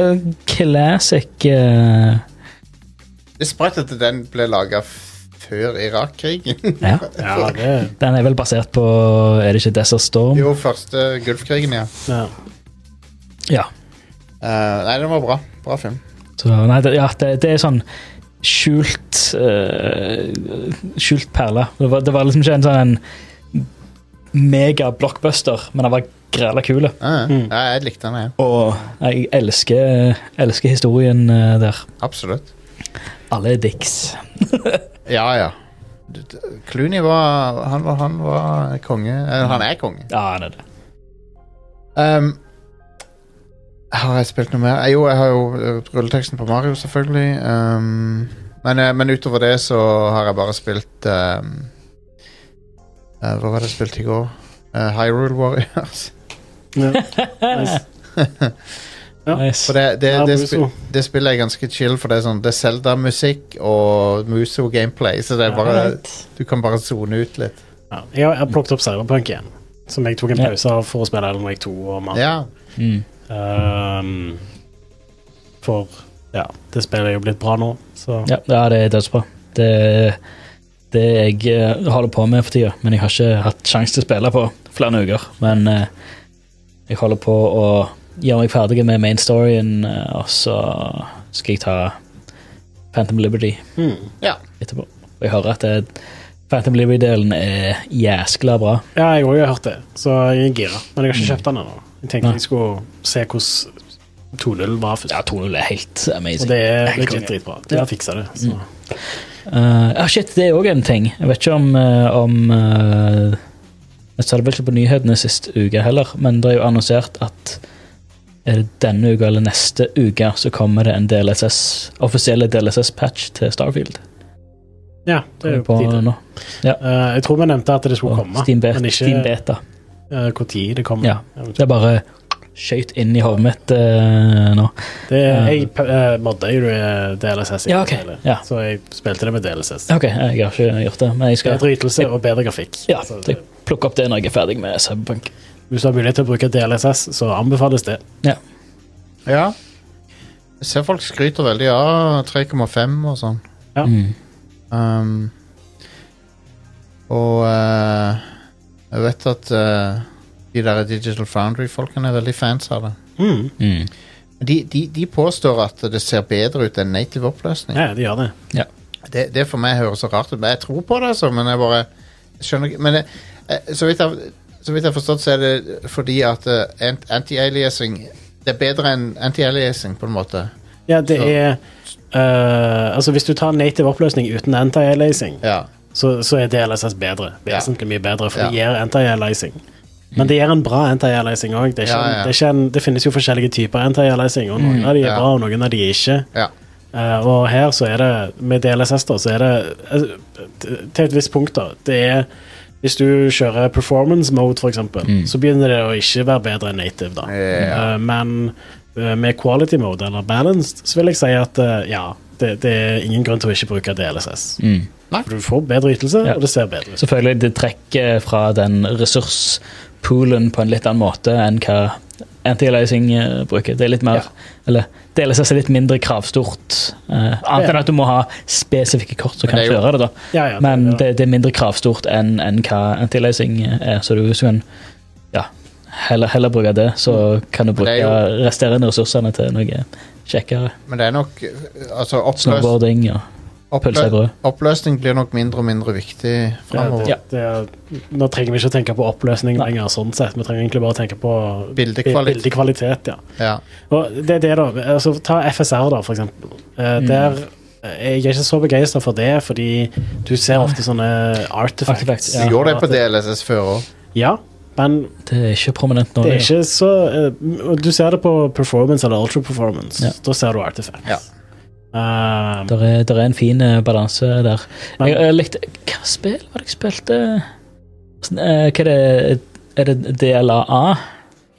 Speaker 2: classic eh,
Speaker 1: Det er sprøtt at den ble laga før Irak-krigen.
Speaker 2: Ja.
Speaker 3: Ja, det
Speaker 2: Den er vel basert på Er det ikke Desert Storm?
Speaker 1: jo, første Gulfkrigen, ja.
Speaker 3: ja.
Speaker 2: Ja.
Speaker 1: Eh, nei, den var bra. Bra film.
Speaker 2: Så, nei, det, ja, det, det er sånn skjult eh, Skjult perle. Det var, det var liksom ikke en sånn mega blockbuster, men den var græla kul.
Speaker 1: Ja, ja. ja, jeg likte den, jeg.
Speaker 2: Og jeg elsker, elsker historien eh, der.
Speaker 1: Absolutt.
Speaker 2: Alle er dicks.
Speaker 1: Ja, ja. D- d- Clooney var Han var, han var konge. Eh, han er konge.
Speaker 2: Ja, han er det.
Speaker 1: Ehm, har jeg spilt noe mer? Eh, Jo, jeg har jo eh, rulleteksten på Mario, selvfølgelig. Ehm, men, eh, men utover det så har jeg bare spilt ehm, eh, Hva var det jeg spilte i går? Eh, Hyrule Warriors.
Speaker 3: ja. Nice. Ja.
Speaker 1: For
Speaker 2: Nice.
Speaker 1: det, det,
Speaker 3: Ja,
Speaker 1: det,
Speaker 3: Muso.
Speaker 1: spi- det spillet er ganske chill, for det er sånn Det er Zelda-musikk og Muso-gameplay, så det er bare
Speaker 2: Alright.
Speaker 1: Du kan bare zone ut litt.
Speaker 3: Ja. Jeg har- jeg har plukket opp Cyberpunk igjen, som jeg tok en
Speaker 2: Ja.
Speaker 3: pause av for å spille Alan Wake 2 og Mario.
Speaker 1: Ja.
Speaker 2: Mm.
Speaker 3: Ehm, for ja, det spillet er jo blitt bra nå, så
Speaker 2: Ja, ja, det er dødsbra. Det, det det jeg eh, holder på med for tida. Men jeg har ikke hatt sjanse til å spille på flere uker. Men eh, jeg holder på å gjøre meg ferdig med main storyen, eh, og så skal jeg ta Phantom Liberty
Speaker 3: Hmm.
Speaker 2: etterpå. Og jeg hører at det, Phantom Liberty-delen er jæskla bra.
Speaker 3: Ja, jeg òg har hørt det, så jeg er gira. Men jeg har ikke kjøpt den ennå. Jeg tenkte
Speaker 2: Hmm. Nei.
Speaker 3: jeg skulle se hvordan 2.0 var først.
Speaker 2: Ja, 2.0 er helt
Speaker 3: Og
Speaker 2: amazing.
Speaker 3: det er
Speaker 2: Helt
Speaker 3: legit
Speaker 2: konge. Hmm.
Speaker 3: dritbra. De har fiksa det. Så.
Speaker 2: Eh, ja, shit, det er òg en ting. Jeg vet ikke om, eh, om eh, Jeg sa det vel ikke på nyhetene sist uke heller, men det er jo annonsert at er det denne uka eller neste uke så kommer det en DLSS, offisielle DLSS-patch til Starfield.
Speaker 3: Ja, det er jo på tide.
Speaker 2: nå.
Speaker 3: Eh, jeg tror vi nevnte at det skulle
Speaker 2: Og
Speaker 3: komme,
Speaker 2: Steam, Bet
Speaker 3: men
Speaker 2: Steam
Speaker 3: ikke
Speaker 2: Beta.
Speaker 3: eh, hvor tid det kommer.
Speaker 2: Ja.
Speaker 3: eventuelt.
Speaker 2: Det er bare skøyt inn i hodet mitt eh, nå.
Speaker 3: Det er,
Speaker 2: Ja.
Speaker 3: jeg uh, modda jo eh, DLSS, i
Speaker 2: Eh. Ja, ok.
Speaker 3: hele,
Speaker 2: Ja.
Speaker 3: så jeg spilte det med DLSS.
Speaker 2: OK, jeg har ikke gjort det, men jeg skal
Speaker 3: Bedre ytelse og bedre grafikk.
Speaker 2: ja,
Speaker 3: Så
Speaker 2: jeg
Speaker 3: det,
Speaker 2: plukker opp det når jeg er ferdig med Cyberpunk.
Speaker 3: hvis du har mulighet til å bruke DLSS, så anbefales det.
Speaker 1: Ja. Jeg ser folk skryter veldig av 3,5 og sånn.
Speaker 3: Ja.
Speaker 2: Mm.
Speaker 1: Um, og eh, jeg vet at eh, de der Digital Foundry-folkene er veldig fans av det.
Speaker 3: Mm.
Speaker 2: Mm.
Speaker 1: De, de, de påstår at det ser bedre ut enn native oppløsning.
Speaker 3: Ja, de gjør det.
Speaker 1: Det, det for meg høres så rart ut, men jeg tror på det, altså. Men jeg bare skjønner ikke Men jeg, jeg, så, vidt jeg, så vidt jeg har forstått, så er det fordi at eh, ant- anti-aliasing Det er bedre enn anti-aliasing, på en måte.
Speaker 3: Ja, det
Speaker 1: Så-
Speaker 3: er eh, Altså, hvis du tar native oppløsning uten anti-aliasing,
Speaker 1: Ja.
Speaker 3: så, så er DLSS bedre. Vesentlig mye bedre, for
Speaker 1: Ja. Mm.
Speaker 3: det gir anti-aliasing. Men det gir en bra anti-aliasing òg. Det, er ikke
Speaker 1: Ja,
Speaker 3: en-
Speaker 1: ja. Mm.
Speaker 3: det, er ikke en- det finnes jo forskjellige typer anti-aliasing, og noen av de er
Speaker 1: ja.
Speaker 3: bra, og noen av de er ikke.
Speaker 1: ja.
Speaker 3: Eh, og her så er det, med DLSS da, så er det eh, t- til et visst punkt da, det er hvis du kjører performance mode for eksempel,
Speaker 2: Mm.
Speaker 3: så begynner det å ikke være bedre enn native da.
Speaker 1: Ja.
Speaker 3: Eh, men eh, med quality mode eller balanced, så vil jeg si at eh, ja, det, det er ingen grunn til å ikke bruke DLSS.
Speaker 2: Mm.
Speaker 3: For du får bedre ytelse,
Speaker 2: Ja.
Speaker 3: og det ser bedre ut.
Speaker 2: Selvfølgelig, det trekker fra den ressurspoolen på en litt annen måte enn hva anti-aliasing eh, bruker. Det er litt mer, eller DLSS er litt mindre kravstort. eh, annet
Speaker 3: Ja.
Speaker 2: enn at du må ha spesifikke kort som
Speaker 1: Men
Speaker 2: kan
Speaker 1: det er jo-
Speaker 2: kjøre det, da.
Speaker 3: Ja, ja,
Speaker 2: Men
Speaker 3: det,
Speaker 2: det, det er mindre kravstort enn enn hva anti-aliasing eh, er, så du, hvis du kan ja, heller, heller bruke det, så kan du
Speaker 1: Mm. Men
Speaker 2: bruke
Speaker 1: det er
Speaker 2: resterende ressursene til noe kjekkere.
Speaker 1: Men det er nok eh, Altså, oppløs,
Speaker 2: Snowboarding og pølse i
Speaker 1: oppløs,
Speaker 2: brød.
Speaker 1: oppløsning blir nok mindre og mindre viktig framover.
Speaker 3: ja, det, det, nå trenger vi ikke å tenke på oppløsning
Speaker 2: Nei.
Speaker 3: lenger, sånn sett. Vi trenger egentlig bare å tenke på
Speaker 1: Bildekvali-
Speaker 3: bildekvalitet ja.
Speaker 1: Ja.
Speaker 3: Og det er det, da. Altså, ta FSR, da, for eksempel. Eh,
Speaker 2: Mm.
Speaker 3: Der eh, Jeg er ikke så begeistra for det, fordi du ser ofte sånne artifacts.
Speaker 2: Artifacts,
Speaker 1: Du
Speaker 2: Ja,
Speaker 1: gjorde det på DLSS før òg.
Speaker 3: Ja, men
Speaker 2: Det er ikke prominent nå.
Speaker 3: det er
Speaker 2: lenger.
Speaker 3: ikke så eh, Du ser det på performance eller ultra performance.
Speaker 2: Ja.
Speaker 3: Da ser du artifacts.
Speaker 1: Ja.
Speaker 3: Eh,
Speaker 2: Der er, der er en fin eh, balanse der.
Speaker 3: Men-
Speaker 2: Jeg, jeg likte Hva spill var det jeg spilte? Sånn, eh, Hva er det Er det DLAA?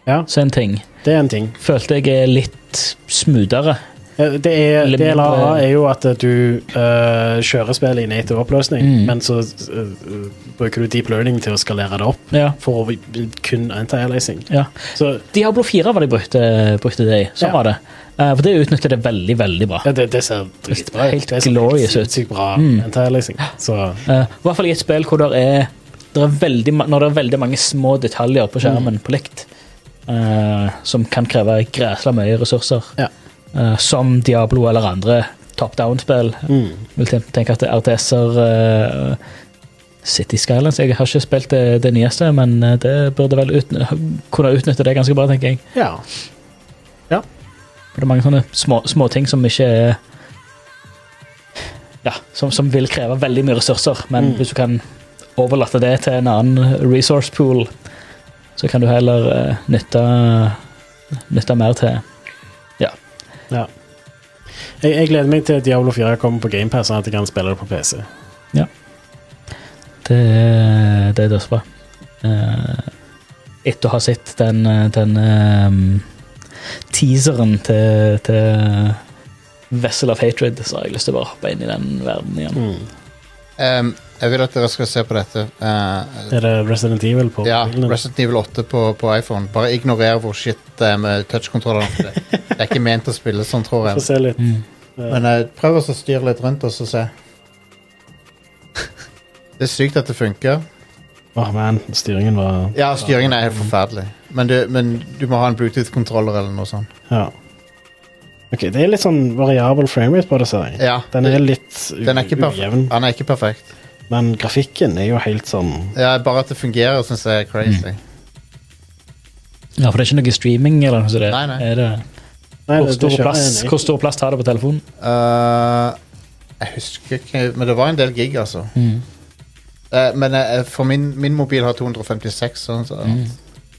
Speaker 3: Ja.
Speaker 2: Så en ting.
Speaker 3: det er en ting.
Speaker 2: Følte jeg er litt smoothere.
Speaker 3: Eh, Det er,
Speaker 2: Eller
Speaker 3: del av A
Speaker 2: mindre-
Speaker 3: er jo at eh, du eh, kjører spillet i native oppløsning,
Speaker 2: Mm.
Speaker 3: men så eh, bruker du deep learning til å skalere det opp
Speaker 2: Ja.
Speaker 3: for å vi- kun anti-aliasing.
Speaker 2: Ja.
Speaker 3: Så
Speaker 2: Diablo 4 var det jeg brukte, brukte det i. Sånn
Speaker 3: Ja.
Speaker 2: var det. Eh, For det utnytter det veldig, veldig bra.
Speaker 3: Ja, det, det ser dritbra ut.
Speaker 2: Helt
Speaker 3: Det ser
Speaker 2: glorious ut.
Speaker 3: Sinnssykt bra
Speaker 2: Mm.
Speaker 3: anti-aliasing. Så
Speaker 2: Eh, I hvert fall i et spill hvor det er, det er veldig, ma- når det er veldig mange små detaljer på skjermen på likt, eh, som kan kreve græsla mye ressurser,
Speaker 3: Ja.
Speaker 2: Eh, som Diablo eller andre top down-spill.
Speaker 3: mm.
Speaker 2: vil ten- tenke at RTS-er eh, City Skylines Jeg har ikke spilt det, det nyeste, men eh, det burde vel utny kunne utnytte det ganske bra, tenker jeg.
Speaker 3: Ja.
Speaker 2: For det er mange sånne små- småting som ikke er Ja, som, som vil kreve veldig mye ressurser, men
Speaker 3: Mm.
Speaker 2: hvis du kan overlate det til en annen resource pool, så kan du heller eh, nytte Nytte mer til
Speaker 3: Jeg, jeg gleder meg til Diablo 4 kommer på GamePass, sånn at jeg kan spille det på PC.
Speaker 2: Det, er- det er dødsbra. Eh, etter å ha sett den, eh, den ehm, teaseren til, til Vessel of Hatred, så har jeg lyst til å bare hoppe inn i den verden igjen.
Speaker 3: Mm.
Speaker 1: Um, jeg vil at dere skal se på dette. Uh,
Speaker 3: Er det Resident Evil på
Speaker 1: ja,
Speaker 3: mobilen?
Speaker 1: Resident Evil 8 på, på iPhone. Bare ignorer hvor shit det er med touchkontrollene. for Det, det er ikke ment å spille sånn, tror
Speaker 3: Få
Speaker 1: jeg.
Speaker 3: se litt.
Speaker 2: Mm.
Speaker 1: Men eh, prøv også å styre litt rundt og så se. Det er sykt at det funker.
Speaker 3: Åh, man, styringen var
Speaker 1: Ja, styringen er helt forferdelig. Men du, men du må ha en Bluetooth-kontroller eller noe sånt.
Speaker 3: Ja. Ok, det er litt sånn variabel framerate på det, ser jeg.
Speaker 1: Ja,
Speaker 3: Den er litt u-
Speaker 1: Den er ikke perf-
Speaker 3: ujevn,
Speaker 1: Han er ikke perfekt.
Speaker 3: men grafikken er jo helt sånn
Speaker 1: Ja, bare at det fungerer, syns jeg er crazy.
Speaker 2: Ja, for det er ikke noe streaming eller noe sånt.
Speaker 1: Nei, nei.
Speaker 2: Er det,
Speaker 3: Nei,
Speaker 2: hvor,
Speaker 3: det- det
Speaker 2: stor
Speaker 3: kjører
Speaker 2: plass,
Speaker 3: jeg enig i.
Speaker 2: hvor stor plass tar det på telefonen?
Speaker 1: Eh, jeg husker ikke Men det var en del gig, altså. Eh, men eh, for min, min mobil har 256, sånn så
Speaker 3: Jeg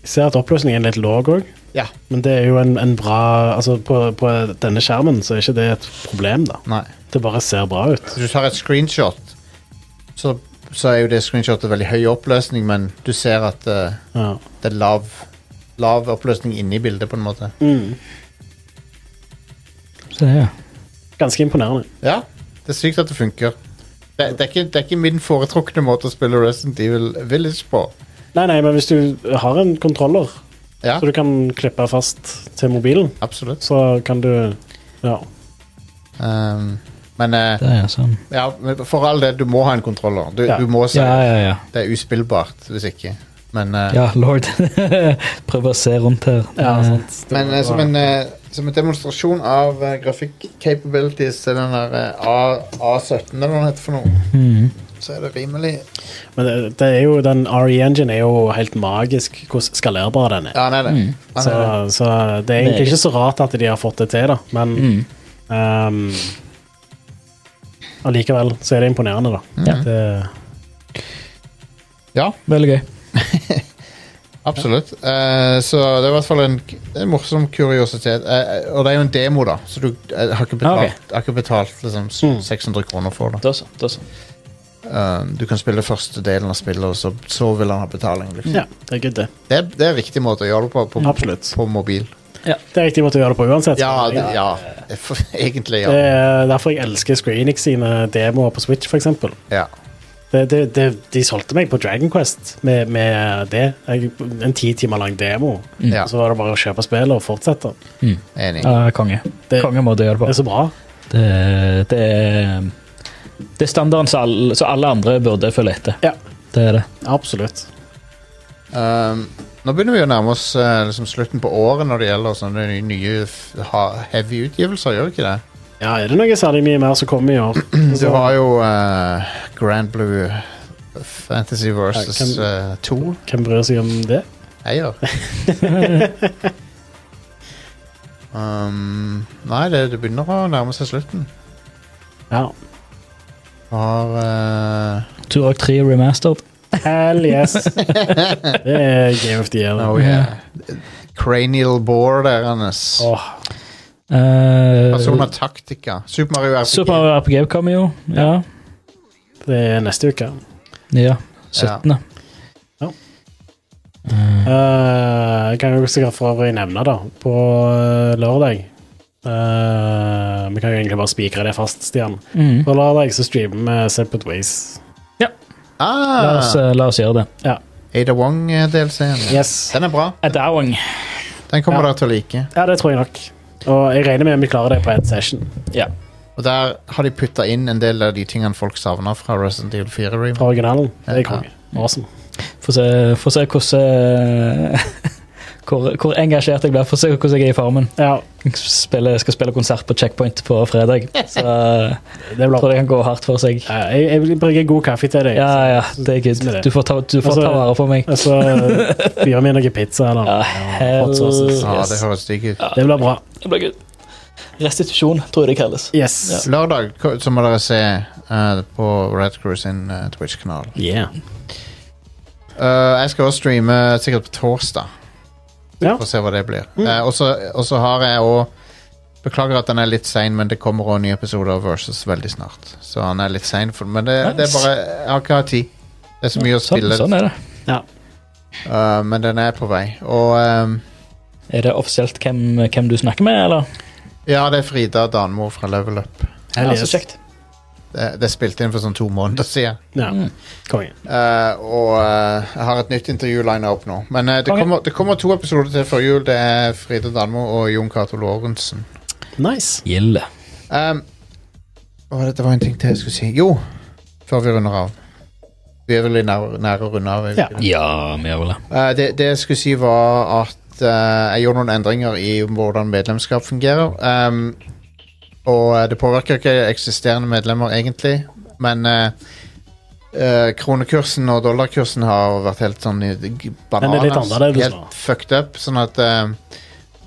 Speaker 3: ser at oppløsningen er litt lav òg,
Speaker 1: Ja.
Speaker 3: men det er jo en, en bra Altså, på, på denne skjermen så er ikke det et problem, da.
Speaker 1: Nei.
Speaker 3: Det bare ser bra ut.
Speaker 1: Hvis du tar et screenshot, så, så er jo det screenshotet veldig høy oppløsning, men du ser at eh,
Speaker 3: Ja.
Speaker 1: det er lav, lav oppløsning inni bildet, på en måte.
Speaker 2: Så det, ja.
Speaker 3: Ganske imponerende.
Speaker 1: Ja, det er sykt at det funker. Det, det, er ikke, det er ikke min foretrukne måte å spille Resident Evil Village på.
Speaker 3: Nei, nei, men hvis du har en kontroller,
Speaker 1: Ja,
Speaker 3: så du kan klippe fast til mobilen,
Speaker 1: absolutt.
Speaker 3: så kan du Ja.
Speaker 1: Um, men eh,
Speaker 2: Det er sånn.
Speaker 1: ja, men for all del, du må ha en kontroller. Du,
Speaker 3: Ja.
Speaker 1: du må se.
Speaker 2: Ja, ja, ja.
Speaker 1: Det er uspillbart hvis ikke. Men, eh,
Speaker 2: Ja, lord. Prøv å se rundt her.
Speaker 3: ja
Speaker 2: Eh,
Speaker 3: sant. Det
Speaker 1: men
Speaker 3: var-
Speaker 1: eh, som, en, eh, som en demonstrasjon av eh, grafikk-capabilities til den der eh, A, A17 eller hva den heter for noe,
Speaker 2: mhm.
Speaker 1: så er det rimelig
Speaker 3: Men det, det er jo, den RE-engine er jo helt magisk hvor skalerbar den er.
Speaker 1: Ja, han er det.
Speaker 2: Mm.
Speaker 1: Han
Speaker 3: Så,
Speaker 1: er det.
Speaker 3: så det er egentlig
Speaker 2: Meget.
Speaker 3: ikke så rart at de har fått det til, da. Men
Speaker 2: Mm.
Speaker 3: ehm, allikevel så er det imponerende, da.
Speaker 2: Ja.
Speaker 3: Det,
Speaker 1: Ja,
Speaker 2: Veldig gøy.
Speaker 1: absolutt. Eh, så det er i hvert fall en, en morsom kuriositet. Eh, eh, og det er jo en demo, da, så du eh, har ikke
Speaker 2: Ah, ok.
Speaker 1: betalt, har ikke betalt liksom, s-
Speaker 3: Mm.
Speaker 1: 600 kroner for det.
Speaker 2: Da så. Da så.
Speaker 1: Um, du kan spille første delen av spillet, og så, så vil han ha betaling. Liksom.
Speaker 3: ja, det er good, det.
Speaker 1: Det, er- det er riktig måte å gjøre det på
Speaker 3: Mm.
Speaker 1: på,
Speaker 3: Absolutt.
Speaker 1: på mobil.
Speaker 3: Det er riktig måte å gjøre det på uansett.
Speaker 1: Ja,
Speaker 3: så-
Speaker 1: det, ja. For, egentlig,
Speaker 3: Det
Speaker 1: ja.
Speaker 3: er Eh, derfor jeg elsker Screenix sine demoer på Switch, f.eks.
Speaker 1: ja.
Speaker 3: Det, det, det, de solgte meg på Dragon Quest med, med det. Jeg, en ti timer lang demo.
Speaker 1: Ja.
Speaker 3: Og så var det bare å kjøpe spillet og fortsette.
Speaker 1: Enig.
Speaker 2: Ja, konge.
Speaker 3: Det-
Speaker 2: Kongemåte å gjøre det på.
Speaker 3: Det er så bra.
Speaker 2: Det, det, er, det er standarden som alle, som alle andre burde følge etter.
Speaker 3: Ja,
Speaker 2: Det er det.
Speaker 3: absolutt.
Speaker 1: Um, nå begynner vi å nærme oss eh, liksom slutten på året når det gjelder sånne nye f- ha- heavy utgivelser, gjør vi ikke det?
Speaker 3: Ja, er det noe særlig mye mer som kommer i år?
Speaker 1: Du har jo eh, Grand Blue Fantasy versus
Speaker 3: Ja,
Speaker 1: eh, 2.
Speaker 3: Hvem bryr seg om det?
Speaker 1: Jeg gjør. um, nei, det, det begynner å nærme seg slutten.
Speaker 3: Ja.
Speaker 1: Har eh,
Speaker 2: Turok 3 remastered.
Speaker 3: Hell yes! Det er Game of the Year.
Speaker 1: Oh
Speaker 3: Åh,
Speaker 1: yeah. Cranial Bore der, Anders.
Speaker 2: Eh,
Speaker 1: Persona Tactica. Super Mario RPG.
Speaker 2: Super Mario RPG kommer jo. Ja.
Speaker 3: det er neste uke.
Speaker 2: ja. 17.
Speaker 3: Eh, Jeg kan jo sikkert for øvrig nevne, da, på eh, lørdag eh, Vi kan jo egentlig bare spikre det fast, Stian.
Speaker 2: Mm.
Speaker 3: På lørdag så streamer vi Separate Ways.
Speaker 2: La, oss,
Speaker 1: Ah,
Speaker 2: eh, la oss gjøre det.
Speaker 3: Ja.
Speaker 1: Ada Wong-delscenen.
Speaker 3: Yes.
Speaker 1: Den er bra.
Speaker 2: Adawang.
Speaker 1: Den kommer
Speaker 3: Ja.
Speaker 1: dere til å like.
Speaker 3: Ja, det tror jeg nok. Og jeg regner med at vi klarer det på én session.
Speaker 2: Ja.
Speaker 1: Og der har de putta inn en del av de tingene folk savner fra Resident Evil 4 Remake.
Speaker 3: Fra originalen. Det er konge. Awesome.
Speaker 2: Få se, få se hvordan eh, hvor, hvor engasjert jeg blir. Få se hvordan jeg er i formen.
Speaker 3: Ja,
Speaker 2: Jeg spiller, skal spille konsert på Checkpoint på fredag, så
Speaker 3: det
Speaker 2: jeg tror
Speaker 3: blir
Speaker 2: det kan gå hardt for seg.
Speaker 3: Ja, Jeg, jeg vil brygge god kaffe til deg.
Speaker 2: Ja, ja, det er good. Du får ta, du får ta vare på meg.
Speaker 3: Og så byr vi noe pizza eller
Speaker 2: Ja,
Speaker 3: Altså- ja, hot sauces.
Speaker 1: Ja,
Speaker 2: yes.
Speaker 1: Ah, det høres digg ut.
Speaker 3: Det blir bra.
Speaker 2: Det blir good. Restitusjon, tror jeg det kalles.
Speaker 3: Yes.
Speaker 1: Lørdag ko- så må dere se eh, på Red Crew sin eh, Twitch-kanal.
Speaker 3: Yeah.
Speaker 1: Eh, jeg skal også streame sikkert på torsdag.
Speaker 3: Ja.
Speaker 1: Får se hva det blir.
Speaker 2: Mm.
Speaker 1: Eh, og så- og så har jeg òg Beklager at den er litt sein, men det kommer òg nye episoder av Versus veldig snart. Så han er litt sein, for- men det, det er
Speaker 2: Nice.
Speaker 1: bare Jeg har ikke hatt tid. Det er så mye å
Speaker 2: Sånn,
Speaker 1: spille,
Speaker 2: sånn er det.
Speaker 3: Ja.
Speaker 1: eh, men den er på vei. Og ehm,
Speaker 2: Er det offisielt hvem, hvem du snakker med, eller?
Speaker 1: ja, det er Frida Danmo fra Level Up.
Speaker 3: Hell
Speaker 2: Ja,
Speaker 3: yes.
Speaker 2: så kjekt.
Speaker 1: Det, det spilte inn for sånn to måneder siden.
Speaker 3: Ja.
Speaker 2: Mm.
Speaker 3: Konge.
Speaker 1: Eh, og eh, jeg har et nytt intervju lina opp nå. Men eh, det,
Speaker 2: Konge.
Speaker 1: kommer, det kommer to episoder til før jul. Det er Frida Danmo og Jon Cato Lorentzen.
Speaker 3: Nice.
Speaker 2: Gilde.
Speaker 1: Ehm, oh, Um, å, det var en ting til jeg skulle si. Jo, før vi runder av. Vi er vel i nær- nære å runde av. er vi
Speaker 3: Ja.
Speaker 1: ikke det?
Speaker 2: Ja, vi gjør vel det.
Speaker 1: Eh, det, det jeg skulle si var at eh, jeg gjorde noen endringer i hvordan medlemskap fungerer. ehm, og eh, det påvirker ikke eksisterende medlemmer egentlig, men eh, eh, kronekursen og dollarkursen har vært helt sånn i g- bananas.
Speaker 3: annerledes nå.
Speaker 1: Helt fucked up. Sånn at eh,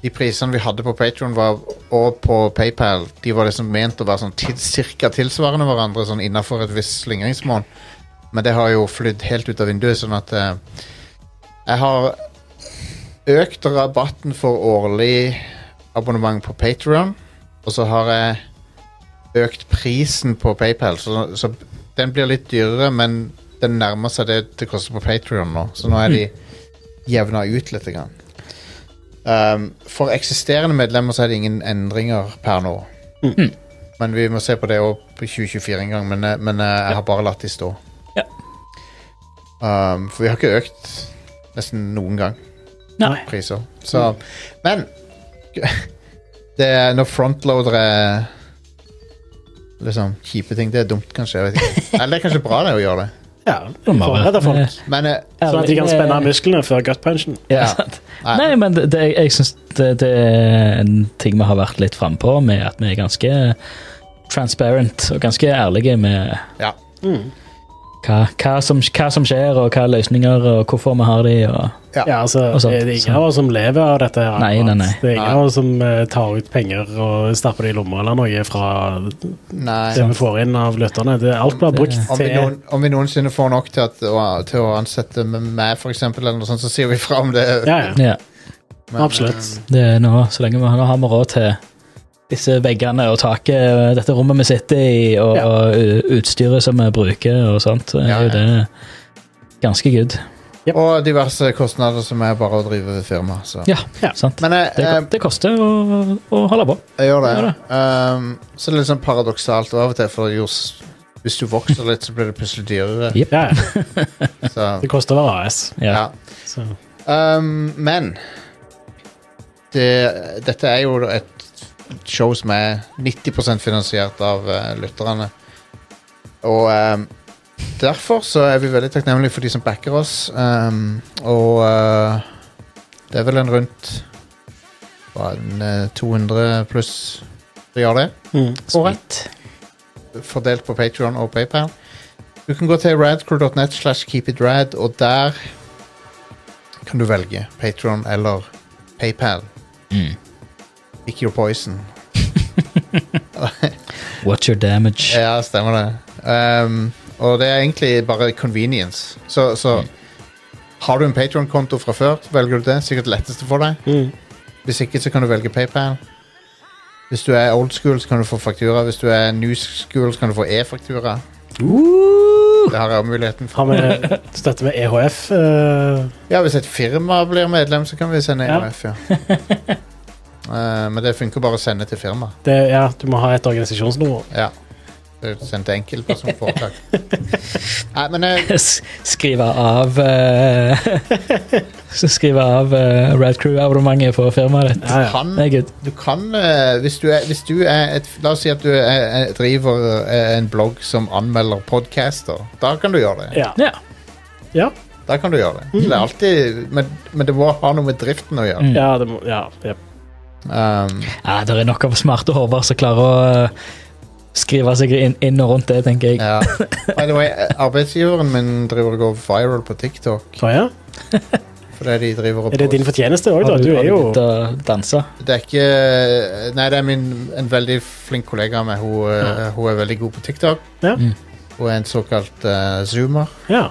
Speaker 1: de prisene vi hadde på Patreon var, og på PayPal, de var liksom ment å være sånn tids, cirka tilsvarende hverandre sånn innafor et visst slingringsmål. Men det har jo flydd helt ut av vinduet, sånn at eh, jeg har økt rabatten for årlig abonnement på Patreon, og så har jeg økt prisen på PayPal, så, så den blir litt dyrere, men den nærmer seg det det koster på Patreon nå, så nå er de jevna ut litt. Grann. Um, for eksisterende medlemmer så er det ingen endringer per nå. Men vi må se på det òg på 2024 en gang, men, eh, men eh, jeg har bare latt de stå.
Speaker 2: Ja.
Speaker 1: Um, for vi har ikke økt nesten noen gang
Speaker 2: Nei.
Speaker 1: priser. Så, men det er når frontloadere liksom kjipe ting, det er dumt, kanskje. Jeg vet ikke. Eller det er kanskje bra det å gjøre det.
Speaker 3: Ja, forberede folk.
Speaker 1: Men eh,
Speaker 3: Sånn at de kan spenne av musklene før gut punchen.
Speaker 2: Ja.
Speaker 1: Ja.
Speaker 2: sant.
Speaker 1: Nei.
Speaker 2: Nei, men det, det, jeg syns det, det er en ting vi har vært litt frampå med, at vi er ganske transparent og ganske ærlige med
Speaker 1: ja.
Speaker 2: hva, hva, som, hva som skjer, og hva løsninger, og hvorfor vi har de, og
Speaker 3: Ja, altså,
Speaker 2: Og sant,
Speaker 3: det er ingen
Speaker 2: sant.
Speaker 3: av oss som lever av dette. her.
Speaker 2: Nei, nei, nei.
Speaker 3: Det er ingen
Speaker 1: Nei.
Speaker 3: av oss som eh, tar ut penger og stapper det i lomma eller noe fra det
Speaker 1: Nei.
Speaker 3: vi får inn av lytterne. Det, alt blir brukt
Speaker 1: Om vi,
Speaker 3: til
Speaker 1: noen, om vi noensinne får nok til, at, å- til å ansette med meg, for eksempel, eller noe sånt, så sier vi fra om det.
Speaker 3: Ja, ja.
Speaker 2: Ja,
Speaker 1: Men,
Speaker 3: Absolutt.
Speaker 2: det er nå, så lenge vi nå har vi råd til disse veggene og taket, dette rommet vi sitter i, og,
Speaker 3: Ja.
Speaker 2: og u- utstyret som vi bruker, og sånt, så er
Speaker 1: Ja, ja.
Speaker 2: jo det ganske good.
Speaker 1: eh, Og diverse kostnader som er bare å drive firma. Så.
Speaker 2: Ja,
Speaker 3: Ja.
Speaker 2: sant.
Speaker 1: Men jeg,
Speaker 2: Det,
Speaker 1: jeg,
Speaker 2: det koster å, å holde på.
Speaker 1: Jeg gjør det.
Speaker 2: Gjør
Speaker 1: Ehm, så det er litt sånn paradoksalt av og til, for jo s- hvis du vokser litt, så blir det plutselig dyrere.
Speaker 2: Yep.
Speaker 3: Ja, ja.
Speaker 1: Så,
Speaker 3: Det koster å være AS.
Speaker 2: Ja.
Speaker 1: ja.
Speaker 3: Så.
Speaker 1: Ehm, men det, dette er jo et show som er 90 finansiert av eh, lytterne. Og ehm, derfor så er vi veldig takknemlige for de som backer oss. Ehm, og eh, det er vel en rundt hva, en, eh, 200 pluss som gjør det.
Speaker 3: Mm.
Speaker 2: Sweet.
Speaker 1: fordelt på Patreon og PayPal. Du kan gå til radcrew.net slash keepitrad, og der kan du velge Patreon eller PayPal. Pick your poison.
Speaker 2: What's your damage?
Speaker 1: Ja, stemmer det. Ehm, og det er egentlig bare convenience. Så, så har du en Patreon-konto fra før, velger du det. Sikkert det letteste for deg.
Speaker 3: Mm.
Speaker 1: Hvis ikke, så kan du velge PayPal. Hvis du er old school, så kan du få faktura. Hvis du er new school, så kan du få e-faktura. Det har jeg muligheten for.
Speaker 3: Har vi støtte med EHF? eh,
Speaker 1: Ja, hvis et firma blir medlem, så kan vi sende
Speaker 3: Ja.
Speaker 1: EOF, ja. Eh, men det funker bare å sende til firma.
Speaker 3: det, ja, du må ha et organisasjonsnummer.
Speaker 1: Ja. Det er Sendt til enkeltpersonforetak. Nei, men eh,
Speaker 2: S- Skrive av eh, så Skrive av eh, Red Crew-abonnementet for firmaet ditt.
Speaker 3: Ja, ja.
Speaker 1: kan,
Speaker 2: Det er good.
Speaker 1: du kan eh, hvis, du er, hvis du er et La oss si at du er, er, driver eh, en blogg som anmelder podcaster. Da kan du gjøre det.
Speaker 3: Ja.
Speaker 2: Ja.
Speaker 3: Ja.
Speaker 1: Da kan du gjøre det. det er alltid, men, men det må ha noe med driften å gjøre.
Speaker 2: Mm.
Speaker 3: ja, det må Ja. jep. Mm.
Speaker 1: Um,
Speaker 2: ja, det er nok av smarte hoder som klarer å eh, skrive seg inn, inn og rundt det, tenker jeg.
Speaker 1: ja. By the way, eh, arbeidsgiveren min driver og går viral på TikTok.
Speaker 3: Å, ja.
Speaker 1: Fordi de driver og
Speaker 3: Er det din fortjeneste òg, da? Du er jo
Speaker 2: begynt å danse?
Speaker 1: Det er ikke Nei, det er min, en veldig flink kollega av meg. Hun, eh, hun er veldig god på TikTok.
Speaker 3: Ja.
Speaker 2: Mm.
Speaker 1: Hun er en såkalt eh, zoomer.
Speaker 3: Ja.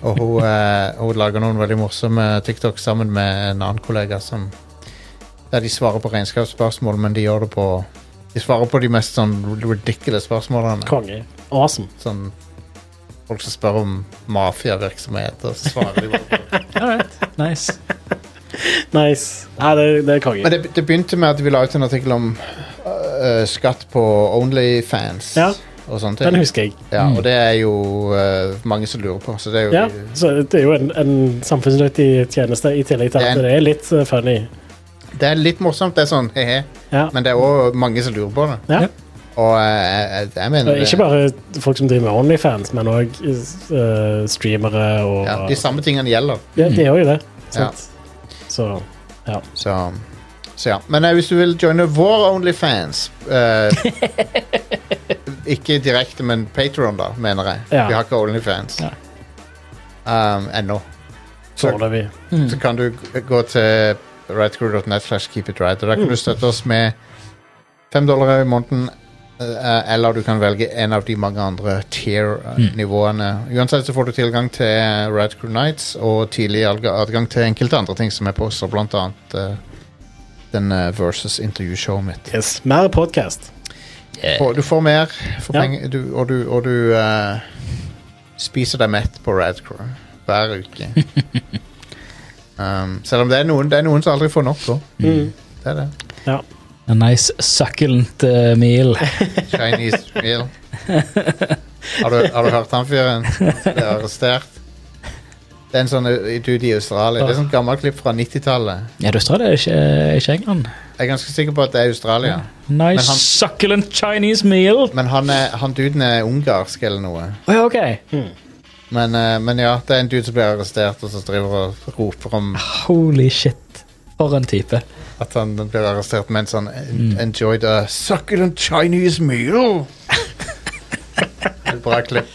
Speaker 1: Og hun, eh, hun lager noen veldig morsomme TikTok sammen med en annen kollega som Der de svarer på regnskapsspørsmål, men de gjør det på De svarer på de mest sånn ridiculous spørsmålene.
Speaker 3: Konge. Awesome.
Speaker 1: Sånn Folk som spør om mafiavirksomhet, og så svarer de bare på
Speaker 2: Nice.
Speaker 3: Nice. Nei, det, det er konge.
Speaker 1: Men det, det begynte med at vi la ut en artikkel om øh, skatt på Onlyfans
Speaker 3: Ja.
Speaker 1: og sånne
Speaker 3: Den
Speaker 1: ting.
Speaker 3: husker jeg. Mm.
Speaker 1: Ja, og det er jo øh, mange som lurer på, så det er jo
Speaker 3: Ja, så Det er jo en, en samfunnsnyttig tjeneste, i tillegg til
Speaker 1: Det er
Speaker 3: at
Speaker 1: en-
Speaker 3: det er litt eh, funny.
Speaker 1: Det er litt morsomt, det er sånn he-he,
Speaker 3: Ja.
Speaker 1: men det er òg mange som lurer på det.
Speaker 3: Ja.
Speaker 2: Ja.
Speaker 1: Og Og eh, jeg, jeg mener
Speaker 3: Eh, Ikke bare folk som driver med Onlyfans, men òg streamere og
Speaker 1: ja, De samme tingene gjelder.
Speaker 3: Ja, det er jo det.
Speaker 1: Ja.
Speaker 3: Sant? Så ja.
Speaker 1: Så, så ja. Men eh, hvis du vil joine vår Onlyfans eh, Ikke direkte, men Patron, da, mener jeg.
Speaker 3: Ja.
Speaker 1: Vi har ikke Onlyfans
Speaker 2: Nei.
Speaker 1: um, ennå. Så-
Speaker 3: Foreløpig.
Speaker 1: Så kan du g- gå til rightcrew.net slash keep it right, og da kan du støtte oss med fem dollar i måneden. eh, Eller du kan velge en av de mange andre tier-nivåene. Uansett så får du tilgang til eh, Right Crew Nights og tidlig adg- adgang til enkelte andre ting som jeg poster, blant annet eh, den eh, versus intervjushowet mitt.
Speaker 3: Yes. Mer podkast.
Speaker 1: Og du får mer for
Speaker 3: Ja.
Speaker 1: penger, du, og du, og du eh, spiser deg mett på Rad Crew hver uke. um, selv om det er, noen, det er noen som aldri får nok. også.
Speaker 3: Mm.
Speaker 1: Det er det.
Speaker 3: Ja.
Speaker 2: A nice succulent eh, meal.
Speaker 1: Chinese meal. Har du, har du hørt han fyren? som Ble arrestert. Det er en sånn eh, dude i Australia. Det er sånn gammelt klipp fra 90-tallet.
Speaker 2: Ja, du sa det, ikke, eh, ikke England.
Speaker 1: Jeg er ganske sikker på at det er Australia.
Speaker 2: Nice
Speaker 1: Men han-
Speaker 2: succulent Chinese meal.
Speaker 1: Men han, er, han duden er ungarsk eller noe.
Speaker 2: Å ja, ok.
Speaker 1: Men, eh, men ja, det er en dude som blir arrestert, og som driver og roper om
Speaker 2: Holy shit. For en type.
Speaker 1: At han blir arrestert mens han en- enjoyed a succulent Chinese meal. Et Bra klipp.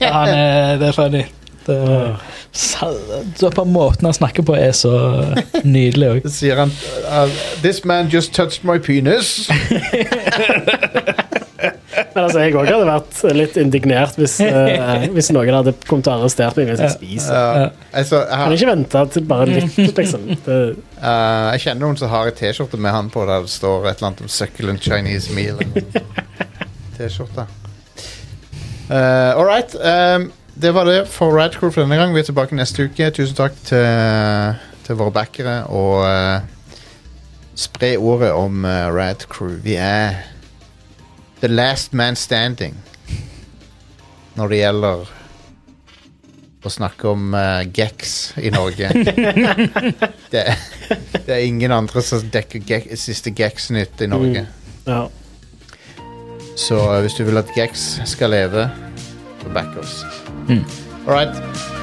Speaker 2: Ja, han er, det er funny. Det er, Sa- så på måten han snakker på, er så nydelig òg.
Speaker 1: Så sier han uh, This man just touched my penis.
Speaker 3: Men altså, jeg òg hadde vært litt indignert hvis, eh, hvis noen hadde kommet og arrestert meg mens jeg spiser.
Speaker 1: Uh, altså,
Speaker 3: Kan
Speaker 1: jeg,
Speaker 3: ikke vente til bare litt, liksom. Det,
Speaker 1: uh, jeg kjenner noen som har ei T-skjorte med han på der det står et eller annet om succulent Chinese meal. eller noe. T-skjorte. Uh, All right. Um, det var det for Radcrew for denne gang. Vi er tilbake neste uke. Tusen takk til, til våre backere. Og uh, spre ordet om uh, Radcrew. Vi er the last man standing når det gjelder å snakke om uh, geks i Norge. det, det er ingen andre som dekker gek, siste Gex-nytt i Norge.
Speaker 3: ja.
Speaker 1: Så eh, hvis du vil at Gex skal leve, så back oss. All right.